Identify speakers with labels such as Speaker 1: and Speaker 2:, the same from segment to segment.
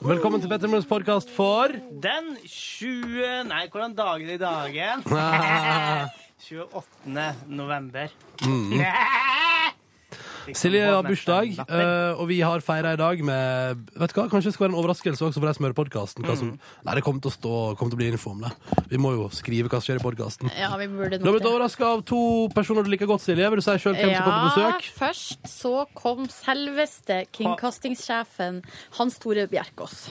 Speaker 1: Velkommen til Petter Morgens podkast for
Speaker 2: Den 20... Nei, hvordan dager det i dagen? 28. november.
Speaker 1: Silje har bursdag, eh, og vi har feira i dag med Vet du hva, Kanskje det skal være en overraskelse også for deg som hører podkasten.
Speaker 3: Mm.
Speaker 1: Nei, det kommer til å stå, kommer til å bli info om det. Vi må jo skrive hva som skjer i podkasten.
Speaker 3: Ja, vi burde Eh,
Speaker 1: Du har
Speaker 3: nok
Speaker 1: blitt overraska av to personer du liker godt, Silje. Vil du si sjøl hvem som kom på
Speaker 3: Ja,
Speaker 1: besøk?
Speaker 3: først så kom selveste kringkastingssjefen Hans Tore Bjerkås.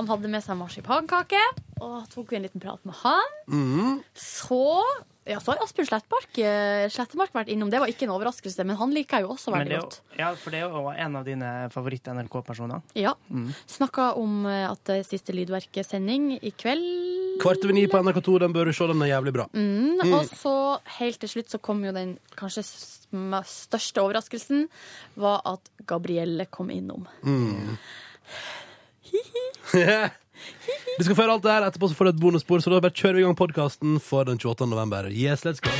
Speaker 3: Han hadde med seg marsipankake, og tok vi en liten prat med han. Så ja, så har Asbjørn Slettmark, eh, Slettemark vært innom. Det var ikke en overraskelse, men han liker jeg jo også
Speaker 2: Men
Speaker 3: veldig
Speaker 2: det er
Speaker 3: godt.
Speaker 2: jo- ja, for det er jo en av dine favoritt-NRK-personer.
Speaker 3: Ja.
Speaker 2: Mm.
Speaker 3: Snakka om eh, at det er siste Lydverket-sending i kveld.
Speaker 1: Kvart over ni på NRK2, den bør du se, den er jævlig bra.
Speaker 3: Mm, Og så helt til slutt så kom jo den kanskje sm- største overraskelsen, var at Gabrielle kom innom.
Speaker 1: Mm. Du skal få høre alt det her, etterpå så får du et bonusspor, så da bare kjører vi i gang podkasten for den 28. november. Yes, let's go.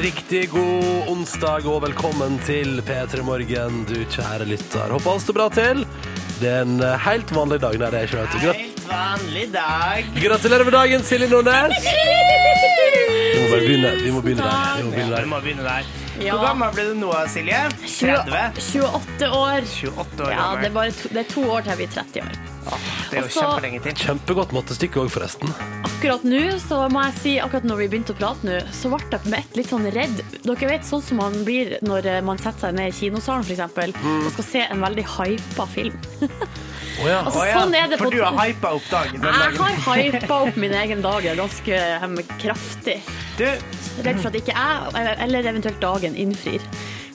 Speaker 1: Riktig god onsdag og velkommen til P3 Morgen, du kjære lytter. Håper alt står bra til. Det er en eh, helt vanlig dag. Nei, det er ikke det. vet du. Grat-
Speaker 2: Helt vanlig dag.
Speaker 1: Gratulerer med dagen, Silje Nordnes! Vi må bare begynne. Vi må begynne der. Vi må
Speaker 2: Ja,
Speaker 1: begynne
Speaker 2: vi
Speaker 1: der.
Speaker 2: må begynne der.
Speaker 3: Ja.
Speaker 2: Hvor gammel ble du nå, Silje? 30?
Speaker 3: 28
Speaker 2: 28
Speaker 3: år.
Speaker 2: år
Speaker 3: Ja, det altså- er,
Speaker 2: gammel.
Speaker 3: bare to, det er to år til jeg blir 30 år.
Speaker 2: Det er jo
Speaker 3: Også-
Speaker 2: kjempelenge til.
Speaker 1: Kjempegodt mattestykke òg, forresten.
Speaker 3: Akkurat nå, så må jeg si, akkurat når vi begynte å prate nå, så ble jeg med ett litt sånn redd. Dere vet sånn som man blir når eh, man setter seg ned i kinosalen for eksempel, og skal se en veldig hypa film.
Speaker 1: Å ja.
Speaker 3: Altså,
Speaker 2: Å ja,
Speaker 3: sånn er det
Speaker 2: for
Speaker 3: på-
Speaker 2: du har hypa opp dagen den
Speaker 3: Jeg
Speaker 2: dagen.
Speaker 3: har hypa opp min egen dag ja, ganske eh, kraftig.
Speaker 2: Du,
Speaker 3: Redd for at ikke jeg, eller- eller eventuelt dagen, innfrir.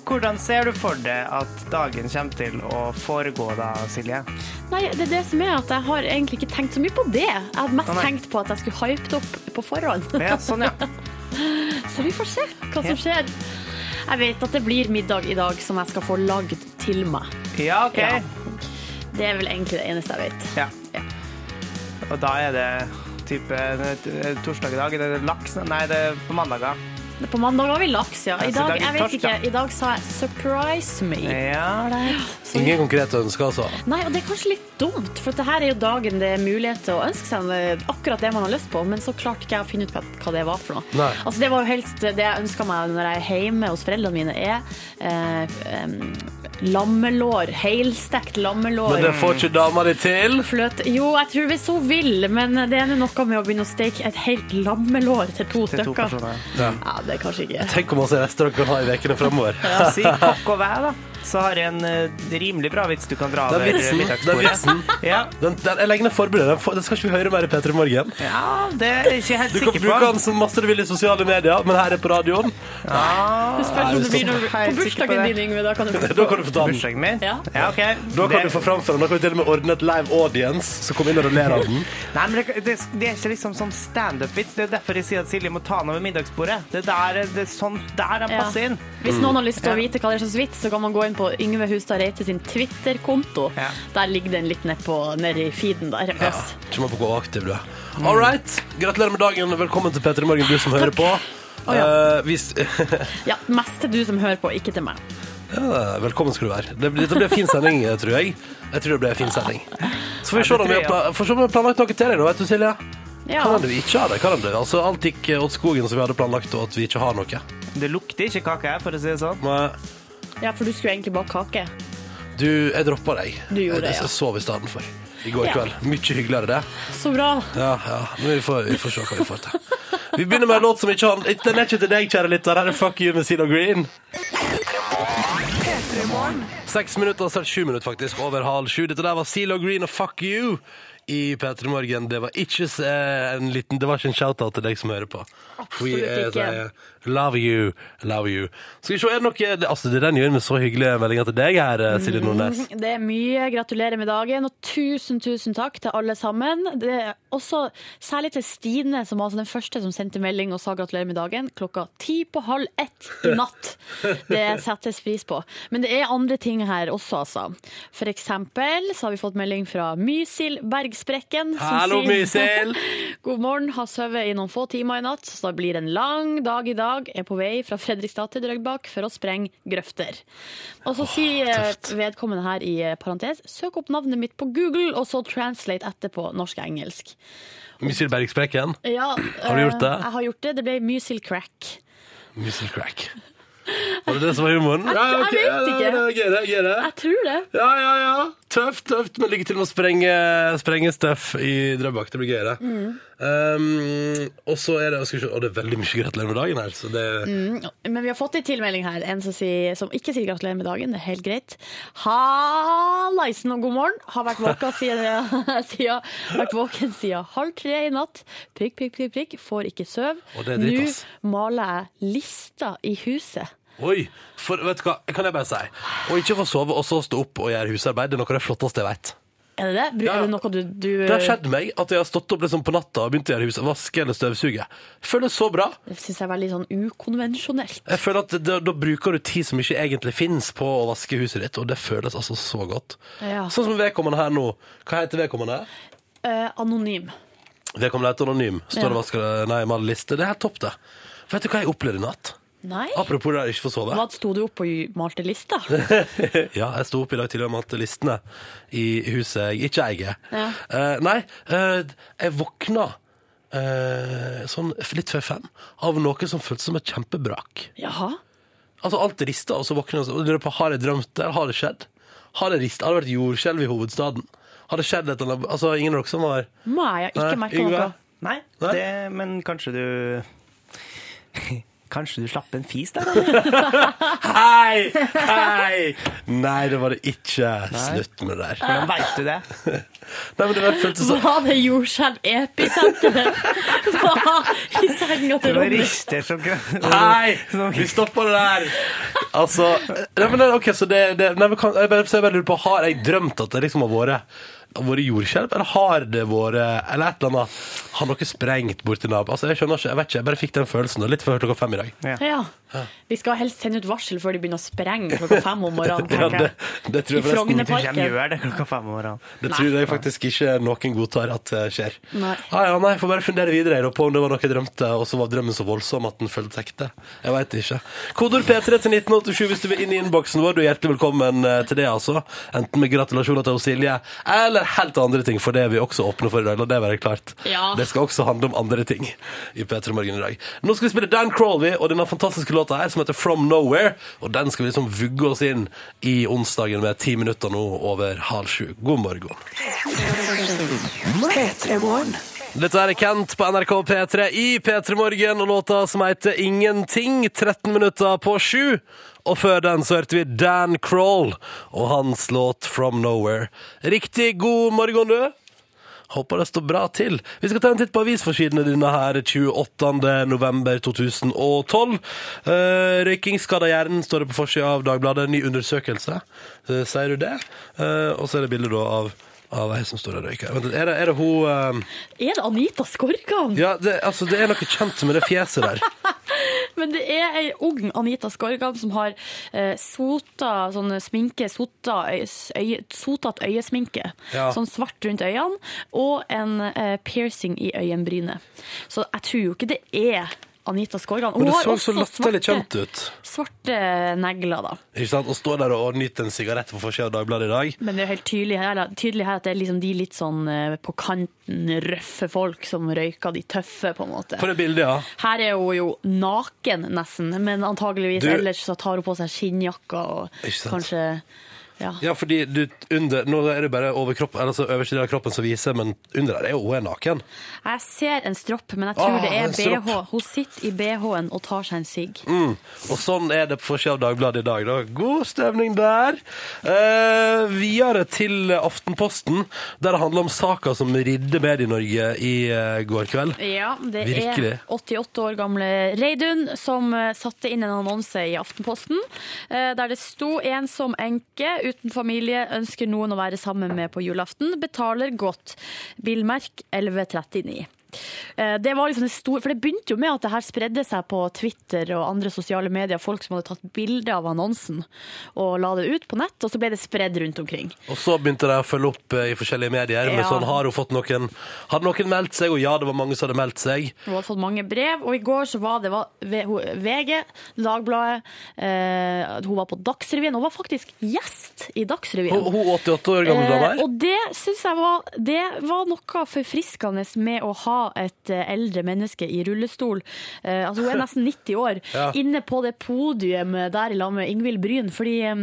Speaker 2: hvordan ser du for deg at dagen kommer til å foregå da, Silje?
Speaker 3: Nei, det er det som er at jeg har egentlig ikke tenkt så mye på det. Jeg hadde mest
Speaker 2: Å, nei.
Speaker 3: tenkt på at jeg skulle hype det opp på forhånd.
Speaker 2: Ja, sånn, ja.
Speaker 3: Så vi får se hva som skjer. Jeg vet at det blir middag i dag som jeg skal få lagd til meg.
Speaker 2: Ja, OK.
Speaker 3: Ja. Det er vel egentlig det eneste jeg vet.
Speaker 2: Ja.
Speaker 3: Ja.
Speaker 2: Og da er det type eh, torsdag i dag. Er det laks? Nei, det er på mandager.
Speaker 3: Men På mandag har vi laks, ja.
Speaker 2: Ja,
Speaker 3: I
Speaker 2: så i
Speaker 3: dag,
Speaker 2: dag er
Speaker 3: jeg vet ikke,
Speaker 2: torsdag.
Speaker 3: i dag sa jeg 'surprise me'.
Speaker 2: Ja, det er
Speaker 3: Så-
Speaker 1: Ingen konkrete ønsker, altså.
Speaker 3: Nei, og det er kanskje litt dumt, for det her er jo dagen det er mulighet til å ønske seg en- akkurat det man har lyst på, men så klarte ikke jeg å finne ut hva det var for noe.
Speaker 1: Nei.
Speaker 3: Altså, det var jo helst det jeg ønska meg når jeg er hjemme hos foreldrene mine, er eh, em, lammelår. Helstekt lammelår.
Speaker 1: Men det
Speaker 2: Mm.
Speaker 1: får ikke dama di til.
Speaker 3: Fløt. Jo, jeg tror hvis hun vil, men det er noe med å begynne å steke et helt lammelår til
Speaker 2: til to
Speaker 3: to stykker.
Speaker 2: personer.
Speaker 3: ja, det er kanskje ikke
Speaker 1: Tenk hvor masse rester dere kan ha i ukene framover.
Speaker 2: Si kokk og væ, da. Så har jeg en eh, rimelig bra vits du kan dra
Speaker 1: Den
Speaker 2: over eh,
Speaker 1: vitsen, den
Speaker 2: middagsbordet.
Speaker 1: vitsen
Speaker 2: Ja.
Speaker 1: den, den, Jeg legger ned forbudet. Den, får- den skal ikke vi høre mer i P3 Morgen.
Speaker 2: ja, det er jeg ikke helt
Speaker 1: Du kan
Speaker 2: sikker
Speaker 1: bruke
Speaker 2: på.
Speaker 1: den så masse du vil i sosiale medier, men her er på radioen.
Speaker 3: Spørs om det blir noe
Speaker 2: Helt
Speaker 3: på
Speaker 2: sikker på
Speaker 3: bursdagen
Speaker 2: det.
Speaker 3: din, Yngve. Da kan du
Speaker 1: Da kan du få ta den.
Speaker 2: Bursdagen min?
Speaker 3: Ja.
Speaker 2: OK.
Speaker 1: Da kan
Speaker 2: Det-
Speaker 1: du få framføre den. Da kan vi til og med ordne et live audience som kommer inn og ler av den.
Speaker 2: Nei, men det, det, det er ikke liksom sånn standup-vits. Det er derfor jeg sier at Silje må ta den over middagsbordet. Det der, det er sånn der han
Speaker 3: Ja.
Speaker 2: passer inn. Mm.
Speaker 3: Hvis noen har lyst til å
Speaker 2: Ja.
Speaker 3: vite hva det er slags vits, så kan man gå inn på Yngve Hustad Reite sin Twitter-konto.
Speaker 2: Ja.
Speaker 3: Der ligger den litt nedpå nede i feeden der. en plass.
Speaker 1: Ikke man på gå aktiv, du. All right. Gratulerer med dagen. Velkommen til P3 Morgen, du som hører på. Eh, hvis,
Speaker 3: Ja, mest til du som hører på, ikke til meg.
Speaker 1: Ja, Velkommen skal du være. Det blir, dette blir en fin sending, eh, tror jeg. Jeg tror det blir en fin sending. Så får vi se om vi har pla- får se om vi har planlagt noe til deg, da, vet du, Silje.
Speaker 3: Ja.
Speaker 1: Kan hende vi ikke har det. Kan hende. Altså, alt gikk eh, åt skogen som vi hadde planlagt, og at vi ikke har noe.
Speaker 2: Det lukter ikke kake her, for å si det sånn.
Speaker 1: Men
Speaker 3: ja, for du skulle egentlig bake kake.
Speaker 1: du, jeg droppa deg.
Speaker 3: Du gjorde det,
Speaker 1: jeg,
Speaker 3: ja.
Speaker 1: jeg sov i stedet for. I går
Speaker 3: Ja.
Speaker 1: kveld. Mye hyggeligere, det.
Speaker 3: Så bra.
Speaker 1: Ja, ja. Men vi får, vi får se hva vi får til. Vi begynner med en låt som ikke har Den er ikke til deg, kjære lytter. Her er Fuck You med Sino Green. Seks minutter, snart sju minutter faktisk, over halv sju. Dette der var Silo Green og Fuck You i P3 Morgen. Det var ikke s- eh, en liten Det var ikke en shout-out til deg som hører på. We, eh,
Speaker 3: ikke.
Speaker 1: sier, Love you, love you. Skal vi se, er det noe det- Altså, det er den gjør med så hyggelige meldinger til deg her, eh, Silje Nordnes.
Speaker 3: Mm, Det er mye. Gratulerer med dagen, og tusen, tusen takk til alle sammen. Det er også særlig til Stine, som var altså den første som sendte melding og sa gratulerer med dagen klokka ti på halv ett i natt. Det settes pris på. Men det er andre ting her også, altså. For eksempel så har vi fått melding fra Mysil Berg magesprekken. som
Speaker 1: Hallo,
Speaker 3: sier-
Speaker 1: Mysil!
Speaker 3: God morgen, har sovet i noen få timer i natt, så det blir en lang dag i dag. Er på vei fra Fredrikstad til Drøgbak for å sprenge grøfter. Og så sier eh,
Speaker 1: tøft.
Speaker 3: vedkommende her i eh, parentes søk opp navnet mitt på Google, og så translate etterpå norsk og engelsk.
Speaker 1: Mysil Bergsprekken.
Speaker 3: Ja,
Speaker 1: du gjort det?
Speaker 3: eh, Jeg har gjort det. Det ble Mysil Crack.
Speaker 1: Mysil Crack. Var det det som var humoren?
Speaker 3: Jeg-
Speaker 1: Mm, Ja, ok.
Speaker 3: jeg vet
Speaker 1: Ja,
Speaker 3: ikke.
Speaker 1: det er gøy, det er gøy, det.
Speaker 3: Jeg tror det.
Speaker 1: Ja, ja, ja. Tøft, tøft. Men lykke til med å sprenge, sprenge stuff i Drøbak. Det blir gøyere.
Speaker 3: Mm.
Speaker 1: Um, og så er det skal vi se, Og det er veldig mye gratulerer med dagen her. Så det,
Speaker 3: Mm. Men vi har fått en tilmelding her, en som, sier, som ikke sier gratulerer med dagen. Det er helt greit. Hallaisen og god morgen. Har vært våken siden, siden, vært våken siden halv tre i natt. Prikk, prikk, prikk, prikk. Får ikke søv.
Speaker 1: Og det er dritt,
Speaker 3: Nå
Speaker 1: ass.
Speaker 3: maler jeg lister i huset.
Speaker 1: Oi! For, vet du hva, kan jeg bare si Å ikke få sove og så stå opp og gjøre husarbeid, det er noe av det flotteste jeg vet.
Speaker 3: Er det det? Bru-
Speaker 1: Ja.
Speaker 3: Er det noe du, du
Speaker 1: Det har skjedd meg at jeg har stått opp liksom på natta og begynt å gjøre hus, vaske eller støvsuge. Føles så bra.
Speaker 3: Det syns jeg er veldig sånn ukonvensjonelt.
Speaker 1: Jeg føler at da, da bruker du tid som ikke egentlig finnes på å vaske huset ditt, og det føles altså så godt.
Speaker 3: Ja.
Speaker 1: Sånn som vedkommende her nå. Hva heter vedkommende?
Speaker 3: Eh, anonym.
Speaker 1: Vedkommende heter Anonym. Står og vasker nei, maler liste. Det er helt topp, det. Vet du hva jeg opplevde i natt?
Speaker 3: Nei?
Speaker 1: Apropos det der ikke få sove.
Speaker 3: Hva sto du opp og malte lister?
Speaker 1: ja, jeg sto opp i dag tidlig og malte listene i huset jeg ikke eier.
Speaker 3: Ja.
Speaker 1: Eh, nei, eh, jeg våkna eh, sånn litt før fem av noe som føltes som et kjempebrak.
Speaker 3: Jaha.
Speaker 1: Altså alt rista, og så våkner jeg og så- og lurer på har jeg drømt det, eller har det skjedd? Har det rista? Har det vært jordskjelv i hovedstaden? Har det skjedd et eller annet? Altså, ingen av dere som har
Speaker 3: Nei, jeg har ikke
Speaker 1: Nei,
Speaker 3: merka noe.
Speaker 1: Yngve?
Speaker 2: Nei,
Speaker 1: Nei?
Speaker 2: Det, men kanskje du Kanskje du slapp en fis der?
Speaker 1: Hei! Hei! Nei, det var det ikke. Slutt med det der.
Speaker 2: Hvordan veit du det?
Speaker 1: Nei, men det var- sånn. føltes så
Speaker 3: Var det jordskjelv episenteret? Var I senga
Speaker 2: Du
Speaker 3: til Ronny?
Speaker 2: rister som
Speaker 1: Hei! Vi stopper det der! Altså Nei, men det- OK, så det, det nei, men kan, jeg, bare, så jeg bare lurer på Har jeg drømt at det liksom har vært har vært jordskjelv, eller har det vært Eller et eller annet Har noe sprengt borti naboen? Altså, jeg skjønner ikke, jeg vet ikke, jeg bare fikk den følelsen da, litt før klokka fem i dag.
Speaker 3: Ja. Vi skal helst sende ut varsel før de begynner å sprenge klokka fem om morgenen.
Speaker 1: Ja,
Speaker 3: tenker
Speaker 1: det,
Speaker 3: jeg.
Speaker 1: det tror jeg
Speaker 3: I
Speaker 1: forresten
Speaker 3: Frogner-
Speaker 2: Hvem gjør det klokka fem om morgenen?
Speaker 1: Det tror jeg faktisk ikke noen godtar at eh, skjer.
Speaker 3: Nei.
Speaker 1: Ah, ja, nei, Får bare fundere videre da, på om det var noe jeg drømte, og så var drømmen så voldsom at den føltes ekte. Jeg veit ikke. Kodord P3 til 1987 hvis du vil inn i innboksen vår. Du er hjertelig velkommen eh, til det, altså. Enten med gratulasjoner til Silje, eller helt andre ting, for det er vi også åpne for i dag. La det være klart.
Speaker 3: Ja.
Speaker 1: Det skal også handle om andre ting i P3 Morgen i dag. Nå skal vi spille Dan Crawley og denne fantastiske låta her som heter From Nowhere. Og den skal vi liksom vugge oss inn i onsdagen med ti minutter nå over halv sju. God morgen. Dette er Kent på NRK P3 i P3 Morgen og låta som heter Ingenting. 13 minutter på sju. Og før den så hørte vi Dan Crawl og hans låt From Nowhere. Riktig god morgen, du. Håper det står bra til. Vi skal ta en titt på avisforsidene dine her 28. november 2012. Uh, røyking skader hjernen, står det på forsida av Dagbladet. Ny undersøkelse. Eh, sier du det? Eh, og så er det bilde da av av ei som står og røyker. Vent litt, Er det, er det hun eh,
Speaker 3: Er det Anita Skorgan?
Speaker 1: Ja, det, altså, det er noe kjent med det fjeset der.
Speaker 3: Men det er ei ung Anita Skorgan som har eh, sota sånn sminke, sota, øyes- øye, sotat øyesminke.
Speaker 1: Ja.
Speaker 3: Sånn svart rundt øynene, og en eh, piercing i øyenbrynet. Så jeg tror jo ikke det er Anita Skorgan.
Speaker 1: Men
Speaker 3: Hun
Speaker 1: det
Speaker 3: har
Speaker 1: så
Speaker 3: også
Speaker 1: så latterlig kjent
Speaker 3: svarte,
Speaker 1: ut.
Speaker 3: svarte negler, da.
Speaker 1: Ikke sant? Å stå der og nyte en sigarett på forsida av Dagbladet i dag.
Speaker 3: Men det er jo helt tydelig her, tydelig her at det er liksom de litt sånn eh, på kanten røffe folk som røyker de tøffe, på en måte.
Speaker 1: På det bildet, ja.
Speaker 3: Her er hun jo naken nesten, men antageligvis
Speaker 1: Du-
Speaker 3: ellers så tar hun på seg skinnjakka og
Speaker 1: Ikke sant.
Speaker 3: kanskje ja.
Speaker 1: Ja, fordi du under, Nå er det bare over kropp, altså øverste del av kroppen som viser, men under der er jo hun er naken.
Speaker 3: Jeg ser en stropp, men jeg tror
Speaker 1: Åh,
Speaker 3: det er
Speaker 1: en stropp.
Speaker 3: BH. Hun sitter i BH-en og tar seg en sigg.
Speaker 1: Og sånn er det på forsida av Dagbladet i dag. Da. God stemning der. Eh, videre til Aftenposten, der det handler om saka som ridde Medie-Norge i eh, går kveld.
Speaker 3: Ja, det
Speaker 1: Virkelig.
Speaker 3: er 88 år gamle Reidun som eh, satte inn en annonse i Aftenposten, eh, der det sto en som enke uten familie ønsker noen å være sammen med på julaften, betaler godt. Bilmerk 1139. Eh, Det var liksom det store, for det begynte jo med at det her spredde seg på Twitter og andre sosiale medier. Folk som hadde tatt bilde av annonsen og la det ut på nett, og så ble det spredd rundt omkring.
Speaker 1: Og så begynte de å følge opp eh, i forskjellige medier. Med
Speaker 3: Ja.
Speaker 1: sånn, har hun fått noen Har noen meldt seg? Og ja, det var mange som hadde meldt seg.
Speaker 3: Hun hadde fått mange brev, og i går så var det var V- hun- VG, Dagbladet, eh, hun var på Dagsrevyen. Hun var faktisk gjest i Dagsrevyen.
Speaker 1: Hun, hun 88 år gamle dama
Speaker 3: Eh,
Speaker 1: her.
Speaker 3: og det syns jeg var, det var noe forfriskende med å ha et eh, eldre menneske i rullestol. Eh, altså Hun er nesten 90 år,
Speaker 1: Ja.
Speaker 3: inne på det podiet med- der i lag med Ingvild Bryn. Fordi eh,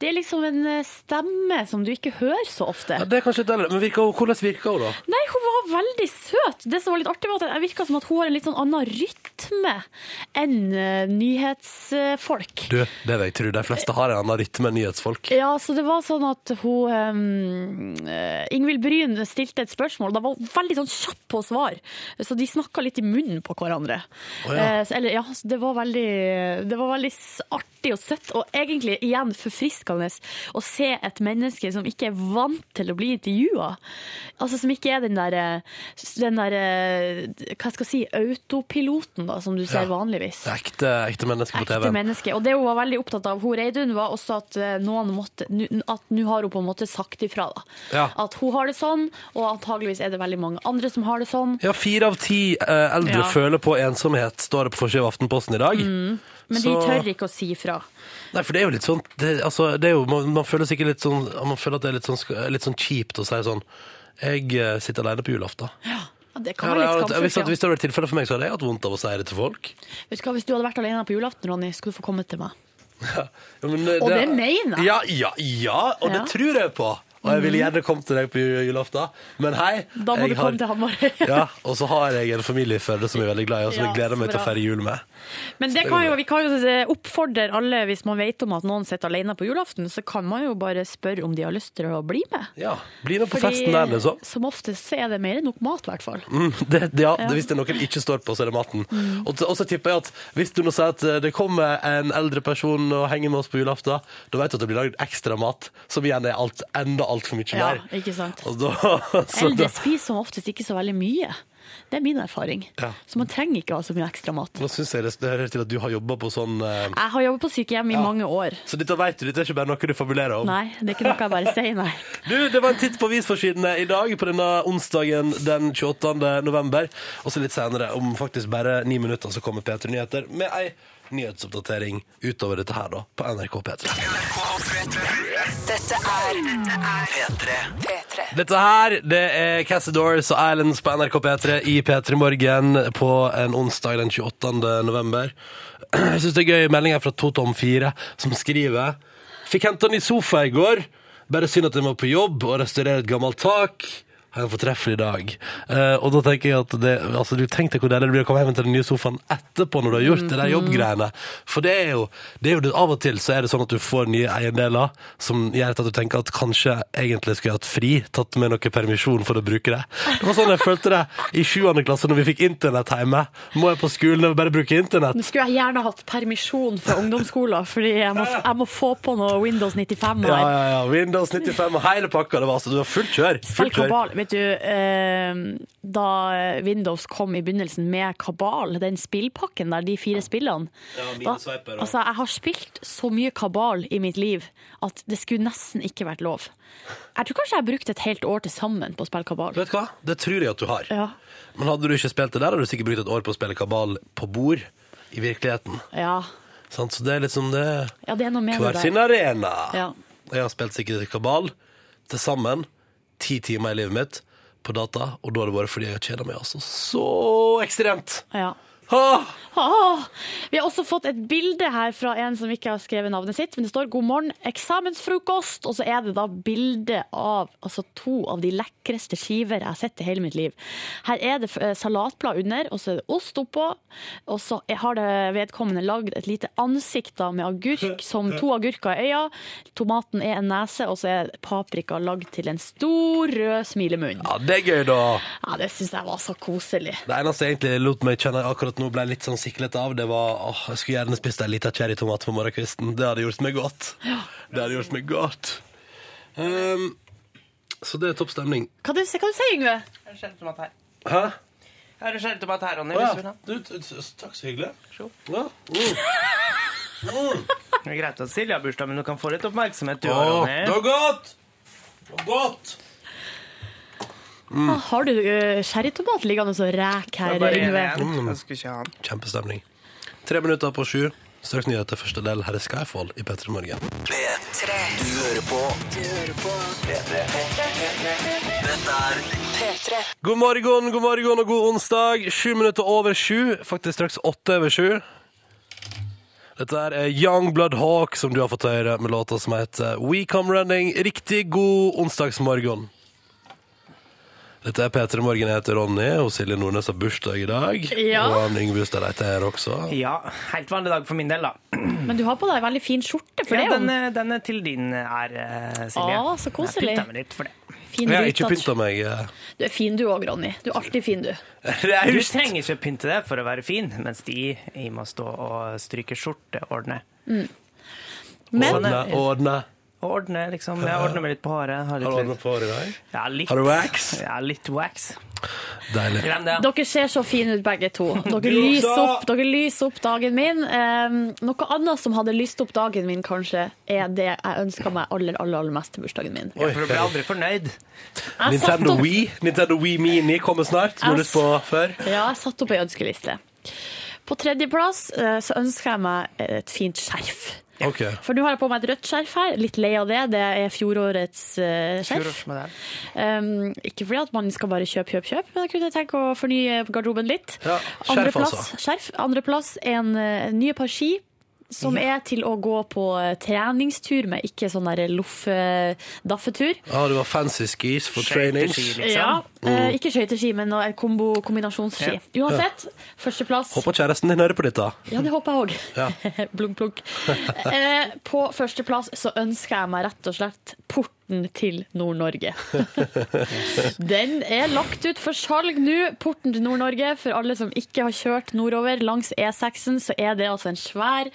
Speaker 3: det er liksom en eh, stemme som du ikke hører så ofte.
Speaker 1: Ja, det er kanskje litt eldre, men virker, hun- hvordan virker hun, da?
Speaker 3: Nei, hun var veldig søt. Det som var litt artig, var at det virka som at hun har en litt sånn annen rytme enn eh, nyhetsfolk.
Speaker 1: Du, det vil jeg tro. De fleste har en annen rytme enn nyhetsfolk.
Speaker 3: Ja, så det var sånn at hun ehm, eh, Ingvild Bryn stilte et spørsmål, og da var hun veldig sånn kjapp på svar. Så de snakka litt i munnen på hverandre.
Speaker 1: Å, ja.
Speaker 3: Eh, så, eller, ja, så det var veldig, det var veldig s- artig og søtt, og egentlig igjen forfriskende å se et menneske som ikke er vant til å bli intervjua. Altså som ikke er den der, eh, den der eh, hva skal jeg si, autopiloten da, som du ser
Speaker 1: Ja.
Speaker 3: vanligvis.
Speaker 1: Ekte, ekte mennesker på
Speaker 3: Ekte
Speaker 1: TV.
Speaker 3: menneske. Og det hun var veldig opptatt av, hun Reidun, var også at eh, noen måtte nu- At nå har hun på en måte sagt ifra, da.
Speaker 1: Ja.
Speaker 3: At hun har det sånn, og antageligvis er det veldig mange andre som har det sånn.
Speaker 1: Ja, fire av ti eh, eldre
Speaker 3: Ja. Mm.
Speaker 1: føler på ensomhet, står det på forsiden av Aftenposten i dag.
Speaker 3: Men de
Speaker 1: Så-
Speaker 3: tør ikke å si ifra.
Speaker 1: Nei, for det er jo litt sånn det, altså, det er jo, man, man føler sikkert litt sånn Man føler at det er litt sånn, sk- litt sånn kjipt å si sånn Jeg eh, sitter alene på julaften.
Speaker 3: Ja, det
Speaker 1: Ja,
Speaker 3: kan
Speaker 1: men jeg
Speaker 3: være
Speaker 1: har
Speaker 3: litt
Speaker 1: hatt- hvis, at,
Speaker 3: skamfullt.
Speaker 1: hvis det hadde vært tilfellet for meg, så hadde jeg hatt vondt av å si det til folk.
Speaker 3: Ja. Vet du hva, Hvis du hadde vært alene på julaften, Ronny, skulle du få komme til meg.
Speaker 1: Ja, men, eh,
Speaker 3: Og det mener jeg.
Speaker 1: Ja, ja, ja, og det
Speaker 3: Ja. Mm.
Speaker 1: tror jeg på. Og jeg ville gjerne kommet til deg på ju- julaften, men hei.
Speaker 3: Da må
Speaker 1: jeg
Speaker 3: du komme til Hamar.
Speaker 1: ja, og så har jeg en familie i Førde som jeg er veldig glad i, og som
Speaker 3: Ja,
Speaker 1: jeg gleder meg
Speaker 3: så
Speaker 1: til å
Speaker 3: bra.
Speaker 1: feire jul med.
Speaker 3: Men det kan jo, vi kan jo eh, oppfordre alle, hvis man vet om at noen sitter alene på julaften, så kan man jo bare spørre om de har lyst til å bli med.
Speaker 1: Ja, Bli med på
Speaker 3: Fordi, eh,
Speaker 1: festen der, liksom.
Speaker 3: Som oftest så er det mer enn nok mat, i hvert fall.
Speaker 1: Mm, det, det, ja, det, hvis det er noen ikke står på, så er det maten.
Speaker 3: Mm.
Speaker 1: Og, så- og så tipper jeg at hvis du nå sier at eh, det kommer en eldre person og henger med oss på julaften, da vet du at det blir lagd ekstra mat, som igjen er alt, enda altfor mye
Speaker 3: Ja,
Speaker 1: mer.
Speaker 3: ikke sant.
Speaker 1: Og da, så
Speaker 3: Eldre
Speaker 1: Altså, da,
Speaker 3: spiser som oftest ikke så veldig mye. Det er min erfaring.
Speaker 1: Ja.
Speaker 3: Så man trenger ikke ha så mye ekstra mat.
Speaker 1: nå syns jeg det, det hører til at du har jobba på sånn eh,
Speaker 3: Jeg har jobbet på sykehjem i mange år.
Speaker 1: Så dette vet du, dette er ikke bare noe du fabulerer om.
Speaker 3: Nei, det er ikke noe jeg bare sier, nei.
Speaker 1: Du, Det var en titt på avisforsidene i dag på denne onsdagen den 28. november. Og så litt senere, om faktisk bare ni minutter, så kommer P3 Nyheter med ei nyhetsoppdatering utover dette her, da, på NRK P3.
Speaker 4: Dette er P3. P3.
Speaker 1: Dette her, det er Cassidors og Islands på NRK P3 i P3 Morgen på en onsdag den 28. november. Jeg synes det er gøy meldinger fra Totom4 som skriver Fikk hentet den i sofa i går, bare synd at den var på jobb og restaurerer et gammelt tak. Ha en fortreffelig dag. Eh, og da tenker jeg at det, altså, du tenkte hvor deilig det blir å komme hjem til den nye sofaen etterpå når du har gjort det der jobbgreiene. For det er jo, det er jo det, av og til så er det sånn at du får nye eiendeler som gjør at du tenker at kanskje egentlig skulle jeg hatt fri, tatt med noe permisjon for å bruke det. Det var sånn jeg følte det i 7. klasse når vi fikk internett hjemme. Må jeg på skolen og bare bruke internett?
Speaker 3: Nå skulle jeg gjerne hatt permisjon fra ungdomsskolen, fordi jeg må, jeg må få på noe Windows 95
Speaker 1: Ja,
Speaker 3: her.
Speaker 1: ja, ja. Windows 95 og hele pakka. Det var altså, det var fullt kjør.
Speaker 3: Selv
Speaker 1: Fullt kjør.
Speaker 3: kabal, vet du, eh, da Windows kom i begynnelsen med kabal, den spillpakken der, de fire spillene, da,
Speaker 1: mineswiper og-
Speaker 3: altså jeg har spilt så mye kabal i mitt liv at det skulle nesten ikke vært lov. Jeg tror kanskje jeg brukte et helt år til sammen på å spille kabal.
Speaker 1: Vet du hva? Det tror jeg at du har.
Speaker 3: Ja.
Speaker 1: Men hadde du ikke spilt det der, hadde du sikkert brukt et år på å spille kabal på bord i virkeligheten.
Speaker 3: Ja,
Speaker 1: Sant? Så det er liksom det
Speaker 3: ja det er noe med
Speaker 1: Hver
Speaker 3: det
Speaker 1: sin
Speaker 3: der.
Speaker 1: arena.
Speaker 3: Ja.
Speaker 1: Og Jeg har spilt sikkert kabal til sammen ti timer i livet mitt på data, og da har det vært fordi jeg har kjeda meg altså så ekstremt.
Speaker 3: Ja.
Speaker 1: Ah!
Speaker 3: Åh, vi har også fått et bilde her fra en som ikke har skrevet navnet sitt, men det står 'God morgen, eksamensfrokost', og så er det da bilde av altså to av de lekreste skiver jeg har sett i hele mitt liv. Her er det eh, salatblad under, og så er det ost oppå, og så har det vedkommende lagd et lite ansikt da med agurk, som to agurker i øya, tomaten er en nese, og så er paprika lagd til en stor rød smilemunn.
Speaker 1: Ja, det er gøy, da.
Speaker 3: Ja, det syns jeg var så koselig.
Speaker 1: Det eneste jeg egentlig lot meg kjenne akkurat nå ble jeg litt sånn siklet av, det var åh, jeg skulle gjerne spist en liten cherrytomat på morgenkvisten. Det hadde gjort meg godt. Det hadde gjort meg godt. Ehm, så det er topp stemning.
Speaker 3: Hva du, hva du sier du, Yngve?
Speaker 2: Jeg skjønte meg at her.
Speaker 1: Hæ?
Speaker 2: Jeg har en sjeltomat her, Ronny.
Speaker 1: Å
Speaker 2: Hvis du vil
Speaker 1: ja.
Speaker 2: ha.
Speaker 1: du, t- t- takk, så hyggelig.
Speaker 2: Sjå.
Speaker 1: Ja. Mm. Mm.
Speaker 2: Det er greit at Silje har bursdag, men du kan få litt oppmerksomhet, du òg,
Speaker 1: Å,
Speaker 2: Ronny.
Speaker 1: det var godt! Det var godt! Mm.
Speaker 3: Ah, Har du eh, sherrytomat liggende og ræk
Speaker 2: Det
Speaker 3: her,
Speaker 2: er bare en
Speaker 3: Yngve?
Speaker 2: igjen. Jeg skulle ikke ha den.
Speaker 1: Mm. Kjempestemning. Tre minutter på sju. Straks nyheter første del. Her er Skyfall i P3 Morgen.
Speaker 4: P3. Du hører på. Du hører på. P3.
Speaker 1: God morgen, god morgen og god onsdag. Sju minutter over sju. Faktisk straks åtte over sju. Dette her er Young Blood Hawk, som du har fått høre med låta som heter We Come Running. Riktig god onsdagsmorgen. Dette er P3 Morgen. Jeg heter Ronny, og Silje Nordnes har bursdag i dag.
Speaker 3: Ja.
Speaker 1: Og Anne Yngve Hustad Reite er her også.
Speaker 2: Ja, helt vanlig dag for min del, da.
Speaker 1: Mm.
Speaker 3: Men du har på deg en veldig fin skjorte for
Speaker 2: Ja,
Speaker 3: det.
Speaker 2: den,
Speaker 3: er
Speaker 2: eh, den er til din ære, eh, Silje.
Speaker 3: Å, så koselig.
Speaker 2: Jeg pynta meg litt for det.
Speaker 3: jo en fin
Speaker 1: Jeg har
Speaker 3: gryte
Speaker 1: ikke
Speaker 3: at-
Speaker 1: pynta meg. eh,
Speaker 3: Du er fin du òg, Ronny. Du er alltid fin, du.
Speaker 2: Du
Speaker 1: Raust.
Speaker 2: trenger ikke pynte deg for å være fin, mens de i må stå og stryke skjorteordnet.
Speaker 3: Mm. Men
Speaker 1: Ordne, ordne.
Speaker 2: Og ordne, liksom. Jeg ordner meg litt på håret. Har
Speaker 1: Har du
Speaker 2: litt,
Speaker 1: ordna på håret i dag?
Speaker 2: Ja, litt,
Speaker 1: Har du wax?
Speaker 2: Ja, litt wax.
Speaker 1: Deilig.
Speaker 2: Glem det.
Speaker 3: Dere ser så fine ut begge to. Dere lyser opp, dere lyser opp dagen min. Ehm, noe annet som hadde lyst opp dagen min, kanskje, er det jeg ønska meg aller, aller, aller mest til bursdagen min.
Speaker 2: Ja, for du blir aldri fornøyd.
Speaker 3: Jeg satte
Speaker 1: Nintendo
Speaker 3: Ah, opp, Ah,
Speaker 1: Wii Nintendo Wii Mini kommer snart. Som du har lyst på før.
Speaker 3: ja, jeg satt opp ei ønskeliste. På tredjeplass eh, så ønsker jeg meg et fint skjerf.
Speaker 1: Ok.
Speaker 3: For nå har jeg på meg et rødt skjerf her. Litt lei av det. Det er fjorårets eh, skjerf.
Speaker 2: Fjorårsmodell.
Speaker 3: Ehm, ikke fordi at man skal bare kjøpe, kjøpe, kjøpe, men jeg kunne tenke å fornye garderoben litt.
Speaker 1: Ja, skjerf
Speaker 3: Andreplass
Speaker 1: altså.
Speaker 3: skjerf. Andreplass en eh, nye par ski. Som er til å gå på eh, treningstur med, ikke sånn der loffe-daffetur.
Speaker 1: Ah, det var fancy skis for
Speaker 2: Skøyteski,
Speaker 1: trainings.
Speaker 2: liksom.
Speaker 1: Mm.
Speaker 3: Eh, ikke skøyteski, men noe- en kombo kombinasjonsski. Uansett, førsteplass.
Speaker 1: Håper kjæresten din hører på dette.
Speaker 3: Ja, det håper jeg òg.
Speaker 1: Ja.
Speaker 3: blunk, blunk. Eh, på førsteplass så ønsker jeg meg rett og slett porten til Nord-Norge. Den er lagt ut for salg nå, porten til Nord-Norge. For alle som ikke har kjørt nordover langs E6-en, så er det altså en svær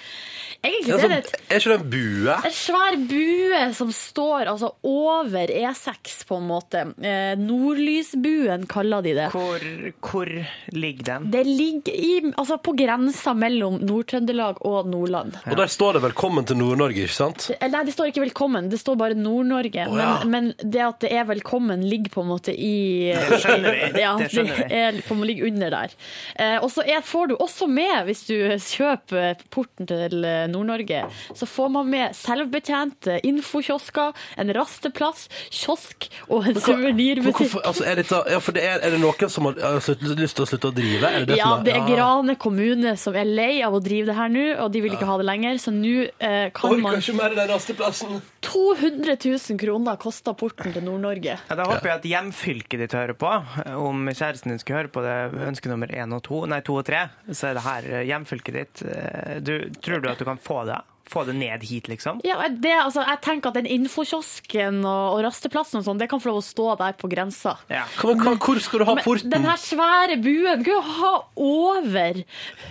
Speaker 3: Egentlig
Speaker 1: Er,
Speaker 3: så er det
Speaker 1: sånn,
Speaker 3: et
Speaker 1: er ikke det en bue?
Speaker 3: en svær bue som står altså over E6, på en måte. Eh, Nordlysbuen kaller de det.
Speaker 2: Hvor, hvor ligger den?
Speaker 3: Det ligger i, altså på grensa mellom Nord-Trøndelag og Nordland.
Speaker 1: Og der står det 'Velkommen til Nord-Norge', ikke sant?
Speaker 3: Eh, Nei, det står ikke velkommen, det står bare Nord-Norge.
Speaker 1: Å, ja.
Speaker 3: men, men det at det er velkommen, ligger på en måte i
Speaker 2: Det skjønner vi.
Speaker 3: Ja,
Speaker 2: Det skjønner vi.
Speaker 3: er- på en måte ligger under der. Eh, og så er, får du også med, hvis du kjøper porten til eh, Nord-Norge, så får man med selvbetjente infokiosker, en rasteplass, kiosk og en
Speaker 1: Men
Speaker 3: suvenirbutikk.
Speaker 1: hvorfor, altså, er, dette, ja, for det er, er det noen som har altså, lyst til å slutte å drive? Er det det
Speaker 3: Ja,
Speaker 1: som er? Ah.
Speaker 3: det er Grane kommune som er lei av å drive det her nå, og de vil ikke ha det lenger, så nå eh, kan man
Speaker 1: ikke mer i den rasteplassen.
Speaker 3: 200 000 kroner koster porten til Nord-Norge.
Speaker 2: Ja, da håper jeg at hjemfylket ditt hører på. Om kjæresten din skulle høre på det ønske nummer én og to, nei, to og tre, så er det her eh, hjemfylket ditt. Eh, Du, tror du at du kan få det? Få det ned hit, liksom?
Speaker 3: Ja, det, altså, jeg tenker at den infokiosken og, og rasteplassen og sånn, det kan få lov å stå der på grensa.
Speaker 2: Ja.
Speaker 1: Hva, hva, hvor skal du ha
Speaker 3: Men
Speaker 1: porten?
Speaker 3: den her svære buen kan jo ha over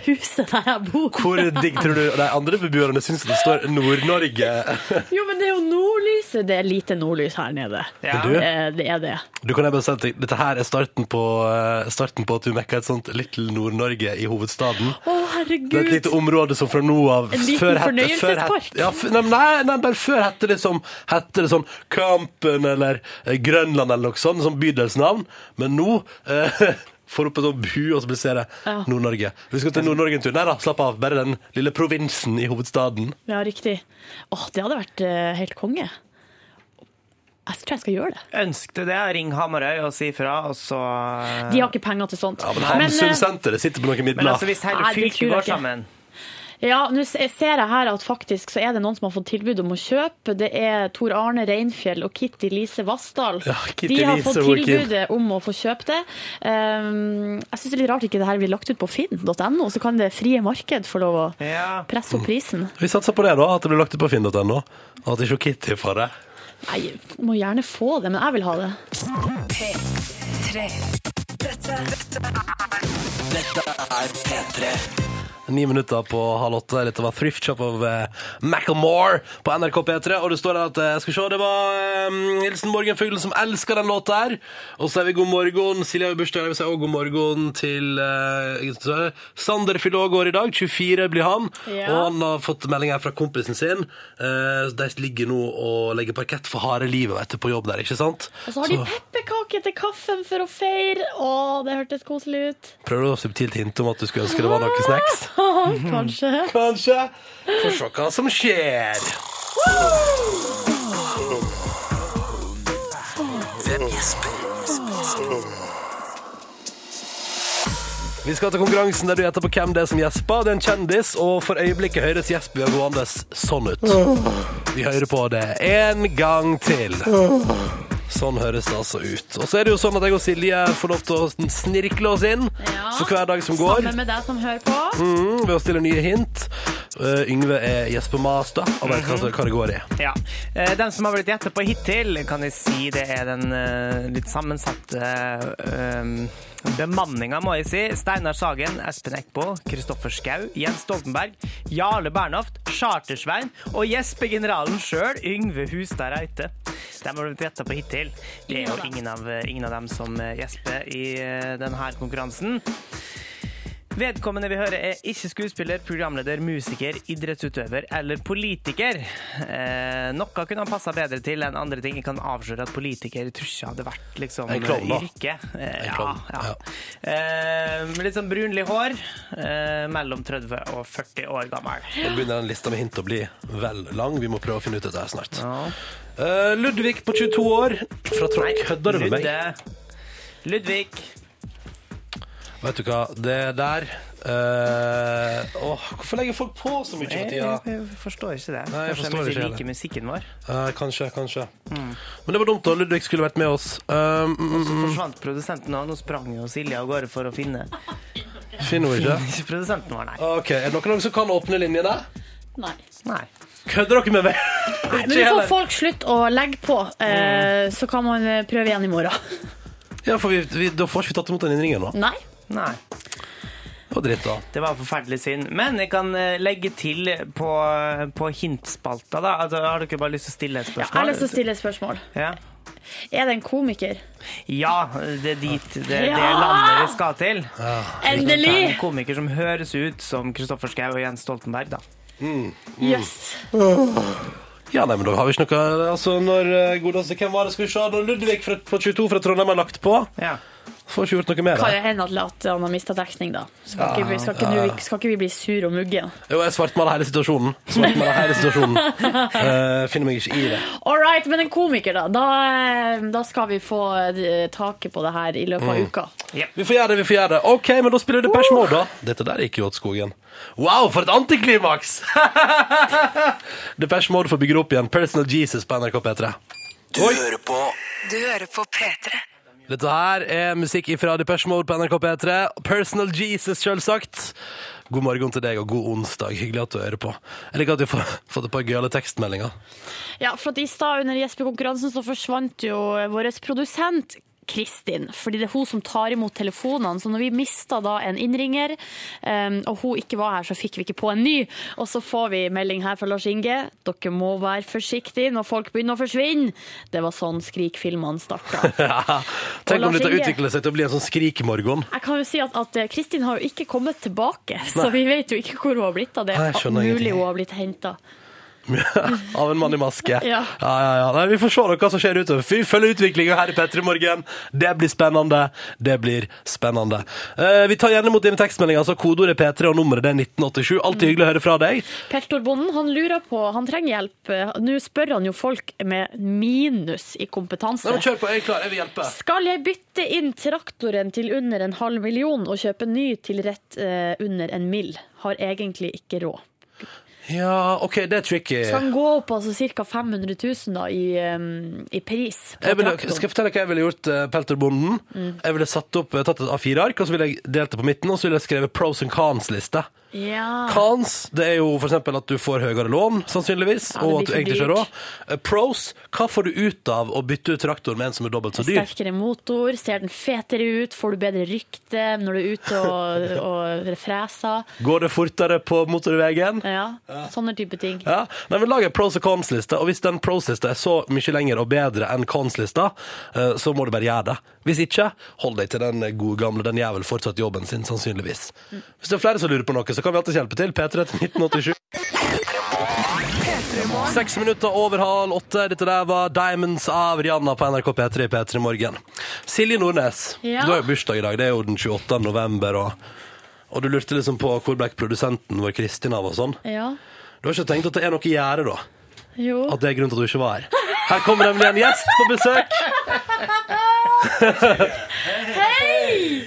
Speaker 3: huset der jeg bor.
Speaker 1: Hvor digg tror du de andre beboerne syns det står Nord-Norge?
Speaker 3: Jo, men det er jo nordlyset. Det er lite nordlys her nede.
Speaker 2: Ja.
Speaker 1: Men du-
Speaker 3: Eh, Det er det.
Speaker 1: Du kan jeg bare si at Dette her er starten på, eh, starten på at du mekker et sånt Little Nord-Norge i hovedstaden.
Speaker 3: Å,
Speaker 1: Det er et
Speaker 3: herregud.
Speaker 1: lite område som fra nå av
Speaker 3: En liten
Speaker 1: før hette-
Speaker 3: fornøyelsespark.
Speaker 1: før hette- ja, f- nei, men nei, nei, men før hette det, som, hette det sånn Kampen eller eh, Grønland eller noe sånt, som bydelsnavn. Men nå eh, får du opp en sånn bu, og så blir det ser jeg
Speaker 3: Ja.
Speaker 1: Nord-Norge. Vi skal til Nord-Norge en tur. Nei da, slapp av. Bare den lille provinsen i hovedstaden.
Speaker 3: Ja, riktig. Åh, det hadde vært eh, helt konge. Jeg tror jeg skal gjøre det.
Speaker 2: Ønsk deg det. Ring Hamarøy og si ifra, og så
Speaker 3: De har ikke penger til sånt.
Speaker 1: Ja, men
Speaker 3: Men, eh,
Speaker 1: Hamsunsenteret sitter på noen
Speaker 2: Men
Speaker 1: midler.
Speaker 2: altså, hvis hele
Speaker 3: Nei, det tror jeg
Speaker 2: fylket går
Speaker 3: ikke.
Speaker 2: sammen
Speaker 3: Ja, nå se- ser jeg her at faktisk så er det noen som har fått tilbud om å kjøpe. Det er Tor Arne Reinfjell og Kitty Lise Vassdal.
Speaker 1: Ja, Kitty
Speaker 3: De har
Speaker 1: Lise,
Speaker 3: fått
Speaker 1: hvor kid.
Speaker 3: tilbudet om å få kjøpe det. Um, jeg syns det er litt rart ikke det her blir lagt ut på finn.no, så kan det frie marked få lov å
Speaker 2: Ja.
Speaker 3: presse opp prisen.
Speaker 1: Vi satser på det, da. At det blir lagt ut på finn.no. Og at ikke Kitty får det.
Speaker 3: Nei, må gjerne få det, men jeg vil ha det.
Speaker 4: P3. Dette, dette er
Speaker 1: Ni minutter på halv åtte. Dette var Thrift Shop av eh, Macklemore på NRK P3. Og det står her at eh, skal vi se, det var eh, Hilsen Morgen Fuglen som elsker den låta her. Og så er vi god morgen. Silje har jo bursdag, vi sier også god morgen til eh, så er det Sander fyller også år i dag. 24 blir han.
Speaker 3: Ja.
Speaker 1: Og han har fått melding her fra kompisen sin. Eh, de ligger nå og legger parkett for harde livet og etter på jobb der, ikke sant?
Speaker 3: Og så har de pepperkake til kaffen for å feire. Å, det hørtes koselig ut.
Speaker 1: prøver du å subtilt hinte om at du skulle ønske det var noe snacks.
Speaker 3: Kanskje.
Speaker 1: Kanskje. Får se hva som skjer.
Speaker 4: Hvem gjesper?
Speaker 1: Vi skal til konkurransen der du gjetter på hvem det er som gjesper. Det er en kjendis, og for øyeblikket høres gjesp ved gående sånn ut. Vi hører på det en gang til. Sånn høres det altså ut. Og så er det jo sånn at jeg og Silje får lov til å snirkle oss inn
Speaker 3: Ja.
Speaker 1: for hver dag som går.
Speaker 3: Sammen med deg som hører på.
Speaker 1: Mm, ved å stille nye hint. Eh, Yngve er gjespermaster og vet hva- hva det går i.
Speaker 2: Ja. Eh, Den som har blitt gjettet på hittil, kan jeg si det er den eh, litt sammensatte eh, bemanninga, må jeg si. Steinar Sagen, Espen Eckbo, Kristoffer Schau, Jens Stoltenberg, Jarle Bernhoft, Chartersvein og Jesper-generalen sjøl, Yngve Hustad Reite. De har blitt gjettet på hittil. Det er
Speaker 3: Ingen av
Speaker 2: jo
Speaker 3: dem.
Speaker 2: ingen av, ingen av dem som eh, gjesper i eh, denne konkurransen. Vedkommende vi hører er ikke skuespiller, programleder, musiker, idrettsutøver eller politiker. Eh, noe kunne han passa bedre til enn andre ting. Jeg kan avsløre at politiker tror ikke hadde vært liksom,
Speaker 1: En klovn, da.
Speaker 2: yrke. Eh,
Speaker 1: En
Speaker 2: ja,
Speaker 1: klovn,
Speaker 2: ja. Eh, med litt sånn brunlig hår. Eh, mellom 30 og 40 år gammel.
Speaker 1: Nå begynner den lista med hint å bli vel lang. Vi må prøve å finne ut dette her snart. Eh, Ludvig på 22 år fra Trond. Kødder du med meg?
Speaker 2: Ludde. Ludvig.
Speaker 1: Vet du hva, det der eh, Åh, Hvorfor legger folk på så mye for
Speaker 2: Jeg,
Speaker 1: tida?
Speaker 2: jeg, jeg forstår ikke det.
Speaker 1: Nei, jeg
Speaker 2: Kanskje de
Speaker 1: forstår ikke
Speaker 2: ikke
Speaker 1: heller.
Speaker 2: liker musikken vår. Mm.
Speaker 1: Eh, kanskje, kanskje. Men det var dumt, da. Ludvig skulle vært med oss. Um, mm,
Speaker 2: Så forsvant produsenten, og nå sprang jo Silje av gårde for å finne
Speaker 1: mm, finner hun ikke?
Speaker 2: Ikke produsenten vår, nei.
Speaker 1: OK, er det noen av dere som kan åpne linjene?
Speaker 3: Nei.
Speaker 2: nei.
Speaker 1: Kødder dere med meg?
Speaker 3: Men
Speaker 1: Ikke
Speaker 3: vi får
Speaker 1: heller. Mm.
Speaker 3: folk slutt å legge på, eh, så kan man eh, prøve igjen i morgen.
Speaker 1: Ja, for vi, vi, Da får ikke vi tatt imot den innringen nå.
Speaker 3: Nei.
Speaker 2: Nei.
Speaker 1: Det var dritt, da.
Speaker 2: Det var forferdelig synd. Men jeg kan eh, legge til på, på hintspalta, da. Altså, har dere bare lyst til å stille et
Speaker 3: Jeg har
Speaker 2: spørsmål?
Speaker 3: lyst til å stille et spørsmål.
Speaker 2: Ja,
Speaker 3: Er det en komiker?
Speaker 2: ja det er dit det, det
Speaker 3: Ja!
Speaker 2: landet vi skal til. Det er en
Speaker 3: Endelig!
Speaker 2: komiker som høres ut som Kristoffer Schau og Jens Stoltenberg, da.
Speaker 1: Mm.
Speaker 3: Yes.
Speaker 1: Ja, nei, men da har vi ikke noe Altså, når eh, godeste Hvem var det? Skal vi se. Når Ludvig fra, på 22 fra Trondheim har lagt på,
Speaker 2: Ja.
Speaker 1: får ikke gjort noe med
Speaker 3: Kan
Speaker 1: det.
Speaker 3: jo hende at- at han har mista dekning, da. Skal ikke, vi- skal, ikke, vi- skal ikke vi bli sur og mugge?
Speaker 1: Jo, jeg svartmaler hele situasjonen. Svartmaler hele situasjonen. Eh, finner meg ikke i det.
Speaker 3: All right, men en komiker, da. Da, eh, da skal vi få eh, taket på det her i løpet
Speaker 1: Mm.
Speaker 3: av uka.
Speaker 1: Vi får gjøre det, vi får gjøre det. OK, men da spiller du Depeche Mode, da. Dette der gikk jo åt skogen. Wow, for et antiklimaks! Depeche Mode får bygge det opp igjen. Personal Jesus på NRK P3.
Speaker 4: Du hører på Du hører på P3
Speaker 1: Dette her er musikk fra Depeche Mode på NRK P3. Personal Jesus, selvsagt. God morgen til deg, og god onsdag. Hyggelig at du hører på. Jeg liker at vi har fått et par gøyale tekstmeldinger.
Speaker 3: Ja, for at I stad under Jesper-konkurransen så forsvant jo eh, vår produsent. Kristin, fordi det er hun som tar imot telefonene. Så når vi mista da en innringer, eh, og hun ikke var her, så fikk vi ikke på en ny. Og så får vi melding her fra Lars Inge. Dere må være forsiktige når folk begynner å forsvinne. Det var sånn Skrik-filmene starta.
Speaker 1: Tenk om
Speaker 3: Lars
Speaker 1: dette
Speaker 3: Inge.
Speaker 1: utvikler seg til å bli en sånn skrikmorgen.
Speaker 3: Jeg kan jo si at, at Kristin har jo ikke kommet tilbake, så vi vet jo ikke hvor hun har blitt av det.
Speaker 1: Nei, jeg skjønner
Speaker 3: Mulig
Speaker 1: ingenting.
Speaker 3: hun har blitt henta.
Speaker 1: Av en mann i maske. Ja, ja,
Speaker 3: Ja.
Speaker 1: ja. Nei, vi får se da hva som skjer utover. Vi følger utviklinga her i P3 Morgen. Det blir spennende. Det blir spennende. Eh, vi tar gjerne imot dine tekstmeldinger. Altså Kodeordet er P3, og nummeret det er 1987. Alltid hyggelig å høre fra deg.
Speaker 3: Peltorbonden han lurer på, han trenger hjelp. Nå spør han jo folk med minus i kompetanse.
Speaker 1: kjør på, jeg er klar. Jeg vil hjelpe.
Speaker 3: Skal jeg bytte inn traktoren til under en halv million og kjøpe ny til rett eh, under en mill? Har egentlig ikke råd.
Speaker 1: Ja, OK, det er tricky.
Speaker 3: Så han går opp altså ca. 500 000 da, i, eh, i pris på
Speaker 1: Jeg ville,
Speaker 3: traktoren.
Speaker 1: skal jeg fortelle hva jeg ville gjort, eh,
Speaker 3: Mm.
Speaker 1: Pelterbonden? Jeg ville satt opp, eh, tatt et A4-ark, og så ville jeg delt det på midten, og så ville jeg skrevet pros and cons-liste.
Speaker 3: Ja.
Speaker 1: Cons det er jo f.eks. at du får høyere lån, sannsynligvis,
Speaker 3: Ja, det
Speaker 1: og
Speaker 3: blir
Speaker 1: at du
Speaker 3: for
Speaker 1: egentlig ikke har
Speaker 3: dyrt.
Speaker 1: råd. Eh, Pros hva får du ut av å bytte ut traktor med en som er dobbelt så dyr?
Speaker 3: Sterkere motor, ser den fetere ut, får du bedre rykte når du er ute og, og freser.
Speaker 1: Går det fortere på motorveien?
Speaker 3: Ja, sånne type ting.
Speaker 1: Ja. Nei, men Lag en pros og cons-liste, og hvis den pros-lista er så mye lenger og bedre enn cons-lista, eh, så må du bare gjøre det. Hvis ikke, hold deg til den gode gamle. Den gjør vel fortsatt jobben sin, sannsynligvis. Hvis det er flere som lurer på noe, så kan vi alltid hjelpe til. P3 til 1987. Seks minutter over halv åtte. Dette der var Diamonds av Rihanna på NRK P3 i P3 Morgen. Silje Nordnes,
Speaker 3: Ja.
Speaker 1: du har jo bursdag i dag. Det er jo den 28. november. Og, og du lurte liksom på hvor ble produsenten vår Kristin av og sånn.
Speaker 3: Ja.
Speaker 1: Du har ikke tenkt at det er noe å gjøre, da?
Speaker 3: Jo.
Speaker 1: At det er grunnen til at du ikke var her? Her kommer nemlig en gjest på besøk.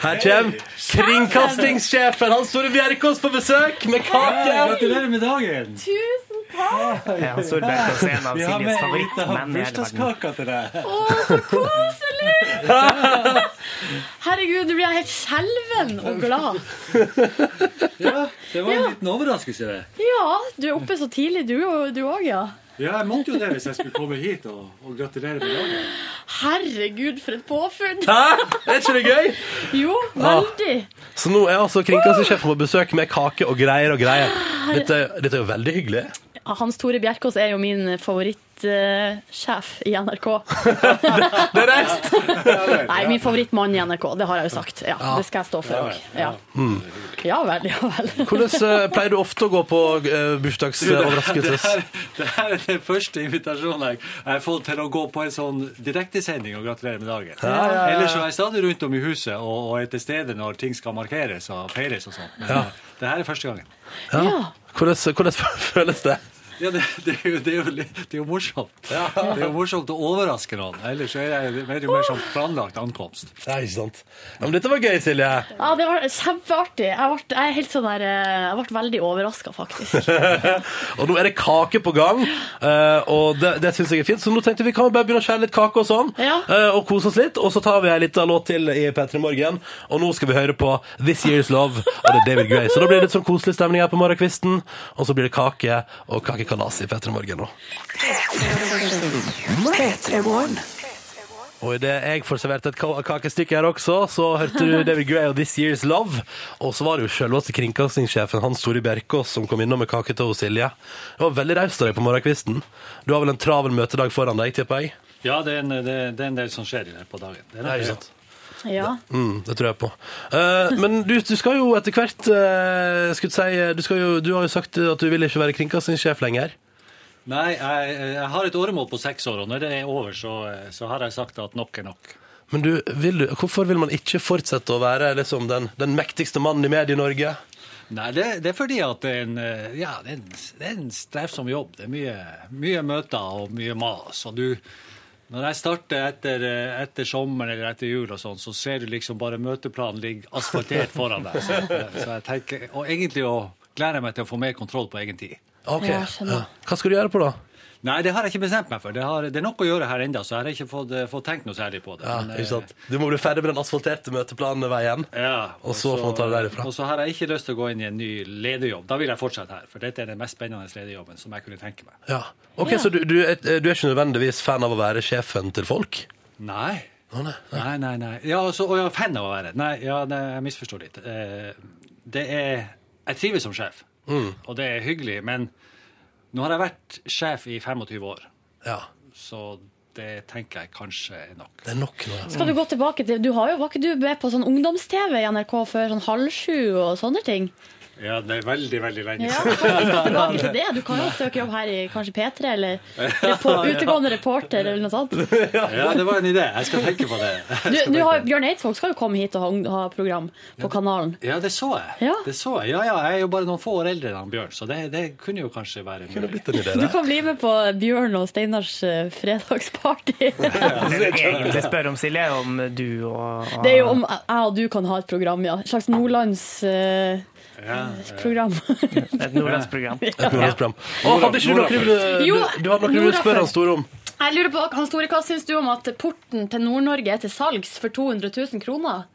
Speaker 1: Her kommer kringkastingssjefen Hans Store Bjerkås på besøk med kake.
Speaker 5: Gratulerer med dagen!
Speaker 3: Tusen takk!
Speaker 2: Ja, Solberg er også en av
Speaker 5: Vi har med
Speaker 2: Siljes
Speaker 5: ei
Speaker 2: favorittmenn
Speaker 5: lita
Speaker 2: i hele verden.
Speaker 5: bursdagskake til deg.
Speaker 3: Å, så koselig! Herregud, nå blir jeg helt skjelven og glad.
Speaker 5: Ja, det var en liten overraskelse, det.
Speaker 3: Ja, du er oppe så tidlig, du og- du òg, ja.
Speaker 5: Ja, jeg måtte jo det hvis jeg skulle komme hit og, og gratulere med dagen.
Speaker 3: Herregud, for et påfunn!
Speaker 1: Hæ? Ah. Er ikke det gøy?
Speaker 3: Jo, veldig.
Speaker 1: Så nå er altså kringkastingssjefen på besøk med kake og greier og greier. Dette, dette er jo veldig hyggelig.
Speaker 3: Hans Tore Bjerkås er jo min favorittsjef i NRK.
Speaker 1: Det er reist.
Speaker 3: Nei, min favorittmann i NRK, det har jeg jo sagt. Ja, Det skal jeg stå for òg. Ja. ja vel, ja vel.
Speaker 1: Mm. Hvordan eh, pleier du ofte å gå på eh,
Speaker 5: det,
Speaker 1: bursdagsoverraskelses?
Speaker 5: her, det her er den første invitasjonen jeg jeg har fått til å gå på en sånn direktesending og gratulere med dagen. Ellers så er jeg stadig rundt om i huset og, og er til stede når ting skal markeres og feires og sånn. Men eh, det her er første gangen.
Speaker 1: Ja.
Speaker 3: Ja.
Speaker 1: Hvordan, hvordan føles det?
Speaker 5: Ja, det, det, er jo, det, er jo, litt- det er jo morsomt. Det er jo morsomt å overraske noen. Ellers så er jeg mer, mer sånn planlagt ankomst.
Speaker 1: Ja, ikke sant. Ja, men dette var gøy, Silje.
Speaker 3: Ja, det var kjempeartig. Jeg ble, jeg er helt sånn der, eh, jeg ble veldig overraska, faktisk.
Speaker 1: Og nå er det kake på gang, eh, og det, det syns jeg er fint. Så nå tenkte vi kan vi bare begynne å skjære litt kake og sånn,
Speaker 3: Ja.
Speaker 1: eh, og kose oss litt. Og så tar vi ei lita låt til i P3 Morgen, og nå skal vi høre på This Year's Love, og det er David Gray. Så da blir det litt sånn koselig stemning her på morgenkvisten, og så blir det kake og kakekalas i P3 Morgen nå. Og idet jeg får servert et ka- kakestykke her også, så hørte du David Gray og This Year's Love. Og så var det jo selveste kringkastingssjefen Hans Tore Bjerkås som kom innom med kake til hos Silje. Det var veldig raust av deg på morgenkvisten. Du har vel en travel møtedag foran deg, tipper jeg?
Speaker 5: Ja, det er en, det, det er en del som skjer i løpet av dagen. Det er nok det.
Speaker 3: Ja.
Speaker 1: Mm, det tror jeg på. Eh, men du, du skal jo etter hvert eh, skulle jeg si, du, skal jo, du har jo sagt at du vil ikke være kringkastingssjef lenger.
Speaker 5: Nei, jeg, jeg har et åremål på seks år, og når det er over, så, så har jeg sagt at nok er nok.
Speaker 1: Men du, vil du, hvorfor vil man ikke fortsette å være liksom, den, den mektigste mannen i Medie-Norge?
Speaker 5: Nei, det, det er fordi at det er en, eh, ja, det er en, det er en strevsom jobb. Det er mye, mye møter og mye mas. Og du, når jeg starter etter, eh, etter sommeren eller etter jul og sånn, så ser du liksom bare møteplanen ligge asfaltert foran deg. Så, eh, så jeg tenker, og egentlig å glede meg til å få mer kontroll på egen tid.
Speaker 1: Ok,
Speaker 3: Ja, skjønner.
Speaker 1: ja. Hva skal du gjøre på da?
Speaker 5: Nei, det har jeg ikke bestemt meg for. Det, har, det er nok å gjøre her ennå, så jeg har ikke fått, eh, fått tenkt noe særlig på det.
Speaker 1: Ja,
Speaker 5: Men, eh,
Speaker 1: ikke sant? Du må bli ferdig med den asfalterte møteplanveien.
Speaker 5: Ja,
Speaker 1: Og så får man ta det derifra.
Speaker 5: Og så har jeg ikke lyst til å gå inn i en ny lederjobb. Da vil jeg fortsette her, for dette er den mest spennende lederjobben som jeg kunne tenke meg.
Speaker 1: Ja. Ok, Så du, du, er, du er ikke nødvendigvis fan av å være sjefen til folk?
Speaker 5: Nei.
Speaker 1: Å, nei.
Speaker 5: Nei, nei, nei. Ja, og så, og jeg er fan av å være Nei, ja, nei, jeg misforstår litt. Eh, Det er Jeg trives som sjef, og det er hyggelig, men nå har jeg vært sjef i 25 år,
Speaker 1: Ja,
Speaker 5: så det tenker jeg kanskje er nok.
Speaker 1: det er nok nå. ja.
Speaker 3: Skal du gå tilbake til Du har jo, var ikke du med på sånn ungdoms-TV i NRK før sånn halv sju og sånne ting?
Speaker 5: Ja, det er veldig, veldig lenge
Speaker 3: Ja, kan du gå tilbake til det? Du kan jo søke jobb her i kanskje P3 eller repo- utegående reporter eller noe sånt. Du,
Speaker 5: Ja, det var en idé. Jeg skal tenke på det.
Speaker 3: nå har, Bjørn Eidsvåg skal jo komme hit og ha, ung- ha program på kanalen.
Speaker 5: Ja, det så jeg.
Speaker 3: Ja.
Speaker 5: Det så jeg. Ja, ja, jeg er jo bare noen få år eldre enn han Bjørn, så det, det kunne jo kanskje være
Speaker 1: Det er
Speaker 5: mulig.
Speaker 1: blitt en idé,
Speaker 3: Du
Speaker 1: det.
Speaker 3: kan bli med på Bjørn og Steinars eh, fredagsparty.
Speaker 2: Det vi egentlig spør om, Silje, er om du og, og
Speaker 3: Det er jo om jeg og du kan ha et program, ja. Et slags eh, nordlandsprogram.
Speaker 5: Ja.
Speaker 2: et nordlandsprogram.
Speaker 1: Et nordlandsprogram. Å, hadde ikke du noe du, du,
Speaker 3: Jo,
Speaker 1: du hadde noe du ville
Speaker 3: Nora
Speaker 1: spørre
Speaker 3: før.
Speaker 1: han store om?
Speaker 3: Jeg lurer på, Hans Tore, Hva syns du om at porten til Nord-Norge er til salgs for 200 000 kroner?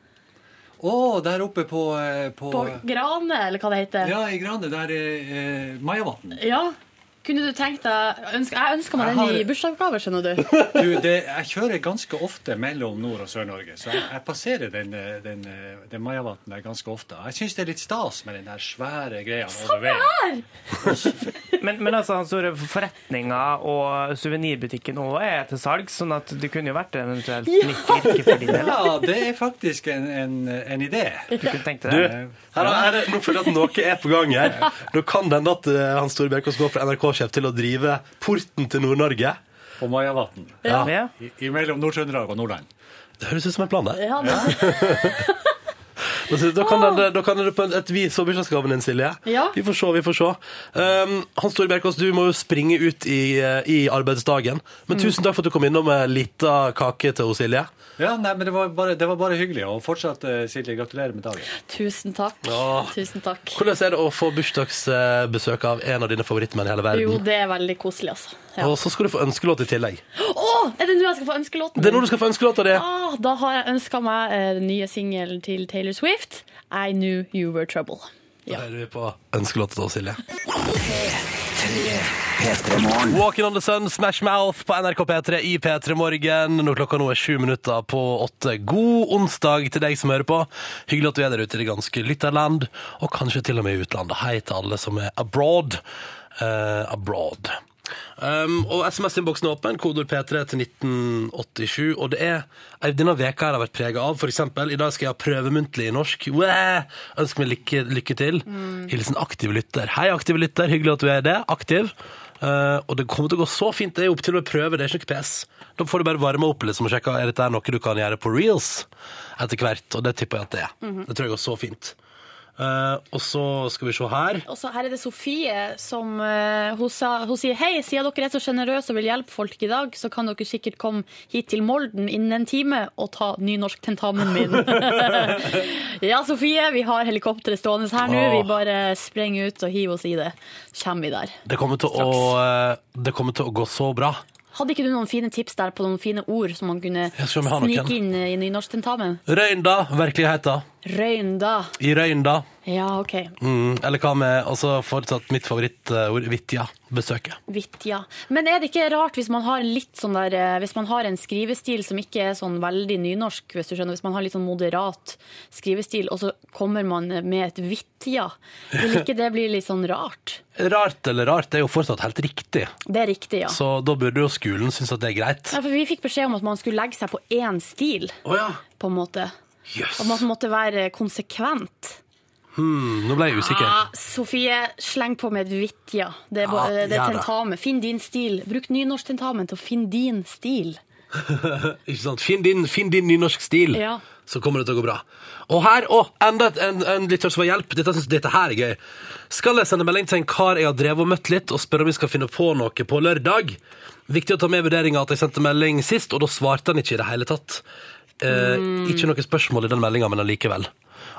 Speaker 5: Å der oppe på, eh, på,
Speaker 3: På Grane, eller hva det heter.
Speaker 5: Ja, i Grane. Der eh, Majavatn.
Speaker 3: Ja. Kunne du tenkt deg ønske, Jeg ønska meg
Speaker 5: Jeg
Speaker 3: den
Speaker 5: har-
Speaker 3: i bursdagsgave, skjønner du.
Speaker 5: Du, det, jeg kjører ganske ofte mellom Nord- og Sør-Norge, så jeg, jeg passerer den, eh, den, eh, den Majavatn der ganske ofte. Jeg syns det er litt stas med den der svære greia
Speaker 3: Sånn,
Speaker 5: over veien.
Speaker 3: Her!
Speaker 2: Men, men altså, hans store forretninger og suvenirbutikken òg er til salg, sånn at du kunne jo vært det eventuelt. Ikke, ikke for din del.
Speaker 5: Ja, det er faktisk en, en, en idé.
Speaker 2: Du kunne tenkt
Speaker 1: Du,
Speaker 2: deg det.
Speaker 1: her, er det, nå føler jeg at noe er på gang her. Nå kan det hende at eh, Hans Store Bjerkås går fra NRK-sjef til å drive Porten til Nord-Norge.
Speaker 5: På Majavatn.
Speaker 2: Ja.
Speaker 5: I- Imellom Nord-Trøndelag og Nordland.
Speaker 1: Det høres ut som en plan, det.
Speaker 3: Ja, men,
Speaker 1: Da, Altså, da kan det- da kan det på et vis og bursdagsgaven din, Silje.
Speaker 3: Ja.
Speaker 1: Vi får se, vi får se. Um, Hans Store Bjerkås, du må jo springe ut i, eh, i arbeidsdagen.
Speaker 3: Mm.
Speaker 1: Men tusen takk for at du kom innom med lita kake til hos Silje.
Speaker 5: Ja, nei, men det var bare, det var bare hyggelig. Og fortsatt, eh, Silje, gratulerer med dagen.
Speaker 3: tusen takk.
Speaker 1: Ja.
Speaker 3: Tusen takk.
Speaker 1: Hvordan er det å få bursdagsbesøk av en av dine favorittmenn i hele verden?
Speaker 3: Jo, det er veldig koselig, altså. Ja.
Speaker 1: Og så skal du få ønskelåt i tillegg.
Speaker 3: Å, er det nå jeg skal få ønskelåten?
Speaker 1: Det er nå du skal få ønskelåt av det.
Speaker 3: Ah, da har jeg ønska meg eh, den nye singelen til Taylor Swift, I Knew You Were Trouble.
Speaker 1: Da hører vi på ønskelåta til Silje.
Speaker 4: P3 Morgen.
Speaker 1: Walking on the Sun, Smash Mouth på NRK P3 i P3 Morgen. Når klokka nå er sju minutter på åtte. God onsdag til deg som hører på. Hyggelig at du er der ute i det ganske lytterland, og kanskje til og med i utlandet. Hei til alle som er abroad. Eh, abroad. Um, og SMS-innboksen er åpen. Kodord P3 til 1987. Og det er eh, denne veka her har vært prega av f.eks. I dag skal jeg ha prøvemuntlig i norsk. Wow! Ønsker meg lykke, lykke til. Hilsen aktiv lytter. Hei, aktiv lytter. Hyggelig at du er det. Aktiv. Eh, og det kommer til å gå så fint. Det er jo opp til å prøve. Det er ikke noe pes. Da får du bare varme opp liksom, og sjekke er dette her noe du kan gjøre på reels etter hvert. Og det tipper jeg at det er.
Speaker 3: Mm.
Speaker 1: Det tror jeg går så fint. Eh, og så skal vi se her.
Speaker 3: Og så her er det Sofie som eh, hun, sa, hun sier hei, siden dere er så sjenerøse og vil hjelpe folk i dag, så kan dere sikkert komme hit til Molden innen en time og ta nynorsktentamen min. ja, Sofie, vi har helikopteret stående her nå. Vi
Speaker 1: Åh.
Speaker 3: bare sprenger ut og hiver oss i det. Så kommer vi der.
Speaker 1: Det kommer til, å, eh, det kommer til å gå så bra.
Speaker 3: Hadde ikke du noen fine tips der på noen fine ord som man kunne
Speaker 1: Jeg skal om jeg har noen.
Speaker 3: snike inn i nynorsktentamen?
Speaker 1: Røynda, virkeligheta.
Speaker 3: Røynda.
Speaker 1: I Røynda.
Speaker 3: Ja, OK.
Speaker 1: Mm, eller hva med altså fortsatt mitt favorittord, Vitja, besøket.
Speaker 3: Vitt, ja. Men er det ikke rart hvis man har en litt sånn der eh, Hvis man har en skrivestil som ikke er sånn veldig nynorsk, hvis du skjønner, hvis man har litt sånn moderat skrivestil, og så kommer man med et vittja? Vil ikke det bli litt sånn rart?
Speaker 1: Rart eller rart, det er jo fortsatt helt riktig.
Speaker 3: Det er riktig, ja.
Speaker 1: Så da burde jo skolen synes at det er greit.
Speaker 3: ja for vi fikk beskjed om at man skulle legge seg på én stil,
Speaker 1: Å ja.
Speaker 3: på en måte.
Speaker 1: Jøss.
Speaker 3: Og man måtte være konsekvent.
Speaker 1: Mm, nå ble jeg usikker.
Speaker 3: Ah, Sofie, sleng på med et vittja. Det er,
Speaker 1: Ja,
Speaker 3: ah, det
Speaker 1: gjør
Speaker 3: er
Speaker 1: det.
Speaker 3: tentamen. Finn din stil. Bruk nynorsktentamen til å finne din stil.
Speaker 1: Ikke sant? Finn din, finn din nynorsk stil,
Speaker 3: Ja.
Speaker 1: så kommer det til å gå bra. Og her, å, enda et- en, en lytter som får hjelp. Dette, synes, dette her er gøy. Skal jeg sende melding til en kar jeg har drevet og møtt litt, og spørre om vi skal finne på noe på lørdag? Viktig å ta med i vurderinga at jeg sendte melding sist, og da svarte han ikke i det hele tatt. Eh, Ikke noe spørsmål i den meldinga, men allikevel.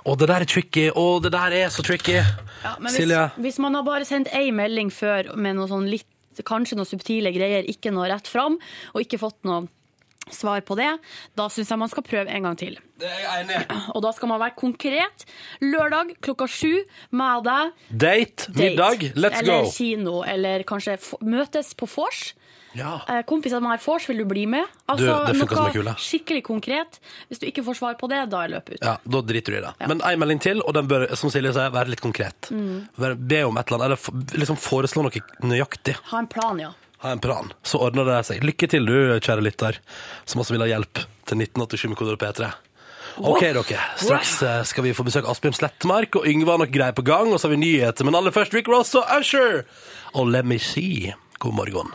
Speaker 1: Å, det der er tricky. Å, det der er så tricky.
Speaker 3: Men
Speaker 1: Silje?
Speaker 3: Hvis, hvis man har bare sendt ei melding før med noe sånn litt, kanskje noen subtile greier, ikke noe rett fram, og ikke fått noe svar på det, da syns jeg man skal prøve en gang til.
Speaker 1: Det er jeg enig i.
Speaker 3: Og da skal man være konkret. Lørdag klokka sju, meg og deg.
Speaker 1: Date,
Speaker 3: date.
Speaker 1: middag, let's
Speaker 3: eller
Speaker 1: go.
Speaker 3: kino, eller kanskje f møtes på vors.
Speaker 1: Ja.
Speaker 3: Eh, Kompiser med her vors, vil du bli med? Altså,
Speaker 1: Du, det funker som
Speaker 3: noe
Speaker 1: en kule.
Speaker 3: skikkelig konkret. Hvis du ikke får svar på det, da er løpet ut.
Speaker 1: Ja, Da driter du i det. Men ei melding til, og den bør som Silje sier, være litt konkret. Være- Be om et eller annet, eller f- liksom foreslå noe nøyaktig.
Speaker 3: Ha en plan, ja.
Speaker 1: Ha en plan, så ordner det seg. Lykke til, du kjære lytter, som også vil ha hjelp til 1987 med kodeord P3. OK, dere. Straks eh, skal vi få besøk av Asbjørn Slettmark, og Yngve har noe greier på gang, og så har vi nyheter. Men aller først Rick Ross og Usher og Let Me See. God morgen.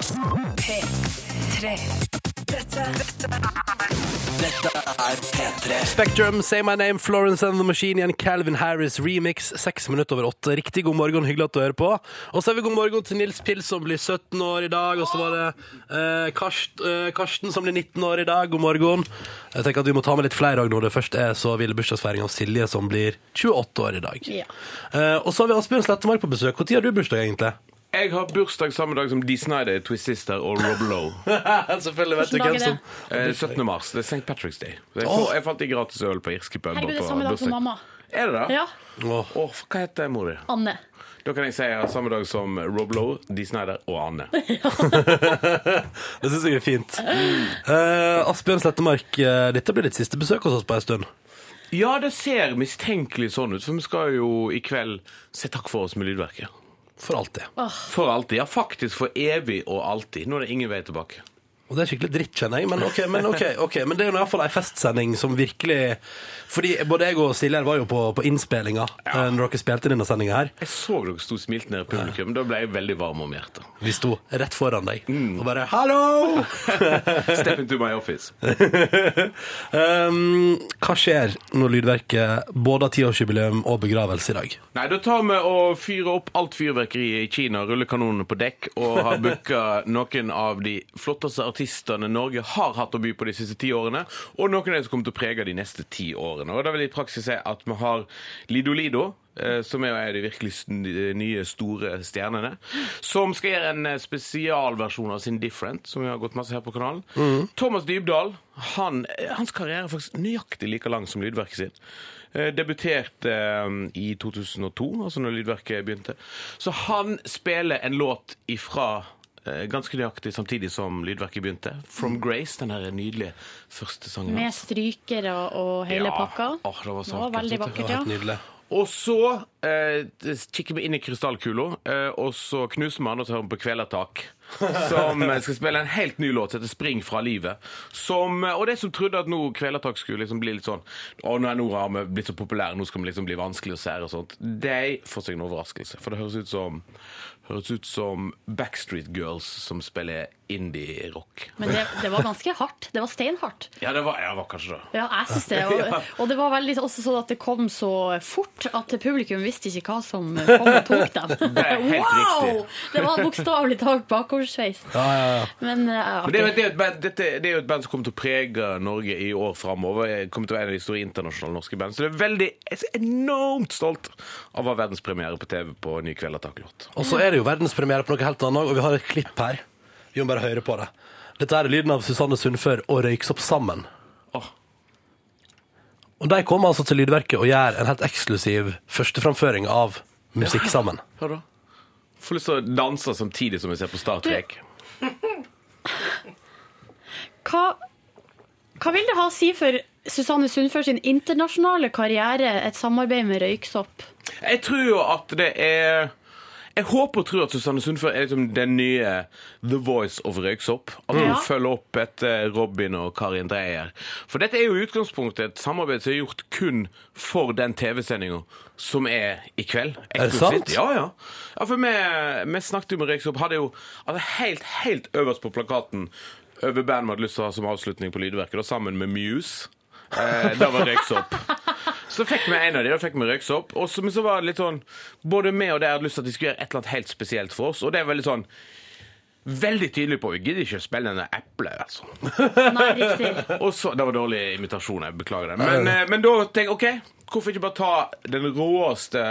Speaker 4: P3. Dette, dette er Dette er P3.
Speaker 1: Spectrum, Say My Name, Florence and the Machine igjen, Calvin Harris remix, seks minutter over åtte. Riktig god morgen, hyggelig at du hører på. Og så er vi god morgen til Nils Pils som blir 17 år i dag, og så var det eh, Karst, eh, Karsten som blir 19 år i dag. God morgen. Jeg tenker at vi må ta med litt flere òg når det først er så vill bursdagsfeiring av Silje som blir 28 år i dag.
Speaker 3: Ja.
Speaker 1: Eh, og så har vi Asbjørn Slettemark på besøk. Når har du bursdag, egentlig?
Speaker 6: Jeg har bursdag samme dag som Dee Snyder, Twist Sister og Rob Lowe.
Speaker 1: Selvfølgelig vet du
Speaker 3: Hvordan
Speaker 1: hvem
Speaker 3: dag er
Speaker 1: som
Speaker 3: det?
Speaker 6: Eh, 17. mars. Det er St. Patrick's Day. Så Jeg, får, jeg fant i gratis øl på irske puber
Speaker 3: Herregud, det
Speaker 6: på
Speaker 3: er samme dag
Speaker 6: bursdag.
Speaker 3: som mamma.
Speaker 6: Er det det?
Speaker 3: Ja,
Speaker 1: Åh,
Speaker 6: Åh, hva heter mor di?
Speaker 3: Anne.
Speaker 6: Da kan jeg si jeg har samme dag som Rob Lowe, Dee Snyder og Anne.
Speaker 1: Det syns jeg er fint. Eh, Asbjørn Slettemark, eh, dette blir ditt siste besøk hos oss på ei stund.
Speaker 6: Ja, det ser mistenkelig sånn ut, for vi skal jo i kveld si takk for oss med Lydverket.
Speaker 1: For alltid.
Speaker 6: For alltid. Ja, faktisk for evig og alltid. Nå er det ingen vei tilbake.
Speaker 1: Og det er skikkelig dritt, kjenner jeg. Men ok, men, ok, ok. men det er jo i hvert fall ei festsending som virkelig Fordi både jeg og Silje var jo på, på innspillinga eh, når dere spilte inn denne sendinga her.
Speaker 6: Jeg så dere sto smilt ned i publikum. Da ble jeg veldig varm om hjertet. Mm.
Speaker 1: Vi sto rett foran deg og bare 'hallo'!
Speaker 6: Step into my office.
Speaker 1: um, hva skjer når Lydverket både har tiårsjubileum og begravelse i dag?
Speaker 6: Nei, da tar vi og fyrer opp alt fyrverkeriet i Kina, ruller kanonene på dekk og har booka noen av de flotteste artistene Norge har hatt å by på de siste ti årene, og noen av de som kommer til å prege de neste ti årene. Og da vil jeg i praksis si at vi har Lido Lido. eh, Som er jo en av de virkelig s- nye, store stjernene. Som skal gjøre en eh, spesialversjon av sin Different, som vi har gått masse her på kanalen. Thomas Dybdahl. Han, eh, hans karriere er faktisk nøyaktig like lang som lydverket sitt. Eh, Debuterte eh, i 2002, altså når lydverket begynte. Så han spiller en låt ifra eh, ganske nøyaktig samtidig som lydverket begynte. 'From Grace', den her nydelige første sangen.
Speaker 3: Med strykere og hele
Speaker 6: Ja.
Speaker 3: pakka.
Speaker 6: Åh, det var så vakkert, vet
Speaker 3: veldig
Speaker 6: du.
Speaker 3: vakkert, ja.
Speaker 1: Nydelig.
Speaker 6: Og så eh, kikker vi inn i krystallkula, eh, og så knuser man og tar på Kvelertak. Som eh, skal spille en helt ny låt som heter 'Spring fra livet'. Som, eh, og de som trodde at nå Kvelertak skulle liksom bli litt sånn Å, nei, nå har vi blitt så populære, nå skal vi liksom bli vanskelig og sære og sånt. De får seg en overraskelse. For det høres ut som, høres ut som Backstreet Girls som spiller indie-rock.
Speaker 3: Men det, det var ganske hardt. Det var steinhardt.
Speaker 6: Ja, det var, ja, det var kanskje det.
Speaker 3: Ja, jeg synes det. Og, og det var veldig også sånn at det kom så fort at publikum visste ikke hva som kom og tok dem.
Speaker 6: Det er helt riktig.
Speaker 3: Det var bokstavelig talt bakoversveis. Men eh,
Speaker 6: Men det, er- det, er jo et band, dette, det er jo et band som kommer til å prege Norge i år framover. Kommer til å være en av de store internasjonale norske band. Så det er veldig, jeg er så enormt stolt av å ha verdenspremiere på TV på Ny Kvelertak-låt.
Speaker 1: Og så er det jo verdenspremiere på noe helt annet, og vi har et klipp her. Vi må bare høre på det. Dette er lyden av Susanne Sundfør og Røyksopp sammen.
Speaker 6: Åh.
Speaker 1: Og de kommer altså til Lydverket og gjør en helt eksklusiv førsteframføring av musikk sammen.
Speaker 6: Hør da. Får lyst til å danse samtidig som vi ser på Star Trek.
Speaker 3: hva, hva vil det ha å si for Susanne Sundfør sin internasjonale karriere, et samarbeid med Røyksopp?
Speaker 6: Jeg tror jo at det er Jeg håper og tror at Susanne Sundfør er liksom den nye The Voice of Røyksopp. At hun
Speaker 3: Ja.
Speaker 6: følger opp etter Robin og Karin Dreyer. For dette er jo i utgangspunktet et samarbeid som er gjort kun for den TV-sendinga som er i kveld.
Speaker 1: Er det sant?
Speaker 6: Ja, ja. ja for vi, vi snakket jo med Røyksopp. Hadde jo altså helt, helt øverst på plakaten over band vi hadde lyst til å ha som avslutning på Lydverket, da, sammen med Muse. Eh, da var Røyksopp. Så fikk vi en av de, da fikk vi røyksopp. Og så, men så var det litt sånn Både vi og de hadde lyst til at de skulle gjøre et eller annet helt spesielt for oss. Og det er veldig sånn Veldig tydelig på Vi gidder ikke å spille denne eplet, altså.
Speaker 3: Nei, riktig.
Speaker 6: Og så, Det var dårlig imitasjon, jeg beklager det. Men, eh, men da tenker jeg OK, hvorfor ikke bare ta den råeste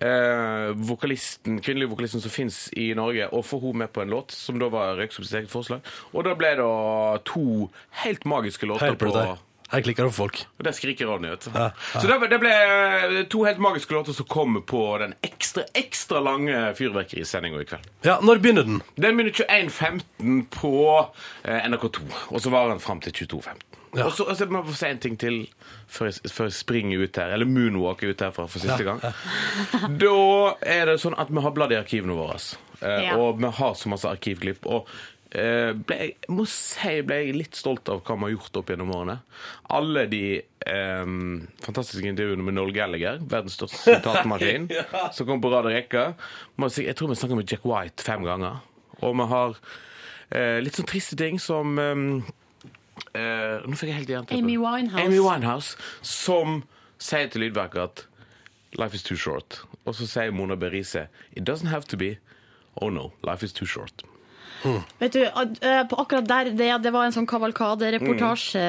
Speaker 6: eh, vokalisten, kvinnelige vokalisten som fins i Norge, og få henne med på en låt, som da var Røyksopp sitt eget forslag. Og da ble det eh, to helt magiske låter
Speaker 1: Hør på dette.
Speaker 6: på
Speaker 1: her. Her klikker det for folk.
Speaker 6: og der skriker Ronny, vet du. Så det, ble- det ble eh, to helt magiske låter som kommer på den ekstra, ekstra lange fyrverkerisendinga i kveld.
Speaker 1: Ja, når begynner den?
Speaker 6: Den begynner 21.15 på eh, NRK2, og så varer den fram til 22.15.
Speaker 1: Ja.
Speaker 6: Og så og så må jeg få si en ting til før jeg, før jeg springer ut her, eller moonwalker ut herfra for siste gang. Da er det sånn at vi har bladd i arkivene våre. eh,
Speaker 3: Ja.
Speaker 6: Og vi har så masse arkivklipp. Og eh, ble, jeg- jeg må si ble jeg litt stolt av hva vi har gjort opp gjennom årene. Alle de eh, fantastiske intervjuene med Noel Gallagher, verdens største sitatmaskin, som kom på rad og rekke. Må si- Jeg tror vi snakker med Jack White fem ganger. Og vi har eh, litt sånn triste ting som eh, Eh, nå fikk jeg helt jernteppe.
Speaker 3: Amy Winehouse.
Speaker 6: Amy Winehouse, Som sier til lydverket at Life is too short. Og så sier Mona Berise It doesn't have to be. Oh no, life is too short.
Speaker 3: Vet du, ad- eh, på akkurat der, det, det var en sånn kavalkadereportasje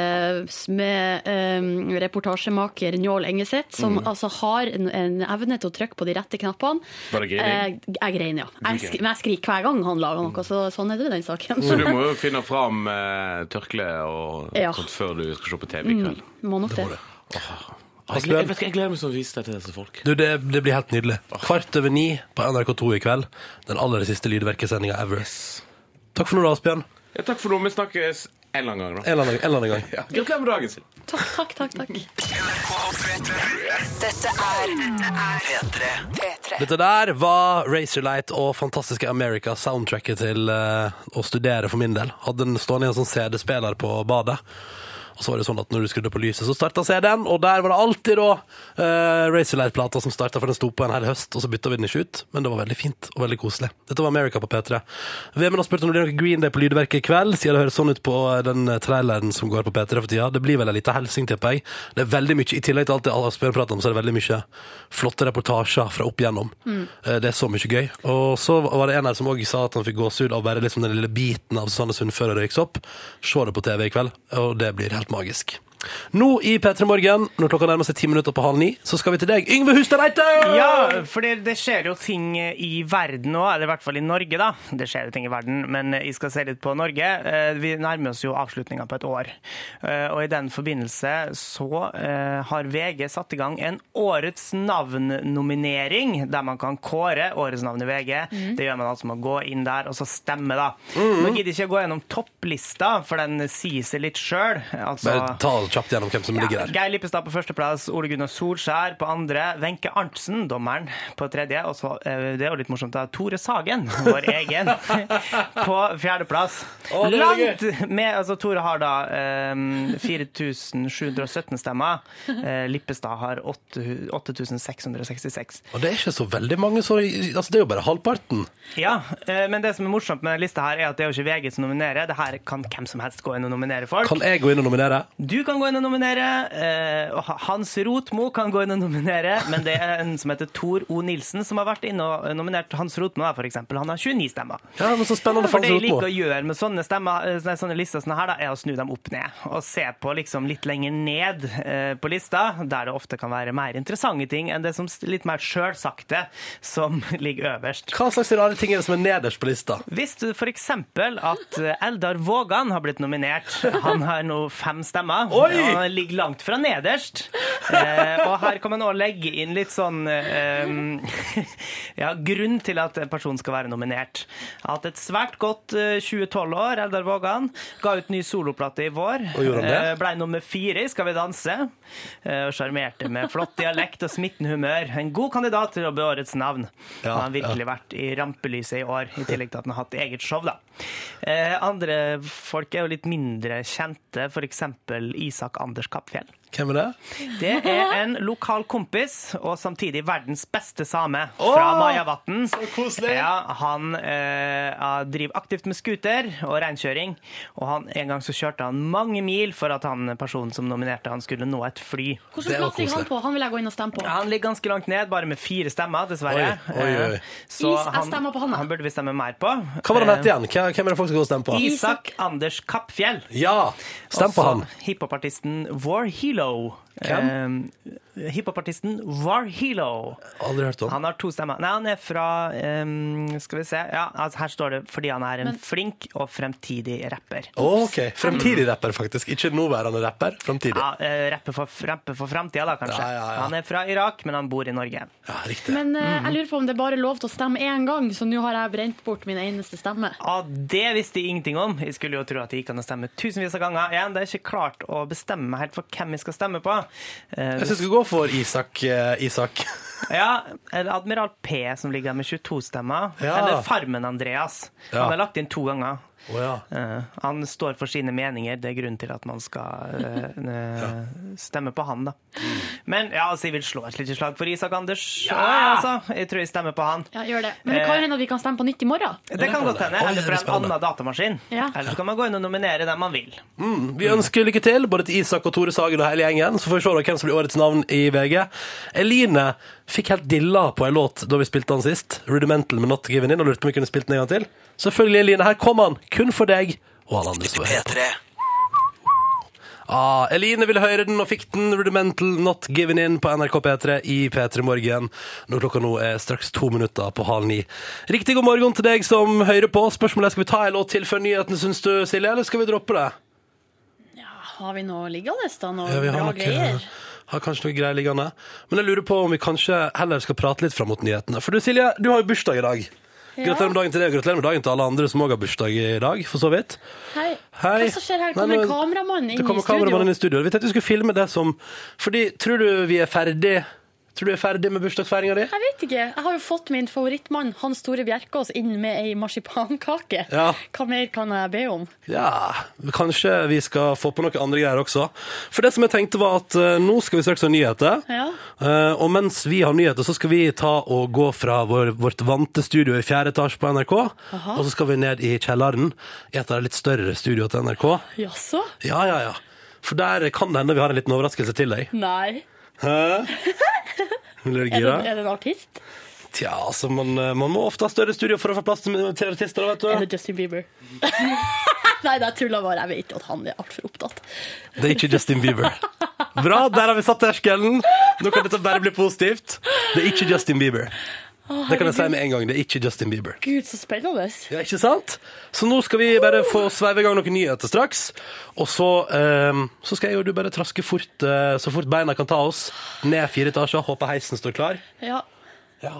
Speaker 3: med eh, reportasjemaker Njål Engeseth, som altså har en, en evne til å trykke på de rette knappene.
Speaker 6: Var det grining?
Speaker 3: Eh, jeg grein, ja. Jeg, skri, men jeg skriker hver gang han lager noe, så sånn er det med den saken.
Speaker 6: Så du må jo finne fram eh, tørkle og
Speaker 3: Ja.
Speaker 6: sånt før du skal se på TV i kveld.
Speaker 3: Mm, Må nok det.
Speaker 6: Jeg, gleder, jeg, vet ikke, jeg gleder meg sånn å vise dette til folk.
Speaker 1: Du, det, det blir helt nydelig. Kvart over ni på NRK2 i kveld. Den aller siste lydverkesendinga ever. Takk for nå, da, Asbjørn.
Speaker 6: Ja, takk for nå. Vi snakkes en eller annen gang. da.
Speaker 1: En eller annen, en eller annen gang.
Speaker 6: Ja. Gratulerer med dagen sin.
Speaker 3: Takk, takk, takk. takk.
Speaker 4: Dette er P3. P3.
Speaker 1: Dette der var Razorlight og fantastiske America soundtracket til eh, å studere for min del. Hadde den stående i en sånn CD-spiller på badet. Og så var det sånn at når du skrudde på lyset, så starta CD-en, og der var det alltid da uh, Razorlight-plata som starta, for den sto på en hel høst, og så bytta vi den ikke ut. Men det var veldig fint og veldig koselig. Dette var America på P3. Vemund har spurt om det blir noe Green Day på Lydverket i kveld, siden det høres sånn ut på den traileren som går på P3 for tida. Det blir vel ei lita helsing, tipper jeg. Det er veldig mye, I tillegg til alt det Asbjørn prater om, så er det veldig mye flotte reportasjer fra opp igjennom.
Speaker 3: Mm.
Speaker 1: Eh, Det er så mye gøy. Og så var det en her som òg sa at han fikk gåsehud av bare liksom den lille biten av Susanne Sund før det røyks opp. Se det på TV i kveld, og det blir helt magisk. Nå i P3 Morgen, når klokka nærmer seg ti minutter på halv ni, så skal vi til deg, Yngve Hustad Reite!
Speaker 2: Ja, for det, det skjer jo ting i verden nå, eller i hvert fall i Norge, da. Det skjer jo ting i verden, men jeg skal se litt på Norge. Eh, Vi nærmer oss jo avslutninga på et år. Eh, Og i den forbindelse så eh, har VG satt i gang en Årets navn-nominering, der man kan kåre årets navn i VG. Det gjør man altså med å gå inn der og så stemme, da. Nå gidder jeg ikke å gå gjennom topplista, for den sier seg litt sjøl. Altså,
Speaker 1: Bare ta kjapt gjennom hvem som ligger der.
Speaker 2: Geir Lippestad på førsteplass, Ole Gunnar Solskjær på andre, Wenche Arntzen, dommeren, på tredje. Og så, eh, det er jo litt morsomt, da, Tore Sagen, vår egen, på fjerdeplass.
Speaker 1: Å, det er
Speaker 2: Langt med altså, Tore har da eh, 4717 stemmer. Eh, Lippestad har 8 8666.
Speaker 1: Og det er ikke så veldig mange, så altså, det er jo bare halvparten.
Speaker 2: Ja, eh, men det som er morsomt med denne lista, her er at det er jo ikke VG som nominerer. Det her kan hvem som helst gå inn og nominere folk.
Speaker 1: Kan jeg gå inn og nominere?
Speaker 2: Du kan gå inn og nominere. eh, og Hans Rotmo kan gå inn og nominere. Men det er en som heter Tor O. Nilsen, som har vært inne og nominert Hans Rotmo. da, For eksempel. Han har 29 stemmer.
Speaker 1: Ja, men så spennende
Speaker 2: For
Speaker 1: for
Speaker 2: det jeg
Speaker 1: Hans
Speaker 2: liker
Speaker 1: Rotmo.
Speaker 2: å gjøre med sånne, stemmer, eh, nei, sånne lister sånne her, da, er å snu dem opp ned. Og se på liksom litt lenger ned eh, på lista, der det ofte kan være mer interessante ting enn det som s- litt mer sjølsagte som ligger øverst.
Speaker 1: Hva slags rare ting er det som er nederst på lista?
Speaker 2: Visste du f.eks. at eh, Eldar Vågan har blitt nominert? Han har nå fem stemmer.
Speaker 1: Oi!
Speaker 2: Og han ligger langt fra nederst. Eh, og her kan man også legge inn litt sånn eh, ja, grunn til at en person skal være nominert. At et svært godt eh, 2012-år, Eldar Vågan, ga ut ny soloplate i vår.
Speaker 1: Og gjorde han det?
Speaker 2: Eh, Blei nummer fire i Skal vi danse. Eh, og sjarmerte med flott dialekt og smittende humør. En god kandidat til å bli årets navn.
Speaker 1: Ja,
Speaker 2: han har virkelig vært i rampelyset i år, i tillegg til at han har hatt eget show. da. Eh, andre folk er jo litt mindre kjente, f.eks. Isak Anders Kappfjell.
Speaker 1: Hvem er det?
Speaker 2: Det er en lokal kompis, og samtidig verdens beste same, fra
Speaker 1: Åh,
Speaker 2: Majavatn.
Speaker 1: så koselig!
Speaker 2: Ja, han eh, ja, driver aktivt med scooter og reinkjøring, og han, en gang så kjørte han mange mil for at han personen som nominerte han skulle nå et fly.
Speaker 1: Det er
Speaker 3: Hvordan
Speaker 1: jo
Speaker 3: plass ligger han
Speaker 1: koselig.
Speaker 3: på? Han vil jeg gå inn og stemme på.
Speaker 2: Han ligger ganske langt ned, bare med fire stemmer, dessverre.
Speaker 1: Oi, oi, oi.
Speaker 2: Eh, Så
Speaker 3: Is, jeg stemmer på han, da.
Speaker 2: han burde vi stemme mer på. Eh,
Speaker 1: Hva var det han het igjen? Hva- Hvem er det folk skal gå og stemme på?
Speaker 2: Isak Anders Kappfjell.
Speaker 1: Ja! Stem på
Speaker 2: Også
Speaker 1: han.
Speaker 2: Hiphopartisten War Hilo.
Speaker 1: Hvem?
Speaker 2: Eh, hiphopartisten War Hilo.
Speaker 1: Aldri hørt om.
Speaker 2: Han har to stemmer. Nei, han er fra eh, Skal vi se. Ja, altså, her står det fordi han er en flink og fremtidig rapper.
Speaker 1: Ok, Fremtidig rapper, faktisk. Ikke nåværende rapper. Fremtidig.
Speaker 2: Ja, eh, rapper for, rapper for fremtida, da, kanskje.
Speaker 1: Ja, ja, ja.
Speaker 2: Han er fra Irak, men han bor i Norge.
Speaker 1: Ja, riktig.
Speaker 3: Men eh, jeg lurer på om det er bare lov til å stemme én gang, så nå har jeg brent bort min eneste stemme.
Speaker 2: Ja, det visste jeg ingenting om. Jeg skulle jo tro at det gikk an å stemme tusenvis av ganger. Igjen, det er ikke klart å bestemme meg helt for hvem jeg skal stemme på. Eh,
Speaker 1: Jeg syns vi skal gå for Isak. eh, Isak.
Speaker 2: Ja, eller Admiral P som ligger der med 22 stemmer.
Speaker 1: Ja.
Speaker 2: Eller Farmen Andreas.
Speaker 1: Ja.
Speaker 2: Han er lagt inn to ganger.
Speaker 1: Å ja.
Speaker 2: Eh, han står for sine meninger. Det er grunnen til at man skal eh, eh, stemme på han, da. Men ja, altså, jeg vil slå et lite slag for Isak Anders. Ja! Altså, jeg tror jeg stemmer på han.
Speaker 3: Ja, gjør det. Men det kan hende at vi kan stemme på nytt i morgen.
Speaker 2: Det kan godt hende.
Speaker 1: Oi,
Speaker 2: Eller
Speaker 1: det blir
Speaker 2: fra en
Speaker 1: spennende.
Speaker 2: annen datamaskin.
Speaker 3: Ja.
Speaker 2: Eller så kan man gå inn og nominere den man vil.
Speaker 1: Mm, Vi ønsker lykke til både til Isak og Tore Sagen og hele gjengen. Så får vi se da hvem som blir årets navn i VG. Eline Fikk helt dilla på en låt da vi spilte den sist. Rudimental med Not Given In, og lurte på om vi kunne spilt den en gang til. Selvfølgelig, Eline. Her kom han! Kun for deg og alle andre som hører på.
Speaker 4: P3.
Speaker 1: Ah, Eline ville høre den og fikk den. Rudimental Not Given In på NRK P3 i P3 Morgen. Når klokka nå er straks to minutter på halv ni. Riktig god morgen til deg som hører på. Spørsmålet er skal vi ta en låt til før nyhetene, syns du, Silje, eller skal vi droppe det?
Speaker 3: Har vi noe liggende, da? Noe
Speaker 1: Ja, vi har,
Speaker 3: bra
Speaker 1: noe,
Speaker 3: greier?
Speaker 1: har kanskje noe greier liggende. Men jeg lurer på om vi kanskje heller skal prate litt fram mot nyhetene. For du, Silje, du har jo bursdag i dag. Gratulerer med dagen til deg, og gratulerer med dagen til alle andre som òg har bursdag i dag, for så vidt.
Speaker 3: Hei.
Speaker 1: Hei.
Speaker 3: Hva som skjer her?
Speaker 1: Nei,
Speaker 3: Kommer
Speaker 1: nå-
Speaker 3: kameramannen inn
Speaker 1: Det kommer
Speaker 3: i studio?
Speaker 1: kameramannen inn i studio. Vi tenkte vi skulle filme det som Fordi, tror du vi er ferdig Tror du vi er ferdig med bursdagsfeiringa di?
Speaker 3: Jeg vet ikke. Jeg har jo fått min favorittmann, Hans Store Bjerkås, inn med ei marsipankake.
Speaker 1: Ja.
Speaker 3: Hva mer kan jeg be om?
Speaker 1: Ja, kanskje vi skal få på noen andre greier også. For det som jeg tenkte var at eh, nå skal vi straks ha nyheter.
Speaker 3: Ja.
Speaker 1: Eh, og mens vi har nyheter, så skal vi ta og gå fra vår, vårt vante studio i fjerde etasje på NRK, og så skal vi ned i kjelleren i et av de litt større studioene til NRK.
Speaker 3: Jaså?
Speaker 1: Ja, ja, ja. For der kan det hende vi har en liten overraskelse til deg.
Speaker 3: Nei.
Speaker 1: Hæ?
Speaker 3: Er
Speaker 1: Blir du
Speaker 3: det,
Speaker 1: gira?
Speaker 3: er det en artist?
Speaker 1: Tja, altså, man, man må ofte ha større studio for å få plass til til artister, vet
Speaker 3: Er
Speaker 1: du.
Speaker 3: det Justin Bieber? Nei, det er tulla bare. Jeg vet jo at han er altfor opptatt.
Speaker 1: Det er ikke Justin Bieber. Bra, der har vi satt terskelen. Nå kan dette bare bli positivt. Det er ikke Justin Bieber. Det kan jeg si med en gang. Det er ikke Justin Bieber.
Speaker 3: Gud, så spennende.
Speaker 1: Ja, ikke sant? Så nå skal vi bare få sveive i gang noen nyheter straks. Og så, ehm, så skal jeg og du bare traske fort, eh, så fort beina kan ta oss, ned fire etasjer. Håper heisen står klar.
Speaker 3: Ja,
Speaker 1: Ja.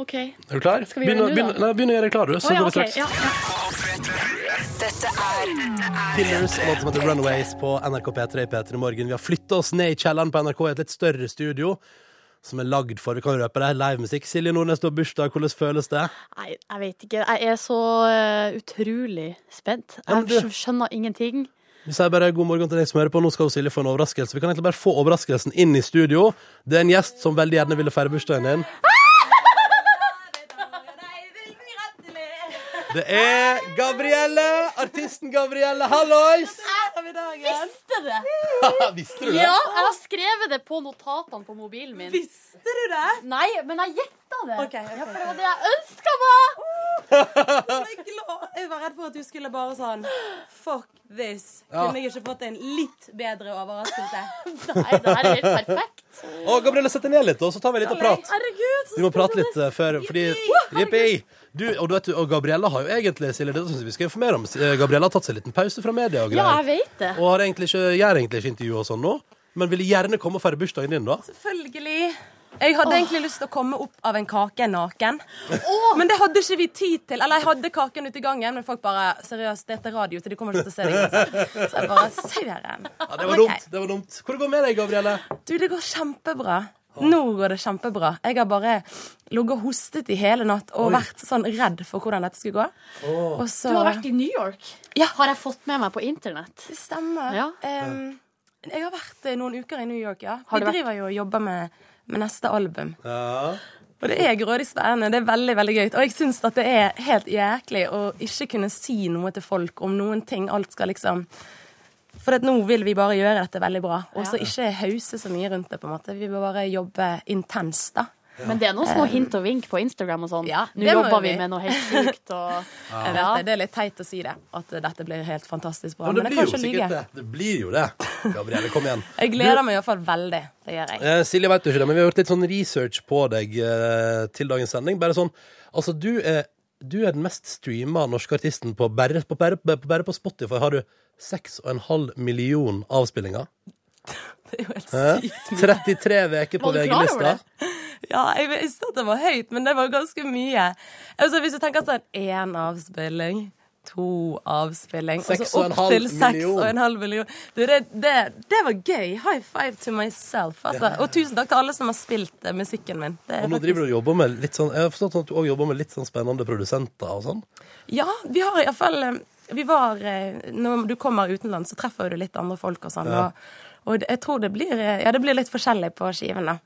Speaker 3: OK.
Speaker 1: Er du klar?
Speaker 3: vi gjøre
Speaker 1: Begynn å-
Speaker 3: det nå, da?
Speaker 1: begynn- nei, Begynn å gjøre deg klar, du. Så
Speaker 3: Å ja,
Speaker 1: går vi
Speaker 3: ok.
Speaker 1: straks.
Speaker 3: Ja, ja.
Speaker 4: Dette er
Speaker 1: Killers, låt som heter Runaways på NRK P3 i P3 Morgen. Vi har flytta oss ned i kjelleren på NRK i et litt større studio. Som er lagd for vi kan røpe det, livemusikk. Silje Nordnes, du har bursdag. Hvordan føles det?
Speaker 3: Nei, jeg vet ikke. Jeg er så eh, utrolig spent.
Speaker 1: Ja, men
Speaker 3: Jeg
Speaker 1: du-
Speaker 3: skjønner ingenting.
Speaker 1: Vi sier bare god morgen til deg som hører på. Nå skal Silje få en overraskelse. Vi kan egentlig bare få overraskelsen inn i studio. Det er en gjest som veldig gjerne ville feire bursdagen din. Det er Gabrielle! Artisten Gabrielle, hallois!
Speaker 3: Visste det!
Speaker 1: Visste du det?
Speaker 3: Ja, jeg har skrevet det på notatene på mobilen min.
Speaker 7: Visste du det?
Speaker 3: Nei, men jeg gjetta det.
Speaker 7: Ok, ok,
Speaker 3: Ja, for det var det jeg ønska meg!
Speaker 7: Jeg er glad- Jeg var redd for at du skulle bare sånn Fuck this. Kunne jeg ikke fått en litt bedre overraskelse?
Speaker 3: Nei, det her er helt perfekt.
Speaker 1: Å, Gabrielle, sett deg ned litt, og så tar vi en liten prat.
Speaker 7: Herregud, så
Speaker 1: Vi må prate litt eh, før, fordi Jippi! Du, og, du vet, du- og Gabriella har jo egentlig Silje, det synes jeg vi skal informere om. eh, Gabriella har tatt seg en liten pause fra media
Speaker 3: Ja,
Speaker 1: og greier.
Speaker 3: jeg vet det.
Speaker 1: Og har egentlig ikke, gjør egentlig ikke intervju og sånn nå, men ville gjerne komme og feire bursdagen din, da.
Speaker 7: Selvfølgelig. Jeg hadde egentlig lyst til å komme opp av en kake naken. Men det hadde ikke vi tid til. Eller jeg hadde kaken ute i gangen, men folk bare Seriøst, dette er radio, så de kommer ikke til å se det. uansett." Så jeg bare Søren.
Speaker 1: Ja, det var
Speaker 7: Ok.
Speaker 1: dumt. det var dumt. Hvor går det med deg, Gabrielle?
Speaker 7: Du, det går kjempebra. Nå går det kjempebra. Jeg har bare ligget og hostet i hele natt og vært sånn redd for hvordan dette skulle gå. Og så
Speaker 3: Du har vært i New York.
Speaker 7: Ja.
Speaker 3: Har jeg fått med meg på internett.
Speaker 7: Det stemmer.
Speaker 3: Ja.
Speaker 7: Em, jeg har vært eh, noen uker i New York, ja.
Speaker 3: Har
Speaker 7: Vi
Speaker 3: du vært-
Speaker 7: driver jo og jobber med, med neste album.
Speaker 1: Ja.
Speaker 7: Og det er grådig spennende. Det er veldig veldig gøy. Og jeg syns at det er helt jæklig å ikke kunne si noe til folk om noen ting. Alt skal liksom For at nå vil vi bare gjøre dette veldig bra. Og så ikke hause så mye rundt det, på en måte. Vi vil bare jobbe intenst, da.
Speaker 3: Men det er noen små hint og vink på Instagram og sånn.
Speaker 7: Ja,
Speaker 3: Nå
Speaker 7: det må
Speaker 3: jobber vi
Speaker 7: vi.
Speaker 3: med noe helt sjukt og
Speaker 7: Jeg
Speaker 3: ja.
Speaker 7: vet det, det er litt teit å si det, at dette blir helt fantastisk bra.
Speaker 1: Og
Speaker 7: Men
Speaker 1: det
Speaker 7: det
Speaker 1: blir
Speaker 7: kan
Speaker 1: jo
Speaker 7: ikke
Speaker 1: sikkert
Speaker 7: lyge.
Speaker 1: det. Det blir jo det. Gabrielle, kom igjen.
Speaker 7: Jeg gleder meg iallfall veldig. Det gjør jeg.
Speaker 1: Eh, Silje vet jo ikke det, men vi har gjort litt sånn research på deg eh, til dagens sending. Bare sånn, altså du er, du er den mest streama norske artisten på bare på, bare, på, bare på Spotify. Har du 6,5 million avspillinger?
Speaker 7: Det er jo helt
Speaker 1: Hæ?
Speaker 7: sykt.
Speaker 1: 33 uker på
Speaker 3: Var du klar over
Speaker 1: VG-lista.
Speaker 3: det?
Speaker 7: Ja, jeg visste at det var høyt, men det var ganske mye. Altså, Hvis du tenker sånn én avspilling, to avspilling, og
Speaker 1: Seks
Speaker 7: så
Speaker 1: og en
Speaker 7: opp
Speaker 1: halv
Speaker 7: til seks
Speaker 1: million.
Speaker 7: og en halv million. Du, det, det, det var gøy. High five to myself. Altså. Og tusen takk til alle som har spilt eh, musikken min. Det er
Speaker 1: Og nå driver du og jobber med litt sånn Jeg har forstått sånn at du også jobber med litt sånn spennende produsenter og sånn.
Speaker 7: Ja, vi har iallfall Vi var eh, Når du kommer utenlands, så treffer du litt andre folk og sånn. Og, og jeg tror det blir eh, Ja, det blir litt forskjellig på skivene.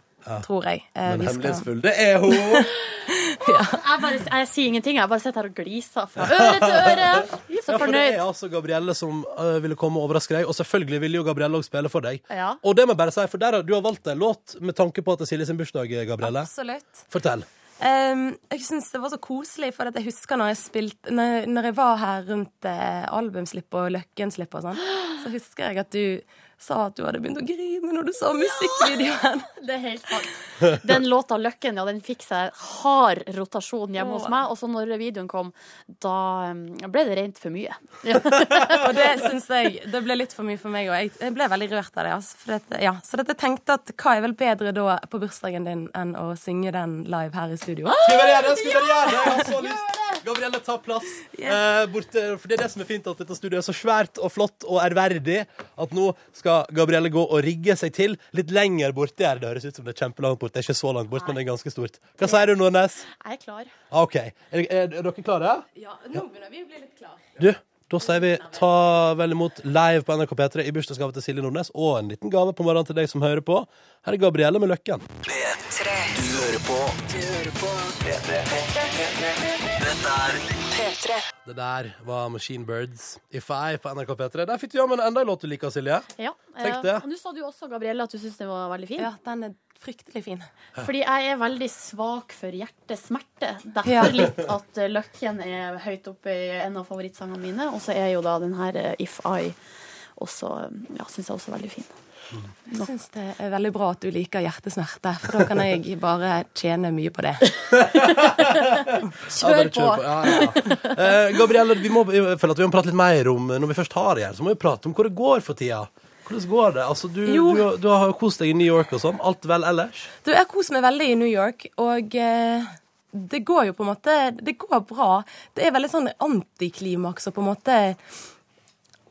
Speaker 7: Tror jeg. Eh,
Speaker 1: Men
Speaker 7: vi skal-
Speaker 1: hemmelighetsfull, det er hun!
Speaker 3: Jeg, bare, jeg sier ingenting. Jeg bare sitter her og gliser fra øre til øre. Så
Speaker 1: Ja, for det
Speaker 3: fornøyd.
Speaker 1: er altså Gabrielle som øh, ville komme og overraske deg, og selvfølgelig ville jo Gabrielle også spille for deg.
Speaker 3: Ja.
Speaker 1: Og det må jeg bare si, for der, har- du har valgt en låt med tanke på at det er Silje sin bursdag, Gabrielle.
Speaker 7: Absolutt.
Speaker 1: Fortell.
Speaker 7: Ehm, jeg syns det var så koselig, for at jeg husker når jeg spilte Når, når jeg var her rundt eh, albumslipp og Løkkenslipp og sånn, så husker jeg at du sa at du hadde begynt å grine når du så musikkvideoen.
Speaker 3: Det er helt sant. Den låta 'Løkken' ja, den fikk seg hard rotasjon hjemme hos meg. Og så når videoen kom, da um, ble det rent for mye. Ja.
Speaker 7: Og det syns jeg det ble litt for mye for meg, og jeg, jeg ble veldig rørt av det. Altså, for at- ja. Så at jeg tenkte at hva er vel bedre da på bursdagen din enn å synge den live her i studio?
Speaker 3: Ah,
Speaker 1: Skulle være gjerne, skulle være gjerne! Jeg har så lyst. Gabrielle, ta plass. Eh, borte, for Det er det som er fint, at dette studioet er så svært og flott og ærverdig at nå skal Gabrielle gå og rigge seg til litt lenger borti her. Det høres ut som det er kjempelangt bort. Det er ikke så langt bort, men det er ganske stort. Hva sier du, Nordnes?
Speaker 3: Jeg er klar.
Speaker 1: Ah, OK. Er, er, er dere klare?
Speaker 7: Ja, nå begynner vi å bli litt klare.
Speaker 1: Du, da sier vi ta vel imot live på NRK P3 i bursdagsgave til Silje Nordnes, og en liten gave på morgenen til deg som hører på. Her er Gabrielle med Løkken.
Speaker 4: P3. Du hører på. Du hører på. Dette er P3.
Speaker 1: Det der var Machine Birds If I på NRK P3. Der fikk du jammen enda en låt du liker, Silje.
Speaker 3: Ja.
Speaker 1: Tenk
Speaker 3: eh,
Speaker 1: det.
Speaker 3: Og nå sa du jo også, Gabrielle, at du syntes den var veldig fin.
Speaker 7: Ja, den er fryktelig fin.
Speaker 3: Fordi jeg er veldig svak for hjertesmerte.
Speaker 7: Ja.
Speaker 3: Derfor litt at eh, Løkken er høyt oppe i en av favorittsangene mine. Og så er jo da den her eh, If I også Ja, syns jeg også er veldig fin.
Speaker 7: Jeg syns det er veldig bra at du liker hjertesmerte, for da kan jeg bare tjene mye på det.
Speaker 1: Ja,
Speaker 3: Kjør
Speaker 1: bare
Speaker 3: på!
Speaker 1: kjør Ja, ja, ja. Eh, Gabrielle, vi må, jeg føler at vi må prate litt mer om eh, Når vi først har det her, så må vi prate om hvor det går for tida. Hvordan går det? Altså, du,
Speaker 7: Jo.
Speaker 1: du, du har kost deg i New York og sånn. Alt vel ellers?
Speaker 7: Du, jeg koser meg veldig i New York, og eh, det går jo på en måte Det går bra. Det er veldig sånn antiklimaks og på en måte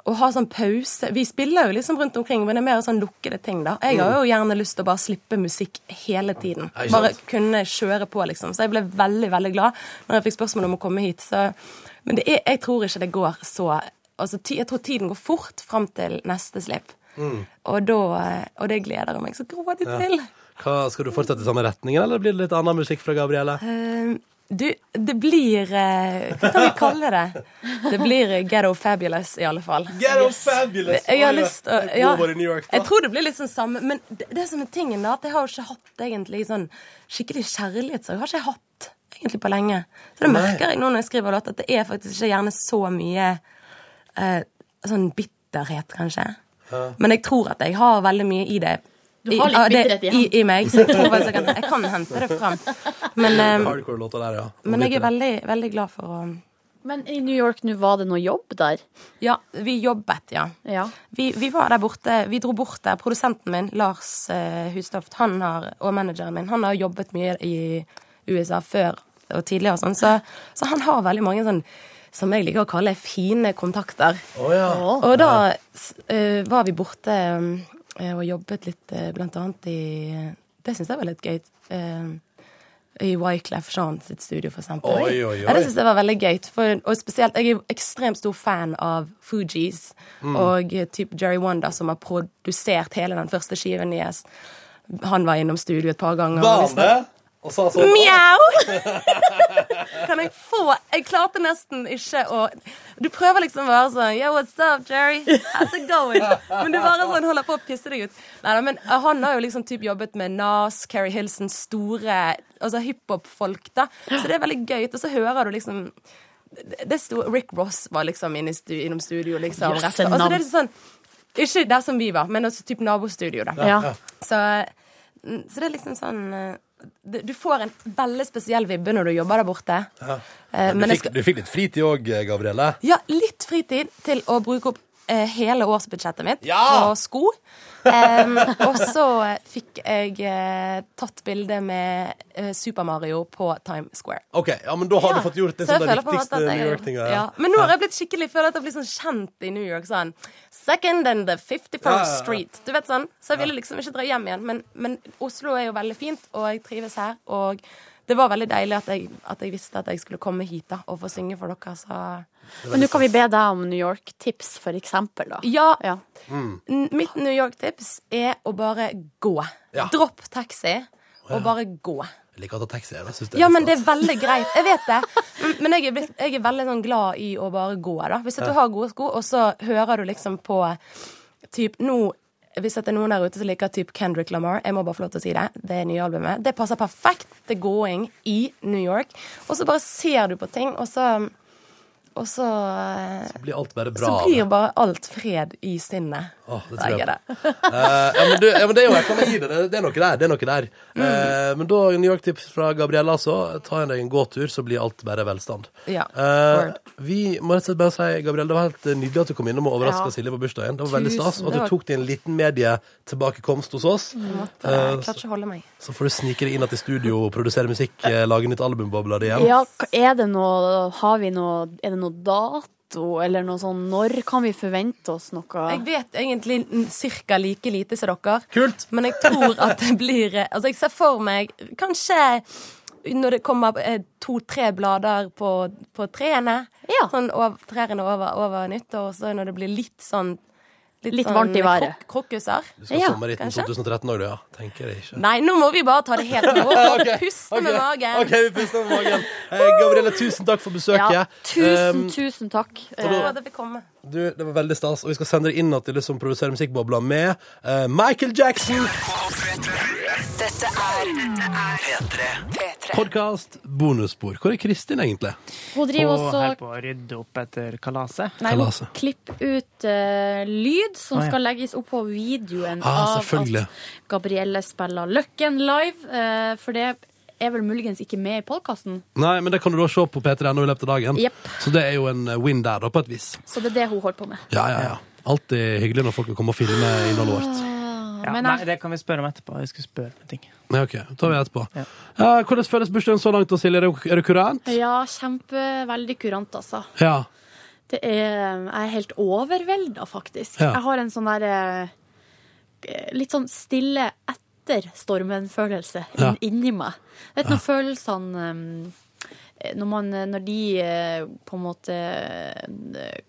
Speaker 7: å ha sånn pause. Vi spiller jo liksom rundt omkring, men det er mer sånn lukkede ting, da. Jeg har jo gjerne lyst til å bare slippe musikk hele tiden.
Speaker 1: Nei, sant.
Speaker 7: Bare kunne kjøre på, liksom. Så jeg ble veldig, veldig glad når jeg fikk spørsmål om å komme hit. Så, men det er, jeg tror ikke det går så altså, ti, Jeg tror tiden går fort fram til neste slipp.
Speaker 1: Mm.
Speaker 7: Og, da, eh, og det gleder jeg meg så grådig til.
Speaker 1: Hva, skal du fortsette i samme retningen, eller blir det litt annen musikk fra Gabrielle?
Speaker 7: Eh, Du, det blir eh, Hva kan vi kalle det? Det blir eh, Ghetto Fabulous, i alle fall.
Speaker 1: Get on fabulous!
Speaker 7: Jeg har lyst å ja,
Speaker 1: Gå over i New York, da.
Speaker 7: Jeg tror det blir litt sånn samme, men det, det som er tingen, da, at jeg har jo ikke hatt egentlig sånn skikkelig kjærlighetssorg. Har ikke jeg hatt egentlig på lenge. Så det merker jeg nå når jeg skriver låt, at det er faktisk ikke gjerne så mye eh, sånn bitterhet, kanskje. Men jeg tror at jeg har veldig mye i det.
Speaker 3: Du har
Speaker 7: I-
Speaker 3: litt
Speaker 7: av det-
Speaker 3: bitterhet igjen.
Speaker 7: I, i meg. Så jeg tror faktisk jeg kan, jeg kan hente det fram. Men, eh,
Speaker 1: Hardcore-låta der, ja.
Speaker 7: men jeg er veldig, veldig glad for å
Speaker 3: Men i New York nå, var det noe jobb der?
Speaker 7: Ja, vi jobbet, ja.
Speaker 3: Ja.
Speaker 7: Vi, vi var der borte, vi dro bort der. Produsenten min, Lars eh, Hustoft, han har, og manageren min, han har jobbet mye i USA før og tidligere og sånn, så, så han har veldig mange sånn som jeg liker å kalle fine kontakter.
Speaker 1: Å ja.
Speaker 7: Og da s- eh, var vi borte eh, og jobbet litt, eh, blant annet i Det syns jeg var litt gøy. eh, i Wyclef Jean sitt studio, for eksempel.
Speaker 1: Oi, oi, oi.
Speaker 7: Ja, det syns jeg var veldig gøy. For, og spesielt, jeg er jo ekstremt stor fan av Fugees
Speaker 1: Mm.
Speaker 7: og eh, typ Jerry Wonder, som har produsert hele den første skiven deres. Han var innom studio et par ganger. og
Speaker 1: Var
Speaker 7: vi
Speaker 1: han det? Og sa sånn
Speaker 7: Mjau! kan jeg få Jeg klarte nesten ikke å Du prøver liksom å være sånn Yo, what's up, Jerry? How's it going? Men du bare sånn holder på å pisse deg ut. Nei, nei, men han har jo liksom typ jobbet med Nas, Carrie Hilson, store Altså hiphop-folk, da. Så det er veldig gøy. Og så hører du liksom det det sto, Rick Ross var liksom inne i stu, innom studio, liksom.
Speaker 3: Jøsse
Speaker 7: rett før. Altså, det er sånn Ikke der som vi var, men også typ nabostudio, da.
Speaker 3: ja.
Speaker 7: Så, mm, så det er liksom sånn eh, du- Du får en veldig spesiell vibbe når du jobber der borte. Eh,
Speaker 1: Du
Speaker 7: Men jeg
Speaker 1: fikk,
Speaker 7: skal
Speaker 1: du fikk litt fritid òg, Gabrielle.
Speaker 7: Ja, litt fritid til å bruke opp eh, hele årsbudsjettet mitt
Speaker 1: Ja!
Speaker 7: på sko. Em, og så fikk jeg eh, tatt bilde med eh, Super Mario på Times Square.
Speaker 1: OK, ja, men da har du fått gjort det
Speaker 7: Så
Speaker 1: som
Speaker 7: jeg
Speaker 1: det
Speaker 7: føler på en måte
Speaker 1: viktigste
Speaker 7: at jeg
Speaker 1: New
Speaker 7: har
Speaker 1: York-tinga.
Speaker 7: gjort- ja. Men nå har jeg blitt skikkelig føler at jeg blir sånn kjent i New York. Sånn Second and the 51st
Speaker 1: Ja, ja, ja.
Speaker 7: Street. Du vet sånn Så jeg ville liksom ikke dra hjem igjen. Men, men Oslo er jo veldig fint, og jeg trives her. Og det var veldig deilig at jeg, at jeg visste at jeg skulle komme hit da og få synge for dere. Så
Speaker 3: Men nå kan vi
Speaker 1: liksom-
Speaker 3: be deg om New York-tips, for eksempel, da.
Speaker 7: ja,
Speaker 3: Ja.
Speaker 7: n- mitt New York-tips er å bare gå.
Speaker 1: Ja.
Speaker 7: Dropp taxi, og bare gå.
Speaker 1: Jeg liker å ta taxi. Jeg, da. Synes det
Speaker 7: Ja,
Speaker 1: litt
Speaker 7: men det
Speaker 1: stas.
Speaker 7: er veldig greit. Jeg vet det. Men- Men jeg er, blitt, jeg er veldig sånn glad i å bare gå. da. Hvis at du har gode sko, og så hører du liksom på typ, nå, Hvis at det er noen der ute som liker typ Kendrick Lamar, jeg må bare få lov til å si det, det er nye albumet. Det passer perfekt til going i New York. Og så bare ser du på ting, og så Og så, eh,
Speaker 1: blir alt bare bra.
Speaker 7: så
Speaker 1: av det.
Speaker 7: blir bare alt fred i sinnet.
Speaker 1: Åh, det
Speaker 7: Da
Speaker 1: tror
Speaker 7: er
Speaker 1: jeg.
Speaker 7: det.
Speaker 1: Eh, ja, men, du, ja, men det er jo jeg kan gi deg det. Det er noe der. det er noe der
Speaker 7: Mm.
Speaker 1: Eh, Men da New York-tips fra Gabriella, så ta en deg en gåtur, så blir alt bare velstand.
Speaker 7: Ja,
Speaker 1: Eh,
Speaker 7: word.
Speaker 1: vi må rett og slett bare si, Gabriella, det var helt eh, nydelig at du kom innom og
Speaker 7: Ja.
Speaker 1: overraska Silje på bursdagen. Det var veldig
Speaker 7: Tusen,
Speaker 1: stas. Og
Speaker 7: det
Speaker 1: at du
Speaker 7: var-
Speaker 1: tok din liten medietilbakekomst hos oss. Eh,
Speaker 7: Måtte, jeg klarte ikke å holde meg.
Speaker 1: Så får du snike deg inn igjen i studio, produsere musikk, eh, lage nytt album, bobler det igjen.
Speaker 8: Ja, k- er det noe Har vi noe Er det noe dato, eller noe sånn Når kan vi forvente oss noe?
Speaker 7: Jeg vet egentlig ca. like lite som dere.
Speaker 1: Kult.
Speaker 7: Men jeg tror at det blir Altså, jeg ser for meg kanskje når det kommer eh, to-tre blader på, på trærne.
Speaker 8: Ja.
Speaker 7: Sånn over, trærne over, over nyttår, og så når det blir litt sånn
Speaker 8: Litt varmt i været.
Speaker 7: krok- Krokuser.
Speaker 1: Du skal sånn-
Speaker 8: Ja,
Speaker 1: sommerritten
Speaker 7: kanskje.
Speaker 1: 2013 òg, du, ja. Tenker jeg ikke.
Speaker 7: Nei, nå må vi bare ta det helt med ro og puste med
Speaker 1: Ok,
Speaker 7: magen.
Speaker 1: OK, vi puster med magen. Eh, Gabriella, tusen takk for besøket.
Speaker 8: Ja, tusen,
Speaker 1: Um,
Speaker 8: tusen takk.
Speaker 7: Så
Speaker 8: Eh,
Speaker 7: det vil komme.
Speaker 1: Du, det var veldig stas, og vi skal sende deg inn til liksom produsere musikkbobla med eh, Michael Jackson!
Speaker 4: Dette er P3. P3.
Speaker 1: Podkast bonusspor. Hvor er Kristin, egentlig?
Speaker 3: Hun driver
Speaker 2: Og her
Speaker 3: også
Speaker 2: på å rydde opp etter kalaset.
Speaker 3: Nei, hun
Speaker 1: Kalaset.
Speaker 3: klipper ut eh, lyd som
Speaker 2: Ah, ja.
Speaker 3: skal legges opp på videoen
Speaker 1: Ah,
Speaker 3: av
Speaker 1: selvfølgelig.
Speaker 3: at Gabrielle spiller Løkken live. eh, for det er vel muligens ikke med i podkasten.
Speaker 1: Nei, men det kan du da se på P3.no i løpet av dagen.
Speaker 3: Jepp.
Speaker 1: Så det er jo en eh, win der, da, på et vis.
Speaker 3: Så det er det hun holder på med.
Speaker 1: Ja, ja, ja. Alltid hyggelig når folk kan komme og filme innholdet vårt.
Speaker 2: Ja,
Speaker 3: Ah, men
Speaker 2: nei,
Speaker 3: jeg-
Speaker 2: det kan vi spørre om etterpå. Jeg skulle
Speaker 3: Ah.
Speaker 2: spørre om en ting.
Speaker 1: Ja, ok, tar vi etterpå.
Speaker 2: Ja.
Speaker 1: Eh, hvordan føles bursdagen så langt, da, Silje? Er det- Er det kurant?
Speaker 3: Ja, kjempe, veldig kurant, altså.
Speaker 1: Ja.
Speaker 3: Det er, jeg er helt overvelda, faktisk.
Speaker 1: Ja.
Speaker 3: Jeg har en sånn der eh, litt sånn stille etter stormen-følelse inn,
Speaker 1: Ja.
Speaker 3: inni meg. Vet du når følelsene eh, når, man, når de eh, på en måte eh,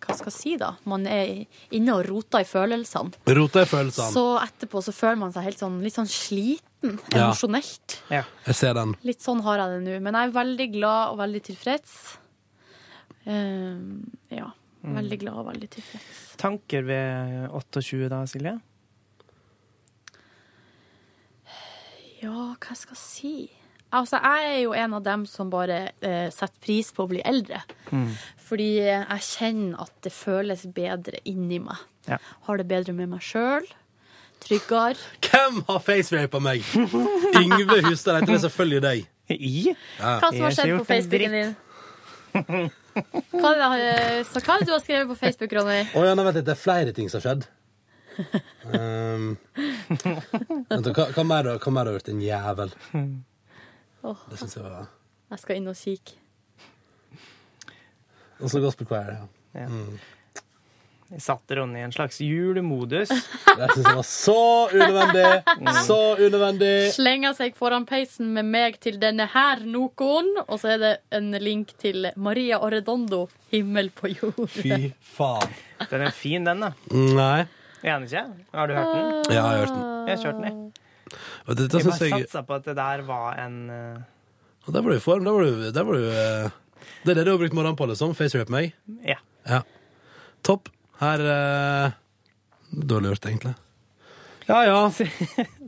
Speaker 3: Hva skal jeg si, da? Man er inne og roter i følelsene.
Speaker 1: Rota i følelsene.
Speaker 3: Så etterpå så føler man seg helt sånn, litt sånn sliten
Speaker 1: Ja.
Speaker 3: emosjonelt.
Speaker 1: Jeg ser den.
Speaker 3: Litt sånn har jeg det nå. Men jeg er veldig glad og veldig tilfreds. Eh, ja. Veldig glad og veldig tilfreds.
Speaker 2: mm. Tanker ved 28 da, Silje?
Speaker 3: Ja, hva skal jeg si? Altså, jeg er jo en av dem som bare eh, setter pris på å bli eldre.
Speaker 1: Mm.
Speaker 3: Fordi jeg kjenner at det føles bedre inni meg.
Speaker 2: Ja.
Speaker 3: Har det bedre med meg sjøl. Tryggere.
Speaker 1: Hvem har facerapa meg? Yngve Hustad heter det selvfølgelig deg.
Speaker 2: I?
Speaker 3: Hva som har
Speaker 2: Jeg har ikke
Speaker 3: skjedd på
Speaker 2: gjort en
Speaker 3: Facebooken din? Hva er det, eh, så hva er det du har skrevet på Facebook, Ronny?
Speaker 1: Å ja, nå vet jeg, det er flere ting som har skjedd. Ehm, vent, da, hva, hva mer har- hva mer har du gjort, din jævel?
Speaker 3: Åh.
Speaker 1: Det syns jeg var
Speaker 3: Jeg skal inn og kikke.
Speaker 1: Og så Gospel Choir. Ja.
Speaker 2: Mm. Jeg satte Ronny i en slags julemodus.
Speaker 1: Det syns jeg var så unødvendig! Så unødvendig!
Speaker 3: slenger seg foran peisen med meg til denne her Nokoen, og så er det en link til Maria Arredondo, 'Himmel på jord'.
Speaker 1: Fy faen.
Speaker 2: Den er fin, den, da.
Speaker 1: Nei.
Speaker 2: Er den ikke? Har du hørt den?
Speaker 1: Ja, jeg har hørt den.
Speaker 2: Jeg har kjørt den, jeg.
Speaker 1: Og det,
Speaker 2: Jeg
Speaker 1: det syns
Speaker 2: bare
Speaker 1: jeg
Speaker 2: satsa på at det der var en eh,
Speaker 1: Og Der var du i form. Der var du, der var du eh, Det er det du har brukt morgenen på, liksom. Facerapa meg.
Speaker 2: Ja.
Speaker 1: Ja. Topp. Her eh, Dårlig gjort, egentlig. Ja ja.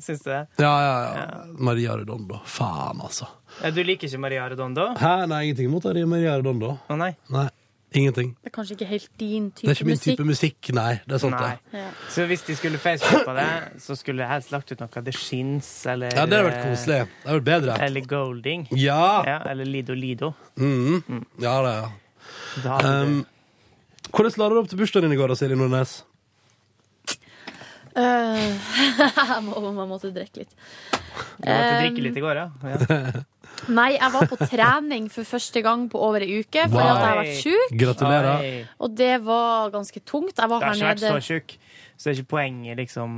Speaker 2: Syns du det?
Speaker 1: Ja, ja, ja. Maria Redondo. Faen, altså.
Speaker 2: Eh, Du liker ikke Maria Redondo? Å
Speaker 1: Hæ? Nei, ingenting mot Maria Redondo.
Speaker 2: nei.
Speaker 1: Nei, ingenting.
Speaker 3: Det er kanskje ikke helt din
Speaker 1: Det
Speaker 3: type,
Speaker 1: er ikke min type musikk, nei. Det er sant,
Speaker 2: Nei.
Speaker 1: det.
Speaker 3: Ja.
Speaker 2: Så hvis de skulle facepuppe det, så skulle jeg helst lagt ut noe The Shins eller
Speaker 1: Ja, det hadde vært koselig. Det hadde vært bedre.
Speaker 2: eh, Eller Golding.
Speaker 1: Ja!
Speaker 2: Ja, eller Lido Lido.
Speaker 1: Mm. Ja, det, ja.
Speaker 2: Da hadde
Speaker 1: Um, Hvordan la du opp til bursdagen din i går, da, Silje Nordnes?
Speaker 3: Jeg må, Eh, man måtte drikke litt.
Speaker 2: du, du måtte drikke litt i går, ja. ja.
Speaker 3: Eh, Nei, jeg var på trening for første gang på over ei uke, fordi
Speaker 1: Wow.
Speaker 3: at jeg har vært sjuk.
Speaker 1: Gratulerer.
Speaker 2: Oi.
Speaker 3: Og det var ganske tungt. Jeg var
Speaker 2: Jeg har
Speaker 3: her
Speaker 2: ikke vært
Speaker 3: nede
Speaker 2: så tjukk, så det er ikke poenget, liksom.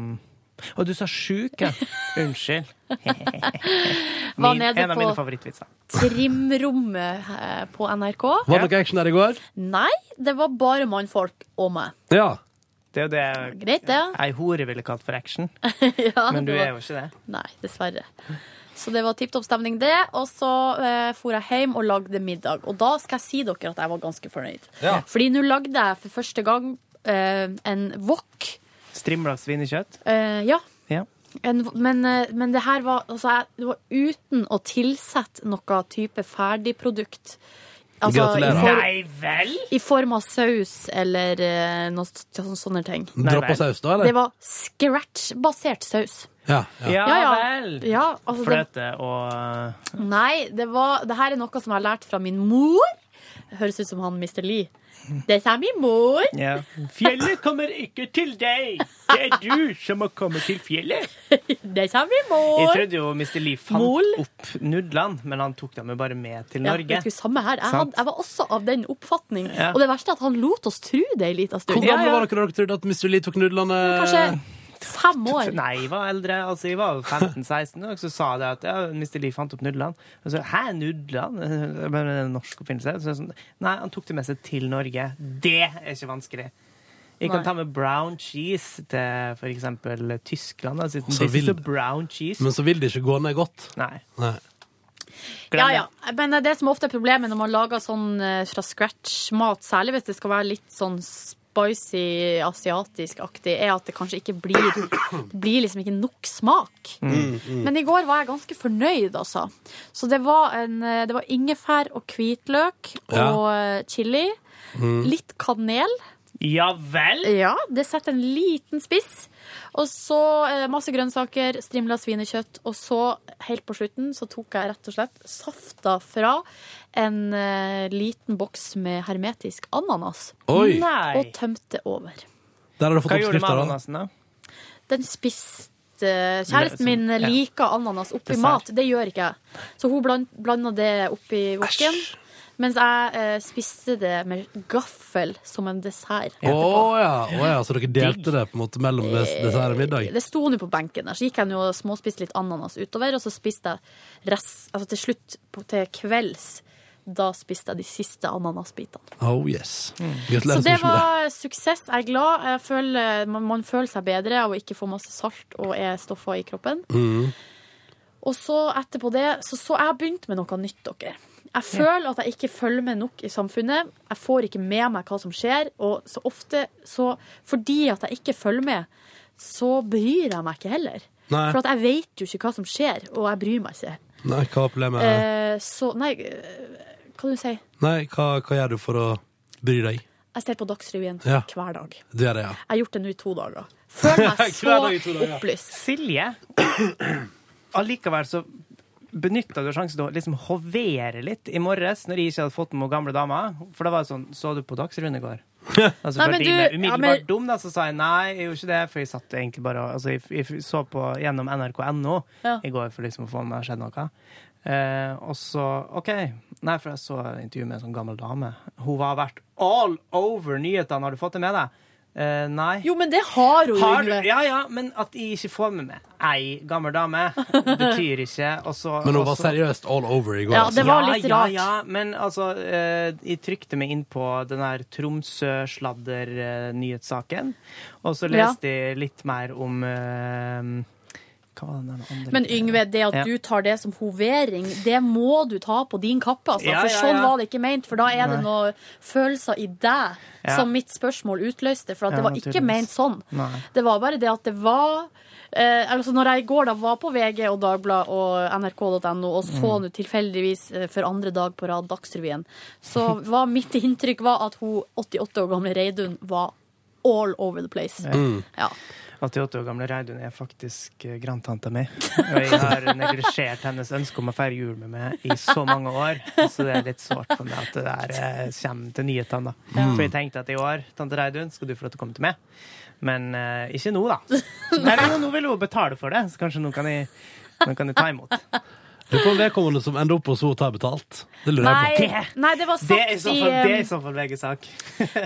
Speaker 2: Å, du sa sjuk, ja. Unnskyld.
Speaker 3: Var
Speaker 2: Min,
Speaker 3: nede
Speaker 2: en av
Speaker 3: på-
Speaker 2: mine favorittvitser.
Speaker 3: trimrommet eh, på NRK.
Speaker 1: Var det noe action der i går?
Speaker 3: Nei, det var bare mannfolk og meg.
Speaker 1: Ja.
Speaker 2: Det er jo det
Speaker 3: Greit, det.
Speaker 2: ei hore ville kalt for action,
Speaker 3: Ja,
Speaker 2: men du
Speaker 3: det var-
Speaker 2: er jo ikke det.
Speaker 3: Nei, dessverre. Så det var tipp topp stemning, det. Og så eh, for jeg hjem og lagde middag. Og da skal jeg si dere at jeg var ganske fornøyd.
Speaker 1: Ja.
Speaker 3: Fordi nå lagde jeg for første gang eh, en wok.
Speaker 2: Strimla svinekjøtt.
Speaker 3: Eh, ja.
Speaker 2: Ja.
Speaker 3: En, men, eh, men det her var, altså, jeg, det var uten å tilsette noe type ferdigprodukt. Altså, I,
Speaker 1: Gratulerer.
Speaker 3: for,
Speaker 2: Nei vel?
Speaker 3: I form av saus eller eh, noe sånn- sånne ting.
Speaker 2: vel.
Speaker 1: Droppa saus, da,
Speaker 3: Det
Speaker 1: eller?
Speaker 3: var scratch-basert saus.
Speaker 1: Ja,
Speaker 2: Ja,
Speaker 1: ja.
Speaker 3: Ja, ja.
Speaker 2: vel.
Speaker 3: Ja, altså det,
Speaker 2: Fløte og
Speaker 3: nei, det, var, det her er noe som jeg har lært fra min mor. Høres ut som han Mr. Lee. Det er min mor.
Speaker 2: ja. Fjellet kommer ikke til deg! Det er du som må komme til fjellet.
Speaker 3: Det er min
Speaker 2: Jeg
Speaker 3: mor.
Speaker 2: trodde jo Mr. Lee fant
Speaker 3: Mol.
Speaker 2: opp nudlene, men han tok dem jo bare med til
Speaker 3: Ja,
Speaker 2: Norge.
Speaker 3: vet du, samme her. Jeg,
Speaker 2: Sant.
Speaker 3: hadde, jeg var også av den oppfatning.
Speaker 2: Ja.
Speaker 3: Og det verste er at han lot oss tro det en liten
Speaker 1: Hvor
Speaker 3: stund.
Speaker 2: Ja, ja.
Speaker 1: gamle var dere da dere trodde at Mr. Lee tok nudlene? Eh,
Speaker 3: Kanskje fem år.
Speaker 2: Nei, jeg var eldre. Altså, jeg var 15-16, og så sa det at ja, Mr. Lee fant opp nudlene. Og så Hæ, nudlene? Men Det er en norsk oppfinnelse. Så, jeg sånn, nei, han tok det med seg til Norge. Det er ikke vanskelig. Jeg kan
Speaker 3: Nei.
Speaker 2: ta med brown cheese til for eksempel Tyskland. Altså,
Speaker 1: Så
Speaker 2: this is a
Speaker 1: vil-
Speaker 2: brown cheese.
Speaker 1: Men så vil det ikke gå ned godt.
Speaker 2: Nei.
Speaker 1: Nei.
Speaker 2: glem
Speaker 3: Ja,
Speaker 2: det.
Speaker 3: ja. Men eh, det som ofte er problemet når man lager sånn eh, fra scratch-mat, særlig hvis det skal være litt sånn spicy, asiatisk-aktig, er at det kanskje ikke blir Det blir liksom ikke nok smak.
Speaker 2: Mm.
Speaker 1: Mm,
Speaker 3: Men i går var jeg ganske fornøyd, altså. Så det var, en, eh, det var ingefær og hvitløk
Speaker 1: Ja.
Speaker 3: og eh, chili.
Speaker 1: Mm.
Speaker 2: Mm.
Speaker 3: Litt kanel.
Speaker 2: Ja vel?
Speaker 3: Ja, det setter en liten spiss. Og så eh, masse grønnsaker, strimla svinekjøtt. Og så, helt på slutten, så tok jeg rett og slett safta fra en eh, liten boks med hermetisk ananas.
Speaker 1: Oi!
Speaker 2: Nei.
Speaker 3: Og tømte over.
Speaker 1: Der har du fått
Speaker 2: Hva gjorde du med
Speaker 1: oppskrifta, da.
Speaker 2: ananasen, da?
Speaker 3: Den spiste eh, Kjæresten min
Speaker 1: sånn,
Speaker 2: Ja.
Speaker 3: liker ananas oppi
Speaker 2: Dessert.
Speaker 3: mat. Det gjør ikke jeg. Så hun bland, blanda det oppi woken. Mens jeg eh, spiste det med gaffel som en dessert.
Speaker 1: Å ja. å ja, så dere delte det på en måte mellom des- dessert og middag?
Speaker 3: Eh, Det sto nå på benken der, så gikk jeg nå og småspiste litt ananas utover, og så spiste jeg rest, altså til slutt, på, til kvelds, da spiste jeg de siste ananasbitene.
Speaker 1: Oh yes.
Speaker 3: Så
Speaker 2: Mm.
Speaker 1: Gratulerer så
Speaker 3: det
Speaker 1: mye med det.
Speaker 3: var suksess. Jeg er glad. Jeg føler, man, man føler seg bedre av å ikke få masse salt og er stoffer i kroppen.
Speaker 1: Mm.
Speaker 3: Og så etterpå det, så, så jeg har begynt med noe nytt, dere. Jeg føler at jeg ikke følger med nok i samfunnet. Jeg får ikke med meg hva som skjer. Og så ofte, så fordi at jeg ikke følger med, så bryr jeg meg ikke heller.
Speaker 1: Nei.
Speaker 3: For at jeg vet jo ikke hva som skjer, og jeg bryr meg ikke.
Speaker 1: Nei, hva er problemet?
Speaker 3: Eh, så Nei, eh, hva du sier?
Speaker 1: Nei, hva, hva gjør du for å bry deg?
Speaker 3: Jeg ser på Dagsrevyen
Speaker 1: Ja.
Speaker 3: hver dag. Jeg
Speaker 1: Du gjør det, ja.
Speaker 3: har gjort det nå i to dager. Føler meg så
Speaker 1: Hver dag i to dager.
Speaker 3: opplyst.
Speaker 2: Silje, allikevel så benytta du sjansen til å liksom hovere litt i morges, når jeg ikke hadde fått med meg gamle dama. For da var det sånn Så du på Dagsrevyen i går? Altså,
Speaker 3: Nei,
Speaker 2: for
Speaker 3: men
Speaker 2: din er
Speaker 3: du- ja,
Speaker 2: umiddelbart
Speaker 3: men-
Speaker 2: dum, da, så sa jeg nei, jeg gjorde ikke det. For jeg satt egentlig bare og altså, jeg, jeg så på gjennom nrk.no
Speaker 3: Ja.
Speaker 2: i går for liksom å få med meg skjedd noe. Eh, og så OK. Nei, for jeg så et intervju med en sånn gammel dame. Hun har vært all over nyhetene. Har du fått det med deg? Eh, nei.
Speaker 3: Jo, men det har hun,
Speaker 2: Har du,
Speaker 3: Yngve.
Speaker 2: ja, ja, men at jeg ikke får med meg ei gammel dame, betyr ikke og så-
Speaker 1: Men hun
Speaker 2: og
Speaker 1: var
Speaker 2: så-
Speaker 1: seriøst all over i går.
Speaker 3: Altså- Ja,
Speaker 1: altså.
Speaker 3: det var litt
Speaker 2: ja,
Speaker 3: rart.
Speaker 2: Ja, ja, men altså, eh, jeg trykte meg inn på den der Tromsø-sladder-nyhetssaken, og så
Speaker 3: Ja.
Speaker 2: leste jeg litt mer om eh, Hva var den der andre
Speaker 3: Men Yngve, det at
Speaker 2: Ja.
Speaker 3: du tar det som hovering, det må du ta på din kappe. Altså.
Speaker 2: Ja,
Speaker 3: for
Speaker 2: ja, ja.
Speaker 3: sånn var det ikke ment, for da er det
Speaker 2: Nei.
Speaker 3: noen følelser i deg
Speaker 2: Ja.
Speaker 3: som mitt spørsmål utløste. For at
Speaker 2: Ja,
Speaker 3: det var ikke
Speaker 2: naturligvis.
Speaker 3: ment sånn.
Speaker 2: Nei.
Speaker 3: Det var bare det at det var eh, altså Når jeg i går da var på VG og Dagbladet og nrk.no og så
Speaker 2: Mm.
Speaker 3: nå tilfeldigvis eh, for andre dag på rad Dagsrevyen, så var mitt inntrykk var at hun 88 år gamle Reidun var all over the place. Ja.
Speaker 2: 88 år gamle Reidun er faktisk eh, grandtanta mi. Og jeg har neglisjert hennes ønske om å feire jul med meg i så mange år. Så det er litt sårt for meg at det der eh, kommer til nyhetene, da. For jeg tenkte at i år, tante Reidun, skal du få lov til å komme til meg. Men eh, ikke nå, da. Eller jo, nå vil hun betale for det, så kanskje nå kan jeg, nå kan jeg ta imot.
Speaker 1: Lurer på om vedkommende som ender opp hos henne, tar betalt. Det lurer jeg på.
Speaker 3: Nei, nei, det var
Speaker 2: Det er i
Speaker 3: sagt
Speaker 2: så
Speaker 3: i
Speaker 2: fall, det er
Speaker 3: um,
Speaker 2: i så fall VG-sak.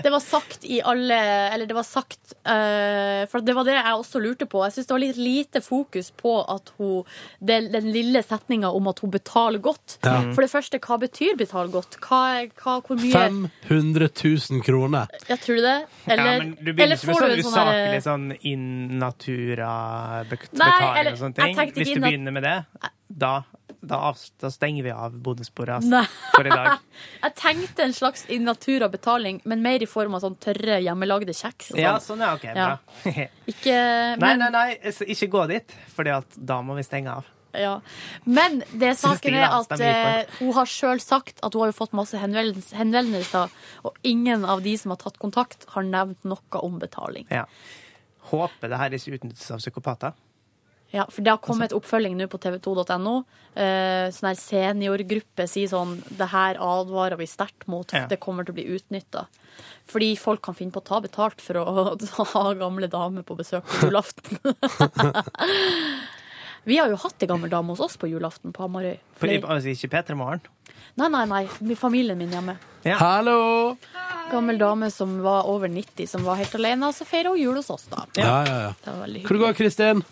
Speaker 3: Det var sagt i alle Eller det var sagt eh, For det var det jeg også lurte på. Jeg syns det var litt lite fokus på at hun Den, den lille setninga om at hun betaler godt.
Speaker 1: Ja.
Speaker 3: For det første, hva betyr betale godt? Hva, er- hva, hvor mye
Speaker 1: 500 000 kroner.
Speaker 3: Jeg tror det. Eller,
Speaker 2: ja, men du begynner
Speaker 3: eller
Speaker 2: ikke med
Speaker 3: får du
Speaker 2: sånn
Speaker 3: en sånn
Speaker 2: usaklig
Speaker 3: derre
Speaker 2: sånn in natura-betaling
Speaker 3: Nei, eller,
Speaker 2: og sånne
Speaker 3: jeg
Speaker 2: ting.
Speaker 3: tenkte
Speaker 2: Hvis
Speaker 3: ikke
Speaker 2: du
Speaker 3: nat-
Speaker 2: begynner med det, da, da, avs- da stenger vi av bonussporet ass,
Speaker 3: Nei.
Speaker 2: liksom, for i dag.
Speaker 3: Jeg tenkte en slags in natura betaling, men mer i form av sånn tørre, hjemmelagde kjeks. Og
Speaker 2: Ja,
Speaker 3: sånn.
Speaker 2: sånn, ja, OK.
Speaker 3: Ja.
Speaker 2: Bra.
Speaker 3: Ikke,
Speaker 2: Nei,
Speaker 3: men,
Speaker 2: nei, nei, s- ikke gå dit, Fordi at da må vi stenge av.
Speaker 3: Ja. Men det saken
Speaker 2: Stil,
Speaker 3: er
Speaker 2: da.
Speaker 3: at
Speaker 2: Stemmer litt
Speaker 3: eh, hun har sjøl sagt at hun har jo fått masse henvendels- henvendelser, og ingen av de som har tatt kontakt, har nevnt noe om betaling.
Speaker 2: Ja. Håper det her ikke utnyttes av psykopater.
Speaker 3: Ja, For det har kommet oppfølging nå på tv2.no. Eh, sånn her seniorgruppe sier sånn Det her advarer vi sterkt mot,
Speaker 2: Ja.
Speaker 3: det kommer til å bli utnytta. Fordi folk kan finne på å ta betalt for å ha gamle damer på besøk på julaften. vi har jo hatt ei gammel dame hos oss på julaften på Hamarøy.
Speaker 2: For,
Speaker 3: Flere-
Speaker 2: altså, ikke P3 Morgen.
Speaker 3: Nei, nei, nei. Med Familien min hjemme.
Speaker 1: Hallo!
Speaker 3: Gammel dame som var over 90, som var helt alene. Og så feirer hun jul hos oss, da.
Speaker 1: Ja, ja, ja.
Speaker 3: Det var veldig
Speaker 1: Hvor
Speaker 3: hyggelig.
Speaker 1: går det, Kristin?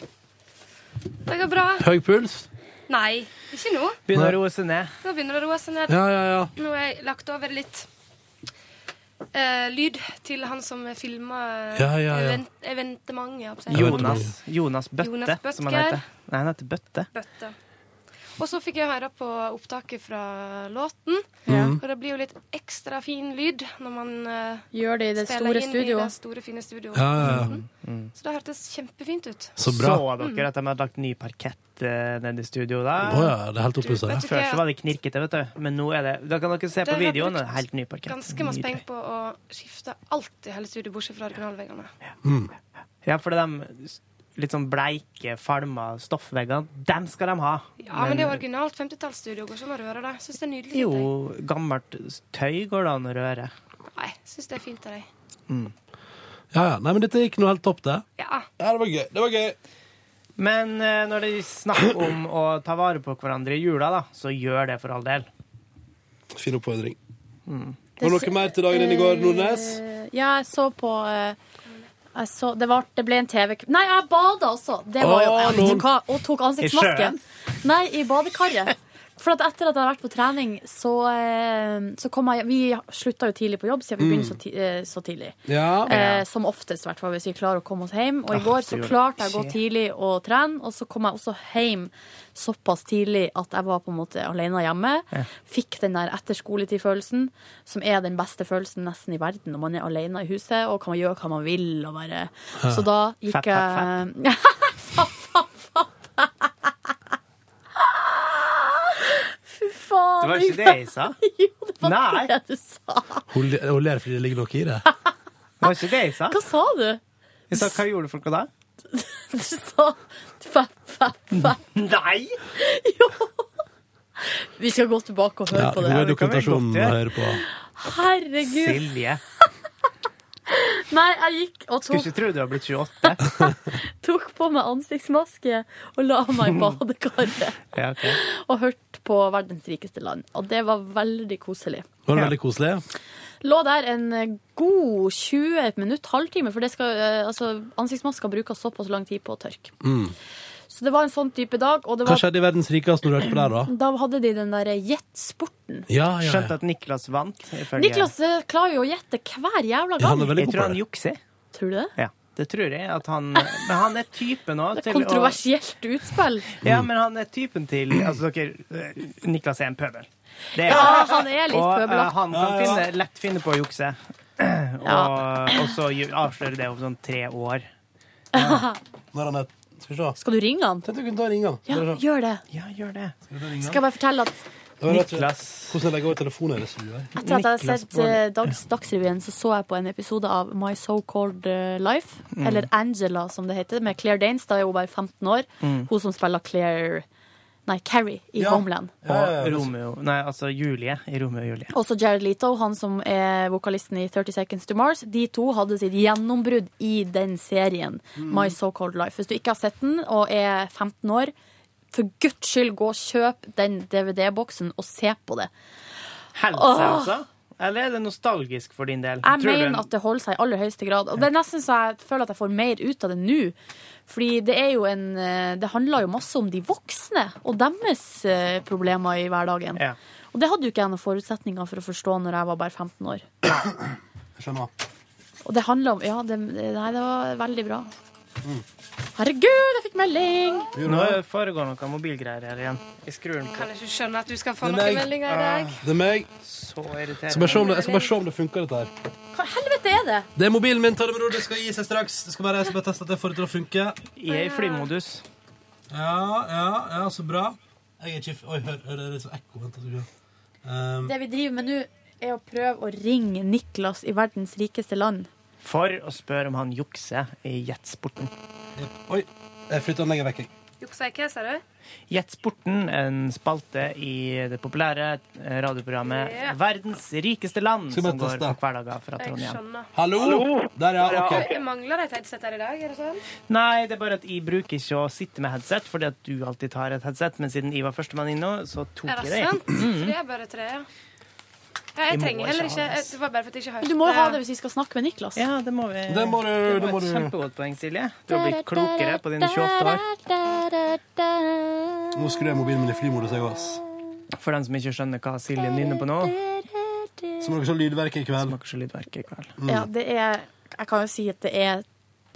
Speaker 9: Det går bra.
Speaker 1: Høy puls?
Speaker 9: Nei, ikke nå.
Speaker 2: Begynner å roe seg ned.
Speaker 9: Nå begynner det å roe seg ned.
Speaker 1: Ja, ja, ja.
Speaker 9: Nå har jeg lagt over litt eh, lyd til han som filma
Speaker 1: Ja, ja, ja.
Speaker 9: eventementet. holdt jeg på å si.
Speaker 2: Jonas, Jonas Bøtte,
Speaker 9: Jonas
Speaker 2: som han
Speaker 9: Bøttger.
Speaker 2: heter. Nei, han heter Bøtte.
Speaker 9: Bøtte. Og så fikk jeg høre på opptaket fra låten,
Speaker 1: Mm.
Speaker 9: og det blir jo litt ekstra fin lyd når man eh,
Speaker 3: Gjør det i det
Speaker 9: spiller
Speaker 3: store
Speaker 9: inn i det
Speaker 3: studioet.
Speaker 9: store, fine studioet.
Speaker 1: Ja, ja, ja.
Speaker 9: Så det hørtes kjempefint ut. Mm.
Speaker 1: Så bra. Å
Speaker 2: Så dere at de hadde lagt ny parkett eh, nede i studio da?
Speaker 1: ja, det er helt
Speaker 9: Du,
Speaker 1: opplyst.
Speaker 9: vet
Speaker 1: Ja.
Speaker 9: du
Speaker 2: Før
Speaker 9: hva,
Speaker 2: så var det knirkete, vet du. Men nå er det Da kan dere se
Speaker 9: Dere
Speaker 2: på
Speaker 9: har
Speaker 2: videoen.
Speaker 9: brukt
Speaker 2: Det er helt ny parkett.
Speaker 9: ganske masse penger
Speaker 2: Nydelig.
Speaker 9: på å skifte alt i hele studioet, bortsett fra originalveggene.
Speaker 1: Mm.
Speaker 2: Ja, for det er de s- litt sånn bleike, falma stoffveggene, dem skal de ha.
Speaker 9: Ja, men det er originalt 50-tallsstudio. Går ikke an å røre det. Syns det er nydelig.
Speaker 2: jo
Speaker 9: av
Speaker 2: gammelt tøy går det an å røre.
Speaker 9: deg. Nei, syns det er fint av deg.
Speaker 1: Mm. Ja, ja. Nei, men dette gikk nå helt topp, det.
Speaker 9: Ja.
Speaker 1: Ja, det var gøy. Det var gøy.
Speaker 2: Men eh, når det er snakk om å ta vare på hverandre i jula, da, så gjør det for all del.
Speaker 1: Fin oppfordring. Var det noe mer til dagen din i går, Nordnes?
Speaker 3: Eh, Ja, jeg så på eh, jeg så, det, var, det ble en TV Nei, jeg bada også! Det var jo,
Speaker 1: Å,
Speaker 3: jeg, vet
Speaker 1: noen-
Speaker 3: du hva, og tok ansiktsmaske.
Speaker 2: sjøen?
Speaker 3: Nei, i badekaret. For at etter at jeg hadde vært på trening, så, eh, så kom jeg Vi slutta jo tidlig på jobb, siden vi
Speaker 1: Mm.
Speaker 3: begynte så, ti, eh, så tidlig.
Speaker 1: Ja.
Speaker 3: Eh, som oftest, hvertfall, hvis vi klarer å komme oss hjem. Og i går så
Speaker 2: det gjorde
Speaker 3: klarte jeg å gå
Speaker 2: ikke.
Speaker 3: tidlig og trene, og så kom jeg også hjem såpass tidlig at jeg var på en måte alene hjemme. Fikk den der etterskoletid-følelsen, som er den beste følelsen nesten i verden når man er alene i huset og kan gjøre hva man vil. Og
Speaker 8: Eh,
Speaker 3: bare. Så da
Speaker 2: Fett,
Speaker 3: gikk
Speaker 2: fett,
Speaker 3: jeg Fy faen!
Speaker 2: Det var ikke det jeg sa.
Speaker 3: Jo, det var
Speaker 2: Nei.
Speaker 3: det du sa.
Speaker 1: Hun le- hun ler fordi det ligger noe i det.
Speaker 2: Det var ikke det jeg sa.
Speaker 3: Hva sa du?
Speaker 2: Jeg sa hva gjorde folk da?
Speaker 3: Du sa fepp, fepp, fepp.
Speaker 2: Nei!
Speaker 3: Jo. Vi skal gå tilbake og høre
Speaker 1: Ja,
Speaker 3: på det.
Speaker 1: god
Speaker 2: det kan vi
Speaker 1: dokumentasjon
Speaker 2: godt
Speaker 1: å
Speaker 2: gjøre.
Speaker 1: høre på.
Speaker 3: Herregud.
Speaker 2: Silje.
Speaker 3: Nei, jeg gikk og
Speaker 2: Skulle
Speaker 3: tok,
Speaker 2: ikke tro du var blitt 28.
Speaker 3: tok på meg ansiktsmaske og la meg i badekaret
Speaker 2: Ja, ok.
Speaker 3: og hørte på verdens rikeste land. Og det var veldig koselig.
Speaker 1: Var det
Speaker 2: Ja.
Speaker 1: veldig koselig?
Speaker 3: Lå der en god 20 minutt, halvtime, for det skal, eh, altså, ansiktsmasker bruker såpass lang tid på å tørke. Så det var en sånn type dag, og det
Speaker 1: Mm. Hva
Speaker 3: var,
Speaker 1: skjedde i verdens rikeste når du hørte på det, da?
Speaker 3: da hadde de den der jetsporten.
Speaker 1: Ja, ja,
Speaker 2: Skjønt
Speaker 1: ja.
Speaker 2: at Niklas vant. ifølge-
Speaker 3: Niklas eh, klarer jo å gjette hver jævla
Speaker 1: Ja, Han
Speaker 3: gang.
Speaker 1: er veldig
Speaker 2: Jeg
Speaker 1: god
Speaker 2: tror
Speaker 1: på
Speaker 2: han
Speaker 1: det.
Speaker 2: jukser.
Speaker 3: Tror du det?
Speaker 2: Ja, det tror jeg. At han, men han er typen òg til å
Speaker 3: Kontroversielt utspill.
Speaker 2: Ja, men han er typen til Altså, dere eh, Niklas er en pøbel. Det er
Speaker 3: Ja,
Speaker 2: han.
Speaker 3: han er litt
Speaker 2: Og eh,
Speaker 3: pøbelaktig.
Speaker 2: han kan finne, lett finne på å jukse. Og,
Speaker 3: Ja.
Speaker 2: og så ju- avsløre det om sånn tre år.
Speaker 1: Når han er... Skal vi se.
Speaker 3: Skal du ringe han?
Speaker 1: Tenkte jeg kunne ta og ringe han.
Speaker 3: Ja,
Speaker 1: Skal vi se.
Speaker 3: gjør det.
Speaker 2: Ja, gjør det.
Speaker 3: Skal jeg bare fortelle at
Speaker 1: Det var rett og slett-
Speaker 2: Niklas
Speaker 1: Hvordan jeg legger over telefonen er det som gjør.
Speaker 3: etter at jeg hadde
Speaker 2: Niklas
Speaker 3: sett
Speaker 2: Baarli.
Speaker 3: eh, Dags, Dagsrevyen, så så jeg på en episode av My So-Called eh, Life,
Speaker 2: Mm.
Speaker 3: eller Angela, som det heter, med Claire Danes. Da er hun bare 15 år.
Speaker 2: Mm.
Speaker 3: Hun som spiller Claire Nei, Carrie i Homeland.
Speaker 2: og Romeo Nei, altså Julie i Romeo og Julie.
Speaker 3: Også Jared Leto, han som er vokalisten i 30 Seconds to Mars. De to hadde sitt gjennombrudd
Speaker 2: Mm.
Speaker 3: i den serien, My So-Called Life. Hvis du ikke har sett den og er 15 år, for guds skyld gå og kjøp den DVD-boksen og se på det.
Speaker 2: Helsehelsa? altså. Eller er det nostalgisk for din del?
Speaker 3: Jeg
Speaker 2: Tror du en-
Speaker 3: mener at det holder seg i aller høyeste grad. Og det er nesten så jeg føler at jeg får mer ut av det nå. Fordi det er jo en eh, Det handler jo masse om de voksne og deres eh, problemer i hverdagen.
Speaker 2: Ja.
Speaker 3: Og det hadde jo ikke jeg noen forutsetninger for å forstå når jeg var bare 15 år.
Speaker 1: Skjønner.
Speaker 3: Og det handler om Ja, det, nei, det var veldig bra. Herregud, jeg fikk melding!
Speaker 2: Nå foregår noe mobilgreier her igjen. Jeg skrur den på.
Speaker 9: Kan ikke skjønne at du skal få
Speaker 1: Men
Speaker 9: noen
Speaker 1: jeg-
Speaker 9: meldinger i dag.
Speaker 1: Det er meg.
Speaker 2: Så irriterende.
Speaker 1: Skal bare se om det, jeg skal bare se om det funker, dette her.
Speaker 3: Hva helvete er det?
Speaker 1: Det er mobilen min, ta det med ro. Det skal gi seg straks. Det skal bare, jeg skal bare teste at jeg får det til å funke.
Speaker 2: Jeg er i flymodus.
Speaker 1: Ja, ja, ja, så bra. Jeg er ikke f- Oi, hør, hør det er litt sånn ekko. Vent, jeg skal se. Um,
Speaker 3: Det vi driver med nå, er å prøve å ringe Niklas i verdens rikeste land.
Speaker 2: For å spørre om han jukser i jetsporten.
Speaker 1: oi, jeg flytter den lenger vekk. jeg.
Speaker 9: Juksa ikke, sa du?
Speaker 2: Jetsporten, en spalte i det populære eh, radioprogrammet Verdens rikeste land,
Speaker 1: Skal vi
Speaker 2: som
Speaker 1: bare
Speaker 2: går
Speaker 1: teste?
Speaker 2: på hverdager fra
Speaker 9: Jeg
Speaker 2: Trondheim.
Speaker 9: skjønner.
Speaker 1: Hallo? Der, ja. OK.
Speaker 9: Jeg mangler et headset her i dag, er det sånn?
Speaker 2: Nei, det er bare at jeg bruker ikke å sitte med headset, fordi at du alltid tar et headset. Men siden jeg var førstemann inne, så tok
Speaker 9: Er
Speaker 2: jeg
Speaker 9: det
Speaker 2: det. Mm.
Speaker 9: sant? For det er bare tre, ja. ja
Speaker 2: Jeg
Speaker 9: jeg
Speaker 2: må
Speaker 9: trenger heller
Speaker 2: ikke ha
Speaker 9: ikke
Speaker 2: det.
Speaker 9: Det var bare for at jeg ikke hørte
Speaker 3: Du må jo ha det hvis vi skal snakke med Niklas.
Speaker 2: Ja, det må vi.
Speaker 1: Det må du,
Speaker 2: Det
Speaker 1: det må
Speaker 2: var
Speaker 1: du.
Speaker 2: et kjempegodt poeng, Silje. Du har blitt klokere på dine 28 år.
Speaker 1: Nå skrur jeg mobilen min i flymodus, jeg ass.
Speaker 2: For den som ikke skjønner hva Silje nynner på nå,
Speaker 1: Så må dere se lydverket i kveld. Mm.
Speaker 2: smaker så lydverk i kveld.
Speaker 3: Ja, det er Jeg kan jo si at det er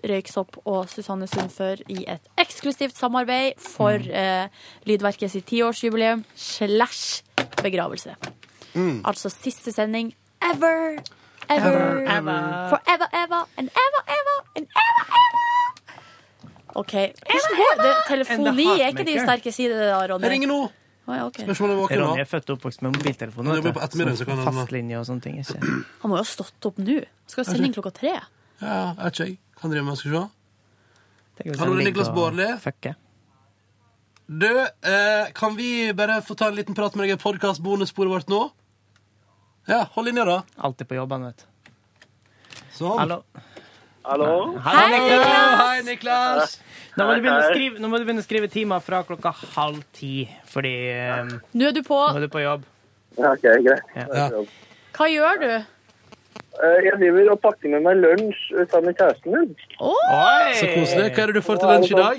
Speaker 3: Røyksopp og Susanne Sundfør i et eksklusivt samarbeid for eh, Lydverket sitt tiårsjubileum slash begravelse.
Speaker 1: Mm.
Speaker 4: Mm.
Speaker 3: Altså siste sending ever. Ever. Forever, ever, and ever, ever, and ever, ever. OK. Hvordan går det?
Speaker 2: And the
Speaker 3: Telefoni er
Speaker 2: heartmaker.
Speaker 3: ikke din sterke side, det da,
Speaker 1: Jeg
Speaker 3: Ronny.
Speaker 1: ringer nå!
Speaker 3: Å, ja, ok.
Speaker 1: Spørsmålet våken
Speaker 2: Ronny
Speaker 1: nå.
Speaker 2: er født og oppvokst med mobiltelefon. Sånn
Speaker 1: Men det blir på ettermiddagen, så kan han-
Speaker 2: Fastlinje og sånne ting. Ikke.
Speaker 3: Han må jo ha stått opp nå. Skal jo sende inn klokka tre.
Speaker 1: Ja, jeg vet ikke, jeg. Kan drive med, skal vi se.
Speaker 2: Tenk hvis
Speaker 1: Hallo,
Speaker 2: han
Speaker 1: det er
Speaker 2: ligger
Speaker 1: Niklas
Speaker 2: og
Speaker 1: Baarli.
Speaker 2: fucker.
Speaker 1: Du, eh, kan vi bare få ta en liten prat med deg i podkast-bonussporet vårt nå? Ja, hold linja, da.
Speaker 2: Alltid på jobbene, vet du.
Speaker 1: Sånn.
Speaker 2: Hallo.
Speaker 10: Hallo?
Speaker 2: Hallo, Niklas!
Speaker 1: Hei, Niklas!
Speaker 2: Nå må, du begynne å
Speaker 10: Hei, hei.
Speaker 2: skrive, nå må du begynne å skrive timer fra klokka halv ti, fordi eh,
Speaker 3: Nå er du på.
Speaker 2: nå er du på jobb.
Speaker 10: Ja, OK, greit.
Speaker 3: Hva gjør du?
Speaker 10: Eh, Jeg driver og pakker med meg lunsj eh, sammen med kjæresten min.
Speaker 2: Oi!
Speaker 1: Så koselig. Hva er det du får til lunsj i dag?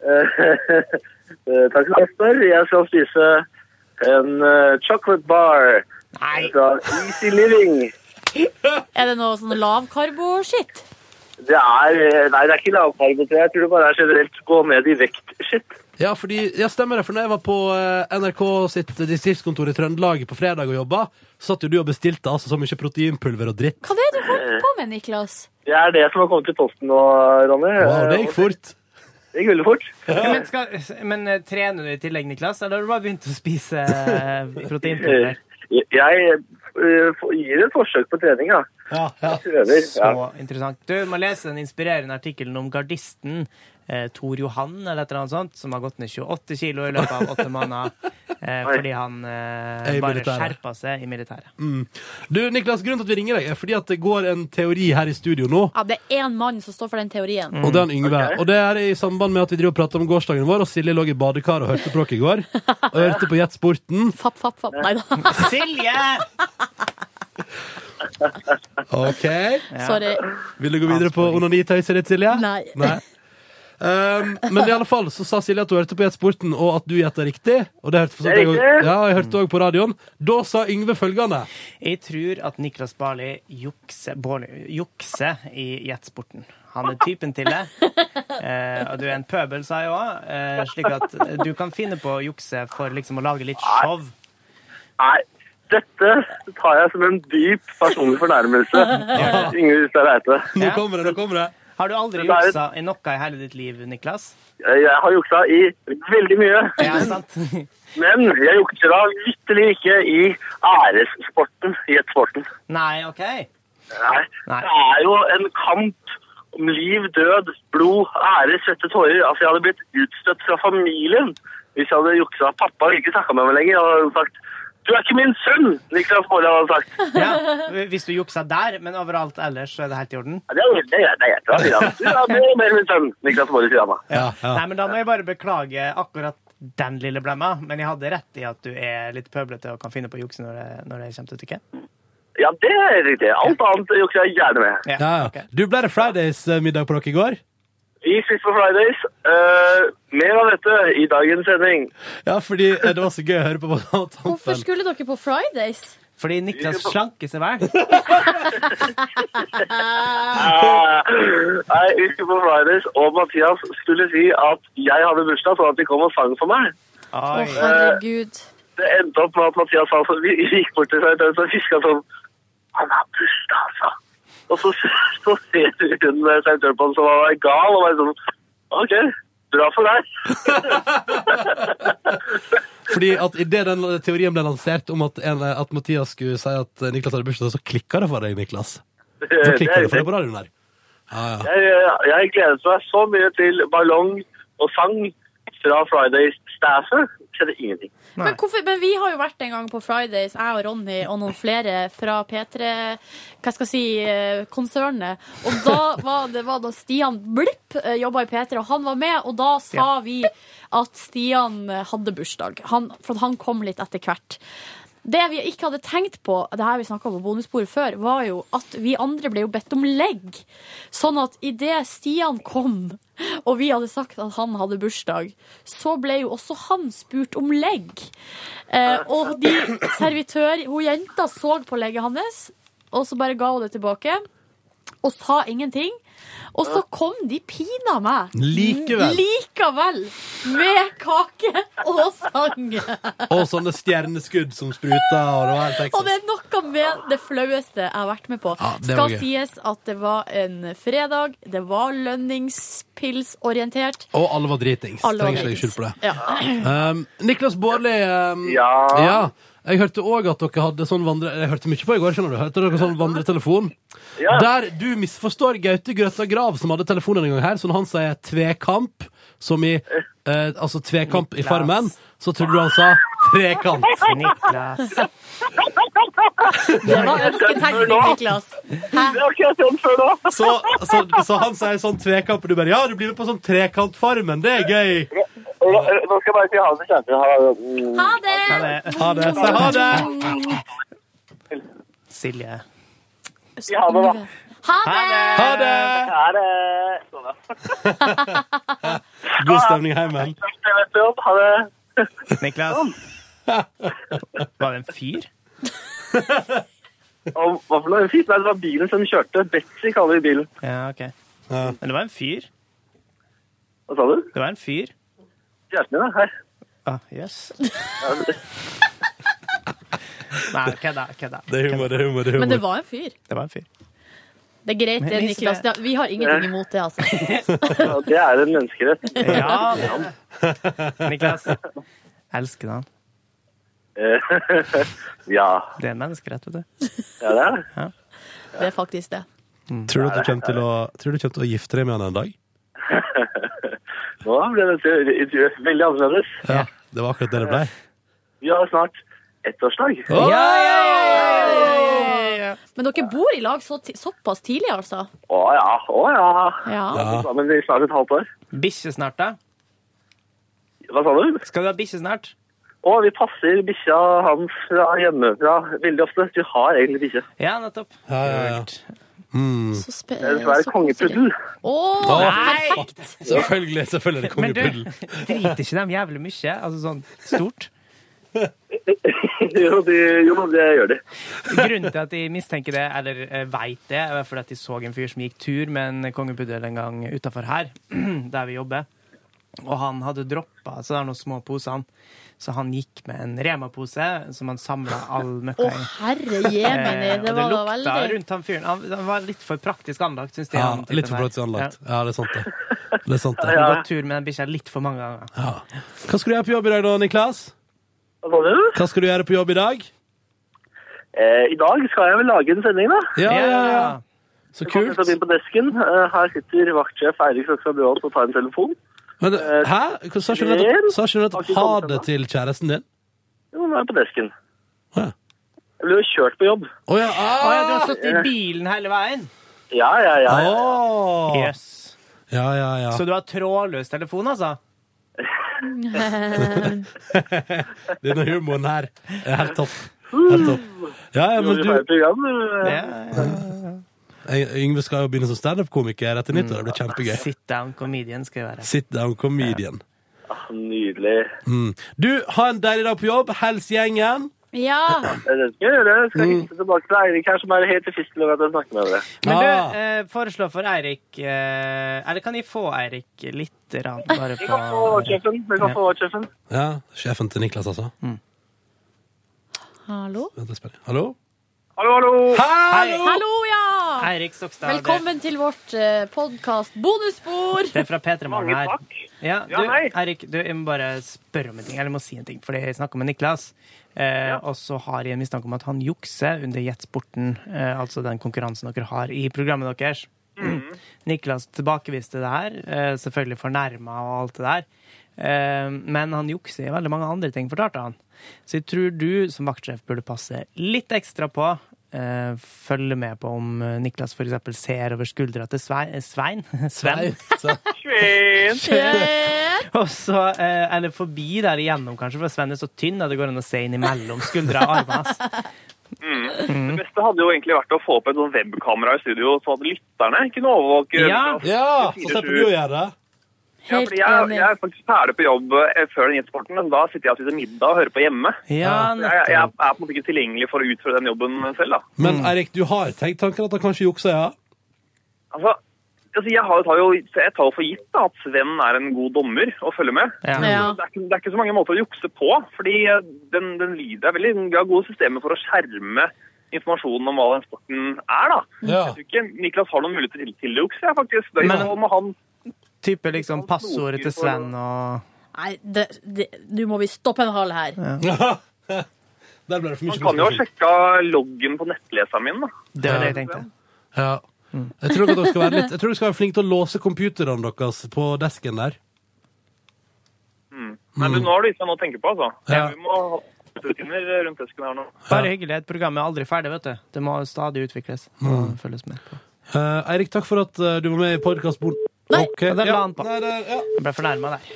Speaker 10: Eh, sånn- eh, Takk for at du spør. Jeg skal spise en eh, chocolate bar
Speaker 2: Nei.
Speaker 10: fra Easy Living.
Speaker 3: Er det noe sånn lavkarbo-shit?
Speaker 10: Det er eh, Nei, det er ikke lavkarbohydrater. Jeg tror det bare er generelt gå ned i vekt-shit.
Speaker 1: Ja, fordi, ja, stemmer det. For når jeg var på eh, NRK sitt distriktskontor i Trøndelag på fredag og jobba, så satt jo du og bestilte altså så mye proteinpulver og dritt.
Speaker 3: Hva er det du holder på med, Niklas?
Speaker 10: Det er det som har kommet i posten nå, Ronny.
Speaker 1: Wow, det gikk fort.
Speaker 10: Det gikk veldig fort.
Speaker 2: Ja, Men, skal, men eh, trener du i tillegg, Niklas, eller har du bare begynt å spise eh, proteinpulver?
Speaker 10: Jeg eh, f- gir et forsøk på trening, ja.
Speaker 1: Ja, ja.
Speaker 10: Prøver.
Speaker 2: Så
Speaker 10: Ja.
Speaker 2: interessant. Du må lese den inspirerende artikkelen om gardisten eh, Tor Johan, eller et eller annet sånt, som har gått ned 28 kilo i løpet av åtte måneder eh, fordi han eh,
Speaker 1: Er i
Speaker 2: bare
Speaker 1: militæret.
Speaker 2: skjerpa seg i militæret.
Speaker 1: Mm. Du, Niklas, grunnen til at vi ringer deg, er fordi at det går en teori her i studio nå.
Speaker 3: Ja, det er én mann som står for den teorien.
Speaker 1: Og det er han Yngve. Og det er i samband med at vi driver og prater om gårsdagen vår, og Silje lå i badekar og hørte på dere i går. Og hørte på Jet Sporten.
Speaker 3: Fapp, fapp, fapp. Nei da.
Speaker 2: Silje!
Speaker 1: OK.
Speaker 3: Sorry.
Speaker 1: Vil du gå videre på onanitøyset ditt, Silje?
Speaker 3: Nei.
Speaker 1: Um, men i alle fall så sa Silje at hun hørte på Gjett Sporten, og at du gjetta riktig. Og det hørte for så vidt
Speaker 10: Det er
Speaker 1: jeg også-
Speaker 10: riktig.
Speaker 1: Ja, jeg hørte det også på radioen. Da sa Yngve følgende.
Speaker 2: Jeg tror at Niklas Barli jukser, Baarli jukser i jetsporten. Han er typen til det. Eh, og du er en pøbel, sa jeg òg, eh, slik at du kan finne på å jukse for liksom å lage litt show.
Speaker 10: Nei, dette tar jeg som en dyp personlig fornærmelse. Ingrid Hustad Reite.
Speaker 1: Nå
Speaker 2: Ja.
Speaker 1: kommer det, nå kommer det.
Speaker 2: Har du aldri
Speaker 10: Dette er-
Speaker 2: juksa i noe i hele ditt liv, Niklas?
Speaker 10: Jeg har juksa i veldig mye,
Speaker 2: Ja, sant?
Speaker 10: men jeg jukser da vitterlig ikke i æressporten, jetsporten.
Speaker 2: Nei, OK.
Speaker 10: Nei.
Speaker 2: Nei.
Speaker 10: Det er jo en kamp om liv, død, blod, ære, svette, tårer. Altså, jeg hadde blitt utstøtt fra familien hvis jeg hadde juksa. Pappa ville ikke snakka med meg lenger. Han hadde sagt Du er ikke min sønn! Niklas Baarli hadde sagt.
Speaker 2: Ja, hvis du juksa der, men overalt ellers, så er det helt i orden.
Speaker 10: Ja, det er- det er det er bra, sier han. Du er mer mer min sønn, Niklas Baarli, sier han da.
Speaker 2: Nei, men Da må jeg bare beklage akkurat den lille blemma, men jeg hadde rett i at du er litt pøblete og kan finne på å jukse når det, når det kommer til stykket.
Speaker 10: Ja, det er riktig. Alt annet jukser jeg gjerne med.
Speaker 2: Ja,
Speaker 1: ja. Du ble det Fridays-middag på dere i går?
Speaker 10: Vi ses på Fridays. Eh, mer av dette i dagens sending.
Speaker 1: Ja, fordi eh, det var så gøy å høre på.
Speaker 3: Hvorfor skulle dere på Fridays?
Speaker 2: Fordi Niklas slanker seg vel.
Speaker 10: Eh, Nei, vi skulle på Fridays, og Mathias skulle si at jeg hadde bursdag, sånn at de kom og sang for meg.
Speaker 3: Å,
Speaker 10: Oi.
Speaker 3: herregud.
Speaker 10: Det endte opp med at Mathias sa sånn, vi gikk bort til seg og fiska sånn Han har bursdag, altså. Og så, så ser hun med St. Urban som var gal, og var sånn OK, bra for deg.
Speaker 1: Fordi at Idet den teorien ble lansert om at, en, at Mathias skulle si at Niklas hadde bursdag, så klikka det for deg, Niklas. Så
Speaker 10: Det
Speaker 1: klikka
Speaker 10: er
Speaker 1: det for
Speaker 10: riktig.
Speaker 1: deg på radioen der. Ja, ja.
Speaker 10: Jeg, jeg, jeg gledet meg så mye til ballong og sang fra Fridays-staffet. Skjedde ingenting.
Speaker 3: Men, hvorfor, men vi har jo vært en gang på Fridays, jeg og Ronny og noen flere fra P3 Hva skal jeg si eh, konsernet. Og da var det var da Stian Blipp eh, jobba i P3, og han var med, og da
Speaker 7: Ja.
Speaker 3: sa vi at Stian eh, hadde bursdag. Han, for at han kom litt etter hvert. Det vi ikke hadde tenkt på, det her vi snakket om på bonusbordet før, var jo at vi andre ble jo bedt om legg. Sånn at idet Stian kom, og vi hadde sagt at han hadde bursdag, så ble jo også han spurt om legg. Eh, og de servitør, hun jenta så på legget hans, og så bare ga hun det tilbake, og sa ingenting. Og så kom de pina meg
Speaker 1: Likevel.
Speaker 3: likevel med kake og sang.
Speaker 1: Og sånne stjerneskudd som spruta, og det var helt
Speaker 3: Og
Speaker 1: Texas.
Speaker 3: det er noe med det flaueste jeg har vært med på.
Speaker 1: Ja, det var
Speaker 3: Skal
Speaker 1: gøy.
Speaker 3: sies at det var en fredag, det var lønningspilsorientert.
Speaker 1: Og alle var dritings.
Speaker 3: Alle var
Speaker 1: Trenger ikke legge
Speaker 3: dritings.
Speaker 1: skyld på det.
Speaker 3: Ja.
Speaker 1: Um, Niklas Baarli um, ja. Jeg hørte òg at dere hadde sånn vandre... Jeg hørte mye på i går, skjønner du. Hørte dere sånn vandretelefon? Der du misforstår Gaute Grøtta Grav, som hadde telefonen en gang her, så når han sier tvekamp, som i eh, Altså tvekamp i Farmen, så trodde du han sa trekant.
Speaker 2: Niklas.
Speaker 3: Det var ønsketegning, Niklas.
Speaker 10: Det har ikke jeg sett før nå.
Speaker 1: Så, så, så han sier sånn tvekamp, og du bare Ja, du blir med på sånn Trekantfarmen, det er gøy.
Speaker 10: Nå nå skal jeg bare si ha det kjent. Ha det.
Speaker 3: Ha det!
Speaker 1: Ha det. Si ha det.
Speaker 2: Silje.
Speaker 10: Si ha det, da.
Speaker 3: Ha det!
Speaker 1: Ha det!
Speaker 10: Ha det. Sånn,
Speaker 1: God stemning hjemme.
Speaker 10: Jeg vet du, ha det.
Speaker 2: Niklas. Var det en fyr?
Speaker 10: Og hva for noe fint? Nei, det var bilen som kjørte. Betzy kaller vi bilen.
Speaker 2: Ja, OK. Men det var en fyr.
Speaker 10: Hva sa du?
Speaker 2: Det var en fyr.
Speaker 10: Kjæresten min, da. Her.
Speaker 2: Ah, yes. Nei, kødda. kødda.
Speaker 1: Det er humor, det er humor. Det er humor.
Speaker 3: Men det var en fyr.
Speaker 2: Det var en fyr.
Speaker 3: Det er greit, det,
Speaker 2: Men-
Speaker 3: Niklas. Det- Vi har ingenting imot det, altså.
Speaker 10: Ja, det er en menneskerett.
Speaker 2: Ja, Niklas. Elsker han.
Speaker 10: Eh, ja.
Speaker 2: Det er en menneskerett, vet du.
Speaker 10: ja, det er det.
Speaker 3: Det er faktisk det.
Speaker 2: Mm.
Speaker 1: Tror du at du kommer til å, tror du du kommer til å gifte deg med han en dag?
Speaker 10: Nå ble dette intervjuet veldig annerledes.
Speaker 1: Ja, det var akkurat det det ble.
Speaker 10: Vi har snart ettårsdag.
Speaker 1: Oi!
Speaker 3: Men dere bor i lag så ti såpass tidlig, altså?
Speaker 10: Å ja, å ja.
Speaker 3: Ja.
Speaker 10: Vi har vært Sammen i snart et halvt år.
Speaker 2: Bikkje snart, da?
Speaker 10: Hva sa du?
Speaker 2: Skal du ha bikkje snart?
Speaker 10: Å, vi passer bikkja hans fra hjemmefra veldig ofte. Vi har egentlig bikkje.
Speaker 2: Ja, nettopp.
Speaker 1: Ja, ja, ja. Mm.
Speaker 3: Så spe
Speaker 10: Det er dessverre kongepuddel.
Speaker 3: Å,
Speaker 1: Å,
Speaker 3: perfekt!
Speaker 1: Selvfølgelig, selvfølgelig er det
Speaker 2: Men du,
Speaker 1: kongepuddel.
Speaker 2: driter ikke dem jævlig mye? Altså sånn stort?
Speaker 10: jo, de, jo, det gjør de.
Speaker 2: Grunnen til at de mistenker det, eller eh, vet det, er fordi at de så en fyr som gikk tur med en kongepuddel en gang utafor her, der vi jobber. Og han hadde droppa så det er noen små poser, han. Så han gikk med en Rema-pose som han samla all
Speaker 3: Å,
Speaker 2: møkka i.
Speaker 3: herre jemini,
Speaker 2: Eh,
Speaker 3: det
Speaker 2: og
Speaker 3: var da
Speaker 2: lukta
Speaker 3: veldig
Speaker 2: rundt han fyren. Han, han var litt for praktisk anlagt, syns de.
Speaker 1: Ja,
Speaker 2: han typen
Speaker 1: litt for
Speaker 2: der.
Speaker 1: praktisk anlagt. Ja, det er sant, det. det, er
Speaker 2: Ja.
Speaker 1: sant,
Speaker 2: Han har
Speaker 1: det.
Speaker 2: gått tur med den bikkja litt for mange ganger.
Speaker 1: Ja. Hva skal du gjøre på jobb i dag, da, Niklas?
Speaker 10: Hva sa du?
Speaker 1: Hva skal du gjøre på jobb i dag?
Speaker 10: Eh, I dag skal jeg vel lage en sending, da.
Speaker 1: Ja, ja, ja. Så
Speaker 10: Jeg
Speaker 1: kult.
Speaker 10: kommer til å begynne på desken. Eh, Her sitter vaktsjef Eirik Søkstad Bjørn og tar en telefon. Eh,
Speaker 1: Men, hæ? Sa ikke du nettopp- sa ikke du nettopp ha det til kjæresten din?
Speaker 10: Jo, nå er jeg på desken.
Speaker 11: Jeg ble jo kjørt på jobb.
Speaker 1: Å ja.
Speaker 2: Å ja, du har sittet i bilen hele veien?
Speaker 11: Ja, ja, ja. ja, ja.
Speaker 2: Yes.
Speaker 1: Ja, ja, ja.
Speaker 2: Så du har trådløs telefon, altså?
Speaker 3: Mm.
Speaker 1: Denne humoren her er helt topp. Helt topp. Ja, ja, men
Speaker 11: Gjorde
Speaker 1: du
Speaker 11: feil program. eh.
Speaker 1: Jeg- Yngve skal jo begynne som standup-komiker etter nyttår. Det blir kjempegøy.
Speaker 2: Sit down comedian skal jeg være.
Speaker 1: Sit down comedian.
Speaker 11: Ah, Nydelig.
Speaker 1: Mm. Du, ha en deilig dag på jobb. Hils gjengen.
Speaker 3: Ja.
Speaker 11: Det skal jeg gjøre. Jeg skal hilse tilbake til Eirik her, som er helt tilfreds med at jeg snakker med dere.
Speaker 2: Men
Speaker 1: Ah.
Speaker 2: du, eh, foreslå for Eirik eh, Eller kan jeg få Eirik litt rann, bare
Speaker 11: Vi
Speaker 2: på
Speaker 11: kan få sjefen. Vi kan få sjefen.
Speaker 1: Ja, sjefen til Niklas, altså.
Speaker 3: Hallo?
Speaker 1: Vent, jeg spør. Hallo?
Speaker 11: Hallo, hallo!
Speaker 2: Hallo!
Speaker 3: Hallo, ja!
Speaker 2: Eirik Sokstad. det-
Speaker 3: Velkommen til vårt eh, podkast Bonusspor.
Speaker 2: Det er fra P3 Morgen her. Ja, du,
Speaker 11: Ja, hei.
Speaker 2: Eirik, du, jeg må bare spørre om en ting. Eller jeg må si en ting, fordi jeg snakka med Niklas. Eh, Og så har jeg en mistanke om at han jukser under Jetsporten, eh, altså den konkurransen dere har i programmet deres.
Speaker 11: Mm.
Speaker 2: Niklas tilbakeviste det her, eh, selvfølgelig fornærma og alt det der. Eh, men han jukser i veldig mange andre ting, fortalte han. Så jeg tror du som vaktsjef burde passe litt ekstra på. eh, følge med på om eh, Niklas for eksempel ser over skuldra til Svein, eh, Svein, Sven.
Speaker 11: Svein!
Speaker 2: Og så, eh, eller forbi der igjennom, kanskje, for Sven er så tynn at det går an å se inn imellom skuldra og armene hans. Mm.
Speaker 11: Det beste hadde jo egentlig vært å få opp et sånt webkamera i studio, sånn at lytterne kunne overvåke.
Speaker 2: Ja.
Speaker 1: Ja, så slipper du å gjøre det.
Speaker 11: Ja,
Speaker 3: Helt
Speaker 11: fordi jeg,
Speaker 3: enig.
Speaker 11: jeg er faktisk ferdig på jobb eh, før den jetsporten, men da sitter jeg og spiser middag og hører på hjemme.
Speaker 2: Ja,
Speaker 11: Jeg, jeg, jeg er
Speaker 2: nettopp.
Speaker 11: på en måte ikke tilgjengelig for å utføre den jobben selv, da.
Speaker 1: Men Eirik, du har tenkt tanken at han kanskje jukser, ja?
Speaker 11: Altså, altså jeg, har, tar jo, jeg tar jo for gitt da, at Sven er en god dommer å følge med.
Speaker 2: Ja.
Speaker 3: Ja.
Speaker 11: Det, er ikke, det er ikke så mange måter å jukse på, fordi eh, den, den lyder det er veldig Vi har gode systemer for å skjerme informasjonen om hva den sporten er, da.
Speaker 1: Ja.
Speaker 11: Jeg tror ikke Niklas har noen muligheter til, til å jukse, jeg, faktisk. Det er
Speaker 2: Men-
Speaker 11: jo noe med han
Speaker 2: Type liksom passordet til Sven og
Speaker 3: Nei, det, det, nå må vi stoppe en hal her.
Speaker 1: Der ble det for mye
Speaker 11: Han kan jo ha
Speaker 1: diskusjon.
Speaker 11: sjekka loggen på nettleseren min, da.
Speaker 2: Det var det jeg tenkte.
Speaker 1: Ja. Jeg tror, nok at dere skal være litt, jeg tror dere skal være flinke til å låse computerne deres på desken der.
Speaker 11: Nei, du, nå har du gitt meg noe å tenke på, altså.
Speaker 1: Ja.
Speaker 11: Vi må ha rutiner rundt desken her nå.
Speaker 2: Bare hyggelig. Et program er aldri ferdig, vet du. Det må stadig utvikles
Speaker 1: Mm.
Speaker 2: og følges med på.
Speaker 1: Eh, Eirik, takk for at eh, du var med i podkastborden.
Speaker 3: Nei,
Speaker 1: okay.
Speaker 2: der la
Speaker 1: ja.
Speaker 2: han på.
Speaker 1: Nei, der, ja.
Speaker 2: Jeg ble fornærma der.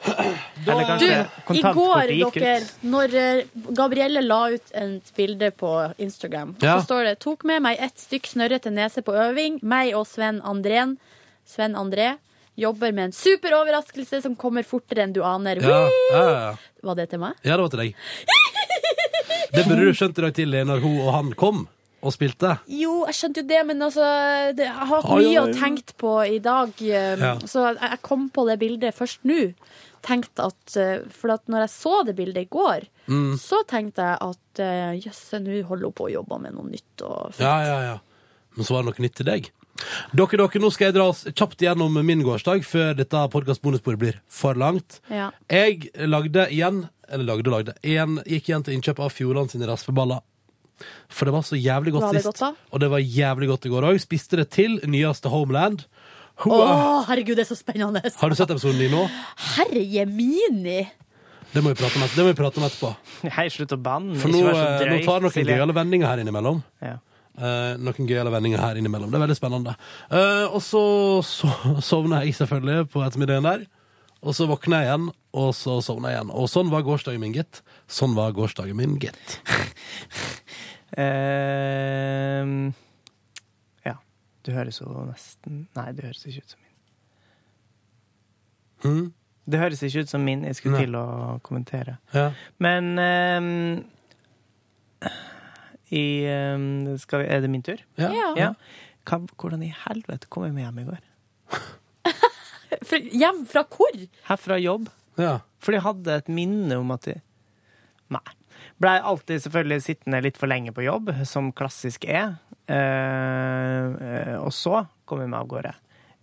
Speaker 2: Eller
Speaker 3: Du,
Speaker 2: kanskje
Speaker 3: i går,
Speaker 2: kontantkortet gikk
Speaker 3: dere,
Speaker 2: ut.
Speaker 3: når eh, Gabrielle la ut et bilde på Instagram,
Speaker 1: Ja.
Speaker 3: så står det 'Tok med meg ett stykk snørrete nese på øving'. Meg og Sven Andrén Sven André jobber med en super overraskelse som kommer fortere enn du aner.
Speaker 1: Ja, ja, ja.
Speaker 3: Var det til meg?
Speaker 1: ja, det var til deg. Det burde du skjønt i dag tidlig, når hun og han kom og spilte.
Speaker 3: Jo, jeg skjønte jo det, men altså, det, jeg har hatt
Speaker 1: Ai,
Speaker 3: mye
Speaker 1: ai.
Speaker 3: å tenke på i dag. eh,
Speaker 1: Ja.
Speaker 3: Så jeg- jeg kom på det bildet først nå. Tenkte at, eh, for at når jeg så det bildet i går, så tenkte jeg at eh, jøss, nå holder hun på å jobbe med noe nytt. Og
Speaker 1: Ja, ja, ja. Men så var det noe nytt til deg. Dere, dere, nå skal jeg dra oss kjapt gjennom min gårsdag før dette podkastbonusbordet blir for langt.
Speaker 3: Ja.
Speaker 1: Jeg lagde igjen Eller lagde og lagde igjen, Gikk igjen til innkjøp av Fjordland sine raspeballer For det var så jævlig godt
Speaker 3: Var det
Speaker 1: sist
Speaker 3: godt da?
Speaker 1: Og det var jævlig godt i går også Spiste det til nyeste Homeland Hoa.
Speaker 3: Å, herregud, det er så spennende!
Speaker 1: Har du sett episoden din nå?
Speaker 3: Herre jemini!
Speaker 1: Det må vi prate om, et, det må vi prate om etterpå
Speaker 2: Hei, slutt å banne.
Speaker 1: For nå,
Speaker 2: Ikke vær så
Speaker 1: eh, nå
Speaker 2: drøy,
Speaker 1: tar noen
Speaker 2: Silje.
Speaker 1: gøyale vendinger her innimellom
Speaker 2: Ja.
Speaker 1: Eh, noen gøyale vendinger her innimellom. Det er veldig spennende. Eh, og så, så sovna jeg selvfølgelig på ettermiddagen der. Og så våkna jeg igjen, og så sovna jeg igjen. Og sånn var gårsdagen min, gitt. Sånn var gårsdagen min, gitt.
Speaker 2: Ehm, ja. Du høres jo nesten Nei, du høres ikke ut som min.
Speaker 1: Mhm.
Speaker 2: Det høres ikke ut som min. Jeg skulle
Speaker 1: Nei.
Speaker 2: til å kommentere.
Speaker 1: Ja.
Speaker 2: Men ehm, i, ehm, skal vi, Er det min tur?
Speaker 1: Ja.
Speaker 3: Ja.
Speaker 2: Ja. Hva, hvordan i helvete kom jeg meg hjem i går?
Speaker 3: For, hjem fra hvor?
Speaker 2: Herfra jobb?
Speaker 1: Ja.
Speaker 2: Fordi jeg hadde et minne om at jeg Nei. Blei alltid selvfølgelig sittende litt for lenge på jobb, som klassisk er. Eh, eh, og så kom jeg meg av gårde.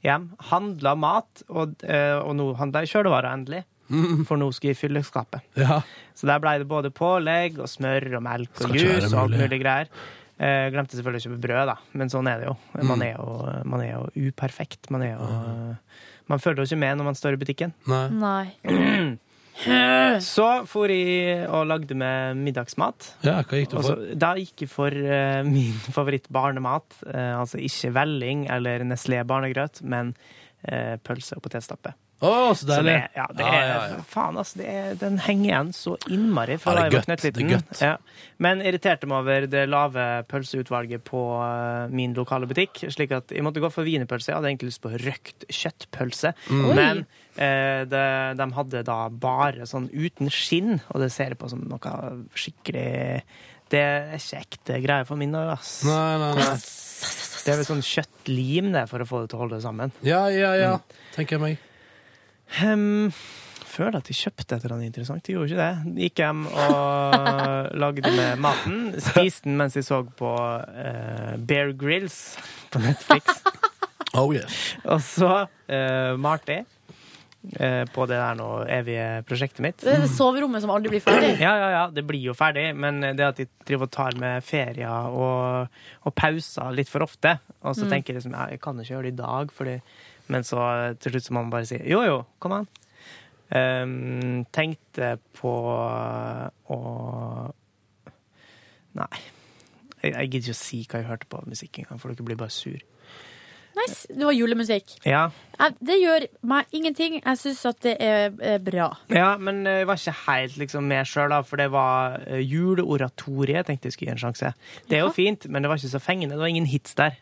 Speaker 2: Hjem. Handla mat, og, eh, og nå handla jeg kjølevarer endelig. For nå skal jeg fylle skapet.
Speaker 1: ja.
Speaker 2: Så der blei det både pålegg og smør og melk
Speaker 1: Skal
Speaker 2: og
Speaker 1: ikke
Speaker 2: juice
Speaker 1: være
Speaker 2: og alt
Speaker 1: mulig.
Speaker 2: mulig greier. Eh, glemte selvfølgelig å kjøpe brød, da, men sånn er det jo.
Speaker 1: Mm.
Speaker 2: Man er jo, man er jo uperfekt. Man, er jo, man følger jo ikke med når man står i butikken.
Speaker 1: Nei.
Speaker 3: Nei.
Speaker 2: Så for jeg og lagde med middagsmat.
Speaker 1: Ja, hva gikk du
Speaker 2: Og så-
Speaker 1: for?
Speaker 2: Da gikk jeg for eh, min favorittbarnemat. Uh, altså ikke velling eller Nestlé barnegrøt, men eh, pølse og potetstappe.
Speaker 1: Å, så
Speaker 2: Så
Speaker 1: deilig.
Speaker 2: det- ja, det er,
Speaker 1: Ja, ja, ja.
Speaker 2: Faen, altså. Det er, den henger igjen så innmari fra
Speaker 1: Ja,
Speaker 2: da
Speaker 1: det er
Speaker 2: jeg var
Speaker 1: godt, det er
Speaker 2: knøttliten.
Speaker 1: godt.
Speaker 2: Ja. Men irriterte meg over det lave pølseutvalget på eh, min lokale butikk. Slik at jeg måtte gå for wienerpølse. Jeg hadde egentlig lyst på røkt kjøttpølse.
Speaker 9: Mm. Oi.
Speaker 2: Men eh, det, de hadde da bare sånn uten skinn, og det ser jeg på som noe skikkelig Det er ikke ekte greier for min del, ass.
Speaker 1: Nei, nei, nei.
Speaker 2: Det er vel sånn kjøttlim det, for å få det til å holde det sammen. Mm.
Speaker 1: Ja, ja, ja. Tenker jeg meg.
Speaker 2: Um, føler at jeg kjøpte et eller annet interessant. Jeg gjorde ikke det. Gikk hjem og lagde med maten. Spiste den mens jeg så på eh, Bear Grills på Netflix. Og så uh, malte jeg eh, på det der nå evige prosjektet mitt.
Speaker 3: Det er det soverommet som aldri blir ferdig.
Speaker 2: Ja, ja, ja, det blir jo ferdig, men det at de driver og tar med ferier og, og pauser litt for ofte, og så
Speaker 9: Mm.
Speaker 2: tenker jeg liksom, ja, jeg kan jo ikke gjøre det i dag, fordi, men så til slutt så må man bare si, jo jo, kom an. Ehm, tenkte på å Nei. Jeg, jeg gidder ikke å si hva jeg hørte på av musikk engang, for dere blir bare sur.
Speaker 3: Nice. Det var julemusikk.
Speaker 2: Ja,
Speaker 3: Jeg- Det gjør meg ingenting. Jeg syns at det er eh, bra.
Speaker 2: Ja, men eh, jeg var ikke helt liksom, med sjøl, da, for det var eh, juleoratoriet jeg tenkte jeg skulle gi en sjanse. Det er jo fint, men det var ikke så fengende. Det var ingen hits der.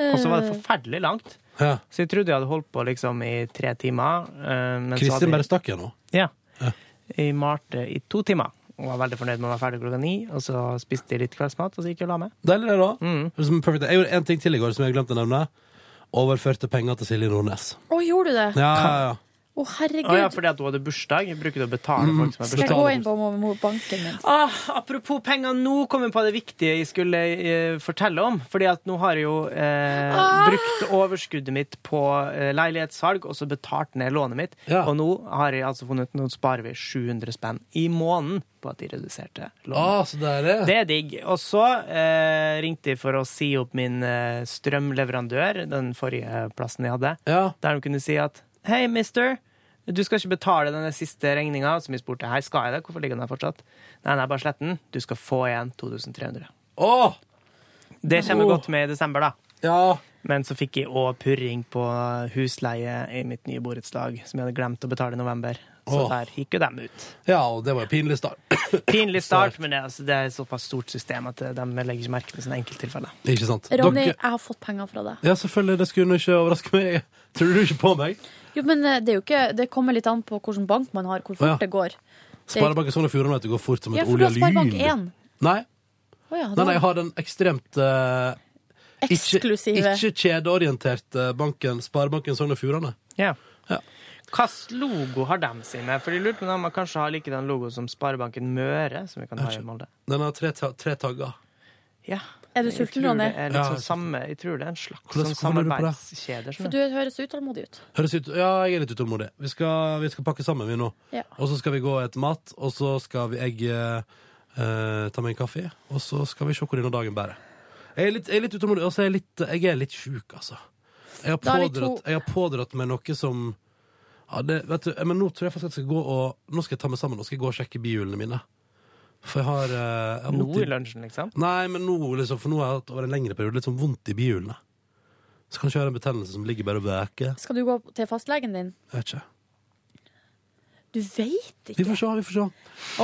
Speaker 2: Og så
Speaker 3: Eh.
Speaker 2: var det forferdelig langt.
Speaker 1: Ja.
Speaker 2: Så jeg trodde jeg hadde holdt på liksom i tre timer. eh, men så hadde jeg-
Speaker 1: Kristin bare stakk igjen nå.
Speaker 2: Ja. Jeg malte i to timer. Og var veldig fornøyd med å være ferdig klokka ni. Og så spiste jeg litt kveldsmat, og så gikk jeg og la meg.
Speaker 1: Deilig det, da.
Speaker 2: Mm.
Speaker 1: Det er som perfect. Jeg gjorde én ting til i går som jeg glemte å nevne. Overførte penger til Silje Nordnes.
Speaker 3: Å, gjorde du det?
Speaker 1: Ja, ja, ja.
Speaker 3: Å, herregud.
Speaker 2: Å ja, fordi at hun hadde bursdag. Jeg bruker det å betale folk som har
Speaker 3: Skal jeg
Speaker 2: bursdag.
Speaker 3: gå inn på mo- mo- banken min?
Speaker 2: Ah, apropos penger, nå kom jeg på det viktige jeg skulle eh, fortelle om. Fordi at nå har jeg jo eh, brukt overskuddet mitt på eh, leilighetssalg, og så betalt ned lånet mitt. Og nå har jeg altså funnet Nå sparer vi 700 spenn i måneden på at de reduserte lånet.
Speaker 1: Ah, så deilig.
Speaker 2: Det er digg. Og så eh, ringte jeg for å si opp min eh, strømleverandør, den forrige plassen jeg hadde, der de kunne si at Hei, mister. Du skal ikke betale denne siste regninga. Som jeg spurte hei, skal jeg det? Hvorfor ligger den der fortsatt? Nei, nei, bare slett den. Du skal få igjen 2300.
Speaker 1: Åh!
Speaker 2: Det kommer
Speaker 1: Åh.
Speaker 2: godt med i desember, da.
Speaker 1: Ja.
Speaker 2: Men så fikk jeg òg purring på husleie i mitt nye borettslag, som jeg hadde glemt å betale i november. Så
Speaker 1: Åh.
Speaker 2: der gikk jo dem ut.
Speaker 1: Ja, og det var jo pinlig start.
Speaker 2: Pinlig start, men det, er- altså, det er et såpass stort system at eh, de legger ikke merke til sånne enkelttilfeller.
Speaker 1: Ikke sant?
Speaker 3: Ronny,
Speaker 1: Dere-
Speaker 3: jeg har fått penger fra deg.
Speaker 1: Ja, selvfølgelig. Det skulle ikke overraske meg. Tror du ikke på meg?
Speaker 3: Jo, men eh, det, er jo ikke, det kommer litt an på hvilken bank man har, hvor
Speaker 1: Å, ja.
Speaker 3: fort det går. Det er-
Speaker 1: Sparebanken Sogn og Fjordane vet du, går fort som et
Speaker 3: Ja, for du
Speaker 1: olje
Speaker 3: har
Speaker 1: og
Speaker 3: Sparebank
Speaker 1: lyn.
Speaker 3: 1.
Speaker 1: Nei,
Speaker 3: Å ja,
Speaker 1: nei,
Speaker 3: da-
Speaker 1: nei, jeg har den ekstremt eh,
Speaker 3: Eksklusive.
Speaker 1: Ikke, ikke kjedeorienterte banken, Sparebanken Sogn og Fjordane.
Speaker 2: Ja. Hvilken logo har de sine? For jeg lurer på om de kanskje har like den logoen som Sparebanken Møre, som vi kan ha i Molde.
Speaker 1: Den har tre, ta- tre tagger.
Speaker 2: Ja.
Speaker 3: Er du
Speaker 2: Jeg
Speaker 3: sulten,
Speaker 2: tror
Speaker 3: Ronny?
Speaker 2: det er litt
Speaker 1: Ja,
Speaker 2: sånn
Speaker 1: jeg er
Speaker 2: samme, jeg tror det er en slags
Speaker 1: Hvordan-
Speaker 2: sånn
Speaker 1: hvorfor lurer du på det?
Speaker 2: samarbeidskjeder.
Speaker 3: For du høres utålmodig ut.
Speaker 1: Høres ut, ja, jeg er litt utålmodig. Vi skal, vi skal pakke sammen, vi nå.
Speaker 3: Ja.
Speaker 1: Og så skal vi gå og ete mat, og så skal vi, jeg eh, eh, ta meg en kaffe, og så skal vi se hvor denne dagen bærer. Jeg er litt, jeg er litt utålmodig, og så er jeg litt, jeg er litt sjuk, altså. Jeg har,
Speaker 6: Da er vi to.
Speaker 1: pådratt, jeg har pådratt meg noe som ja, det, vet du, Men nå tror jeg faktisk at jeg skal gå og Nå skal jeg ta meg sammen og skal jeg gå og sjekke bihulene mine. For jeg har, eh, jeg har
Speaker 2: Nå
Speaker 1: vondt i-
Speaker 2: i lunsjen, liksom?
Speaker 1: Nei, men nå, liksom, for nå har jeg hatt over en lengre periode litt sånn vondt i bihulene. Så kanskje jeg har en betennelse som ligger bare og veker.
Speaker 3: Skal du gå til fastlegen din?
Speaker 1: Jeg vet ikke.
Speaker 3: Du veit ikke.
Speaker 1: Vi får se, vi får se.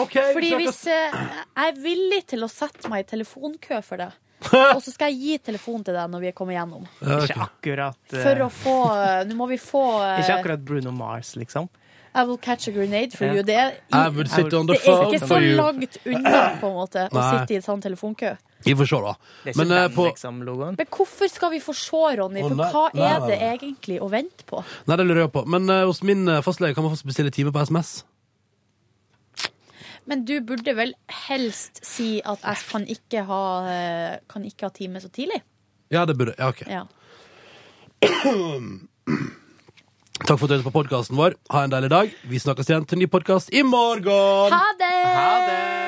Speaker 1: OK,
Speaker 3: Fordi
Speaker 1: vi
Speaker 3: hvis
Speaker 1: snakkes.
Speaker 3: eh, jeg er villig til å sette meg i telefonkø for deg, og så skal jeg gi telefonen til deg når vi kommer gjennom.
Speaker 2: Ikke akkurat eh,
Speaker 3: For å få eh, Nå må vi få eh,
Speaker 2: Ikke akkurat Bruno Mars, liksom.
Speaker 3: I will catch a grenade for
Speaker 2: Ja.
Speaker 3: you. Det er,
Speaker 1: I would sit on the
Speaker 3: det er
Speaker 1: phone
Speaker 3: ikke så
Speaker 1: for you.
Speaker 3: langt unna på en måte å
Speaker 1: Nei.
Speaker 3: sitte i en sånn telefonkø.
Speaker 1: Vi får se, da.
Speaker 2: Det er ikke
Speaker 1: Men eh,
Speaker 2: den,
Speaker 1: på
Speaker 2: liksom, logoen.
Speaker 3: Men hvorfor skal vi få se, Ronny?
Speaker 1: Å,
Speaker 3: For
Speaker 1: nei,
Speaker 3: hva
Speaker 1: nei,
Speaker 3: er
Speaker 1: nei,
Speaker 3: det
Speaker 1: nei.
Speaker 3: egentlig å vente på?
Speaker 1: Nei, det lurer jeg på. Men eh, hos min eh, fastlege kan man faktisk bestille time på SMS.
Speaker 3: Men du burde vel helst si at jeg kan ikke ha, eh, kan ikke ha time så tidlig?
Speaker 1: Ja, det burde Ja, OK.
Speaker 3: Ja.
Speaker 1: Takk for at du hørte på podkasten vår. Ha en deilig dag. Vi snakkes igjen til en ny podkast i morgen.
Speaker 3: Ha det!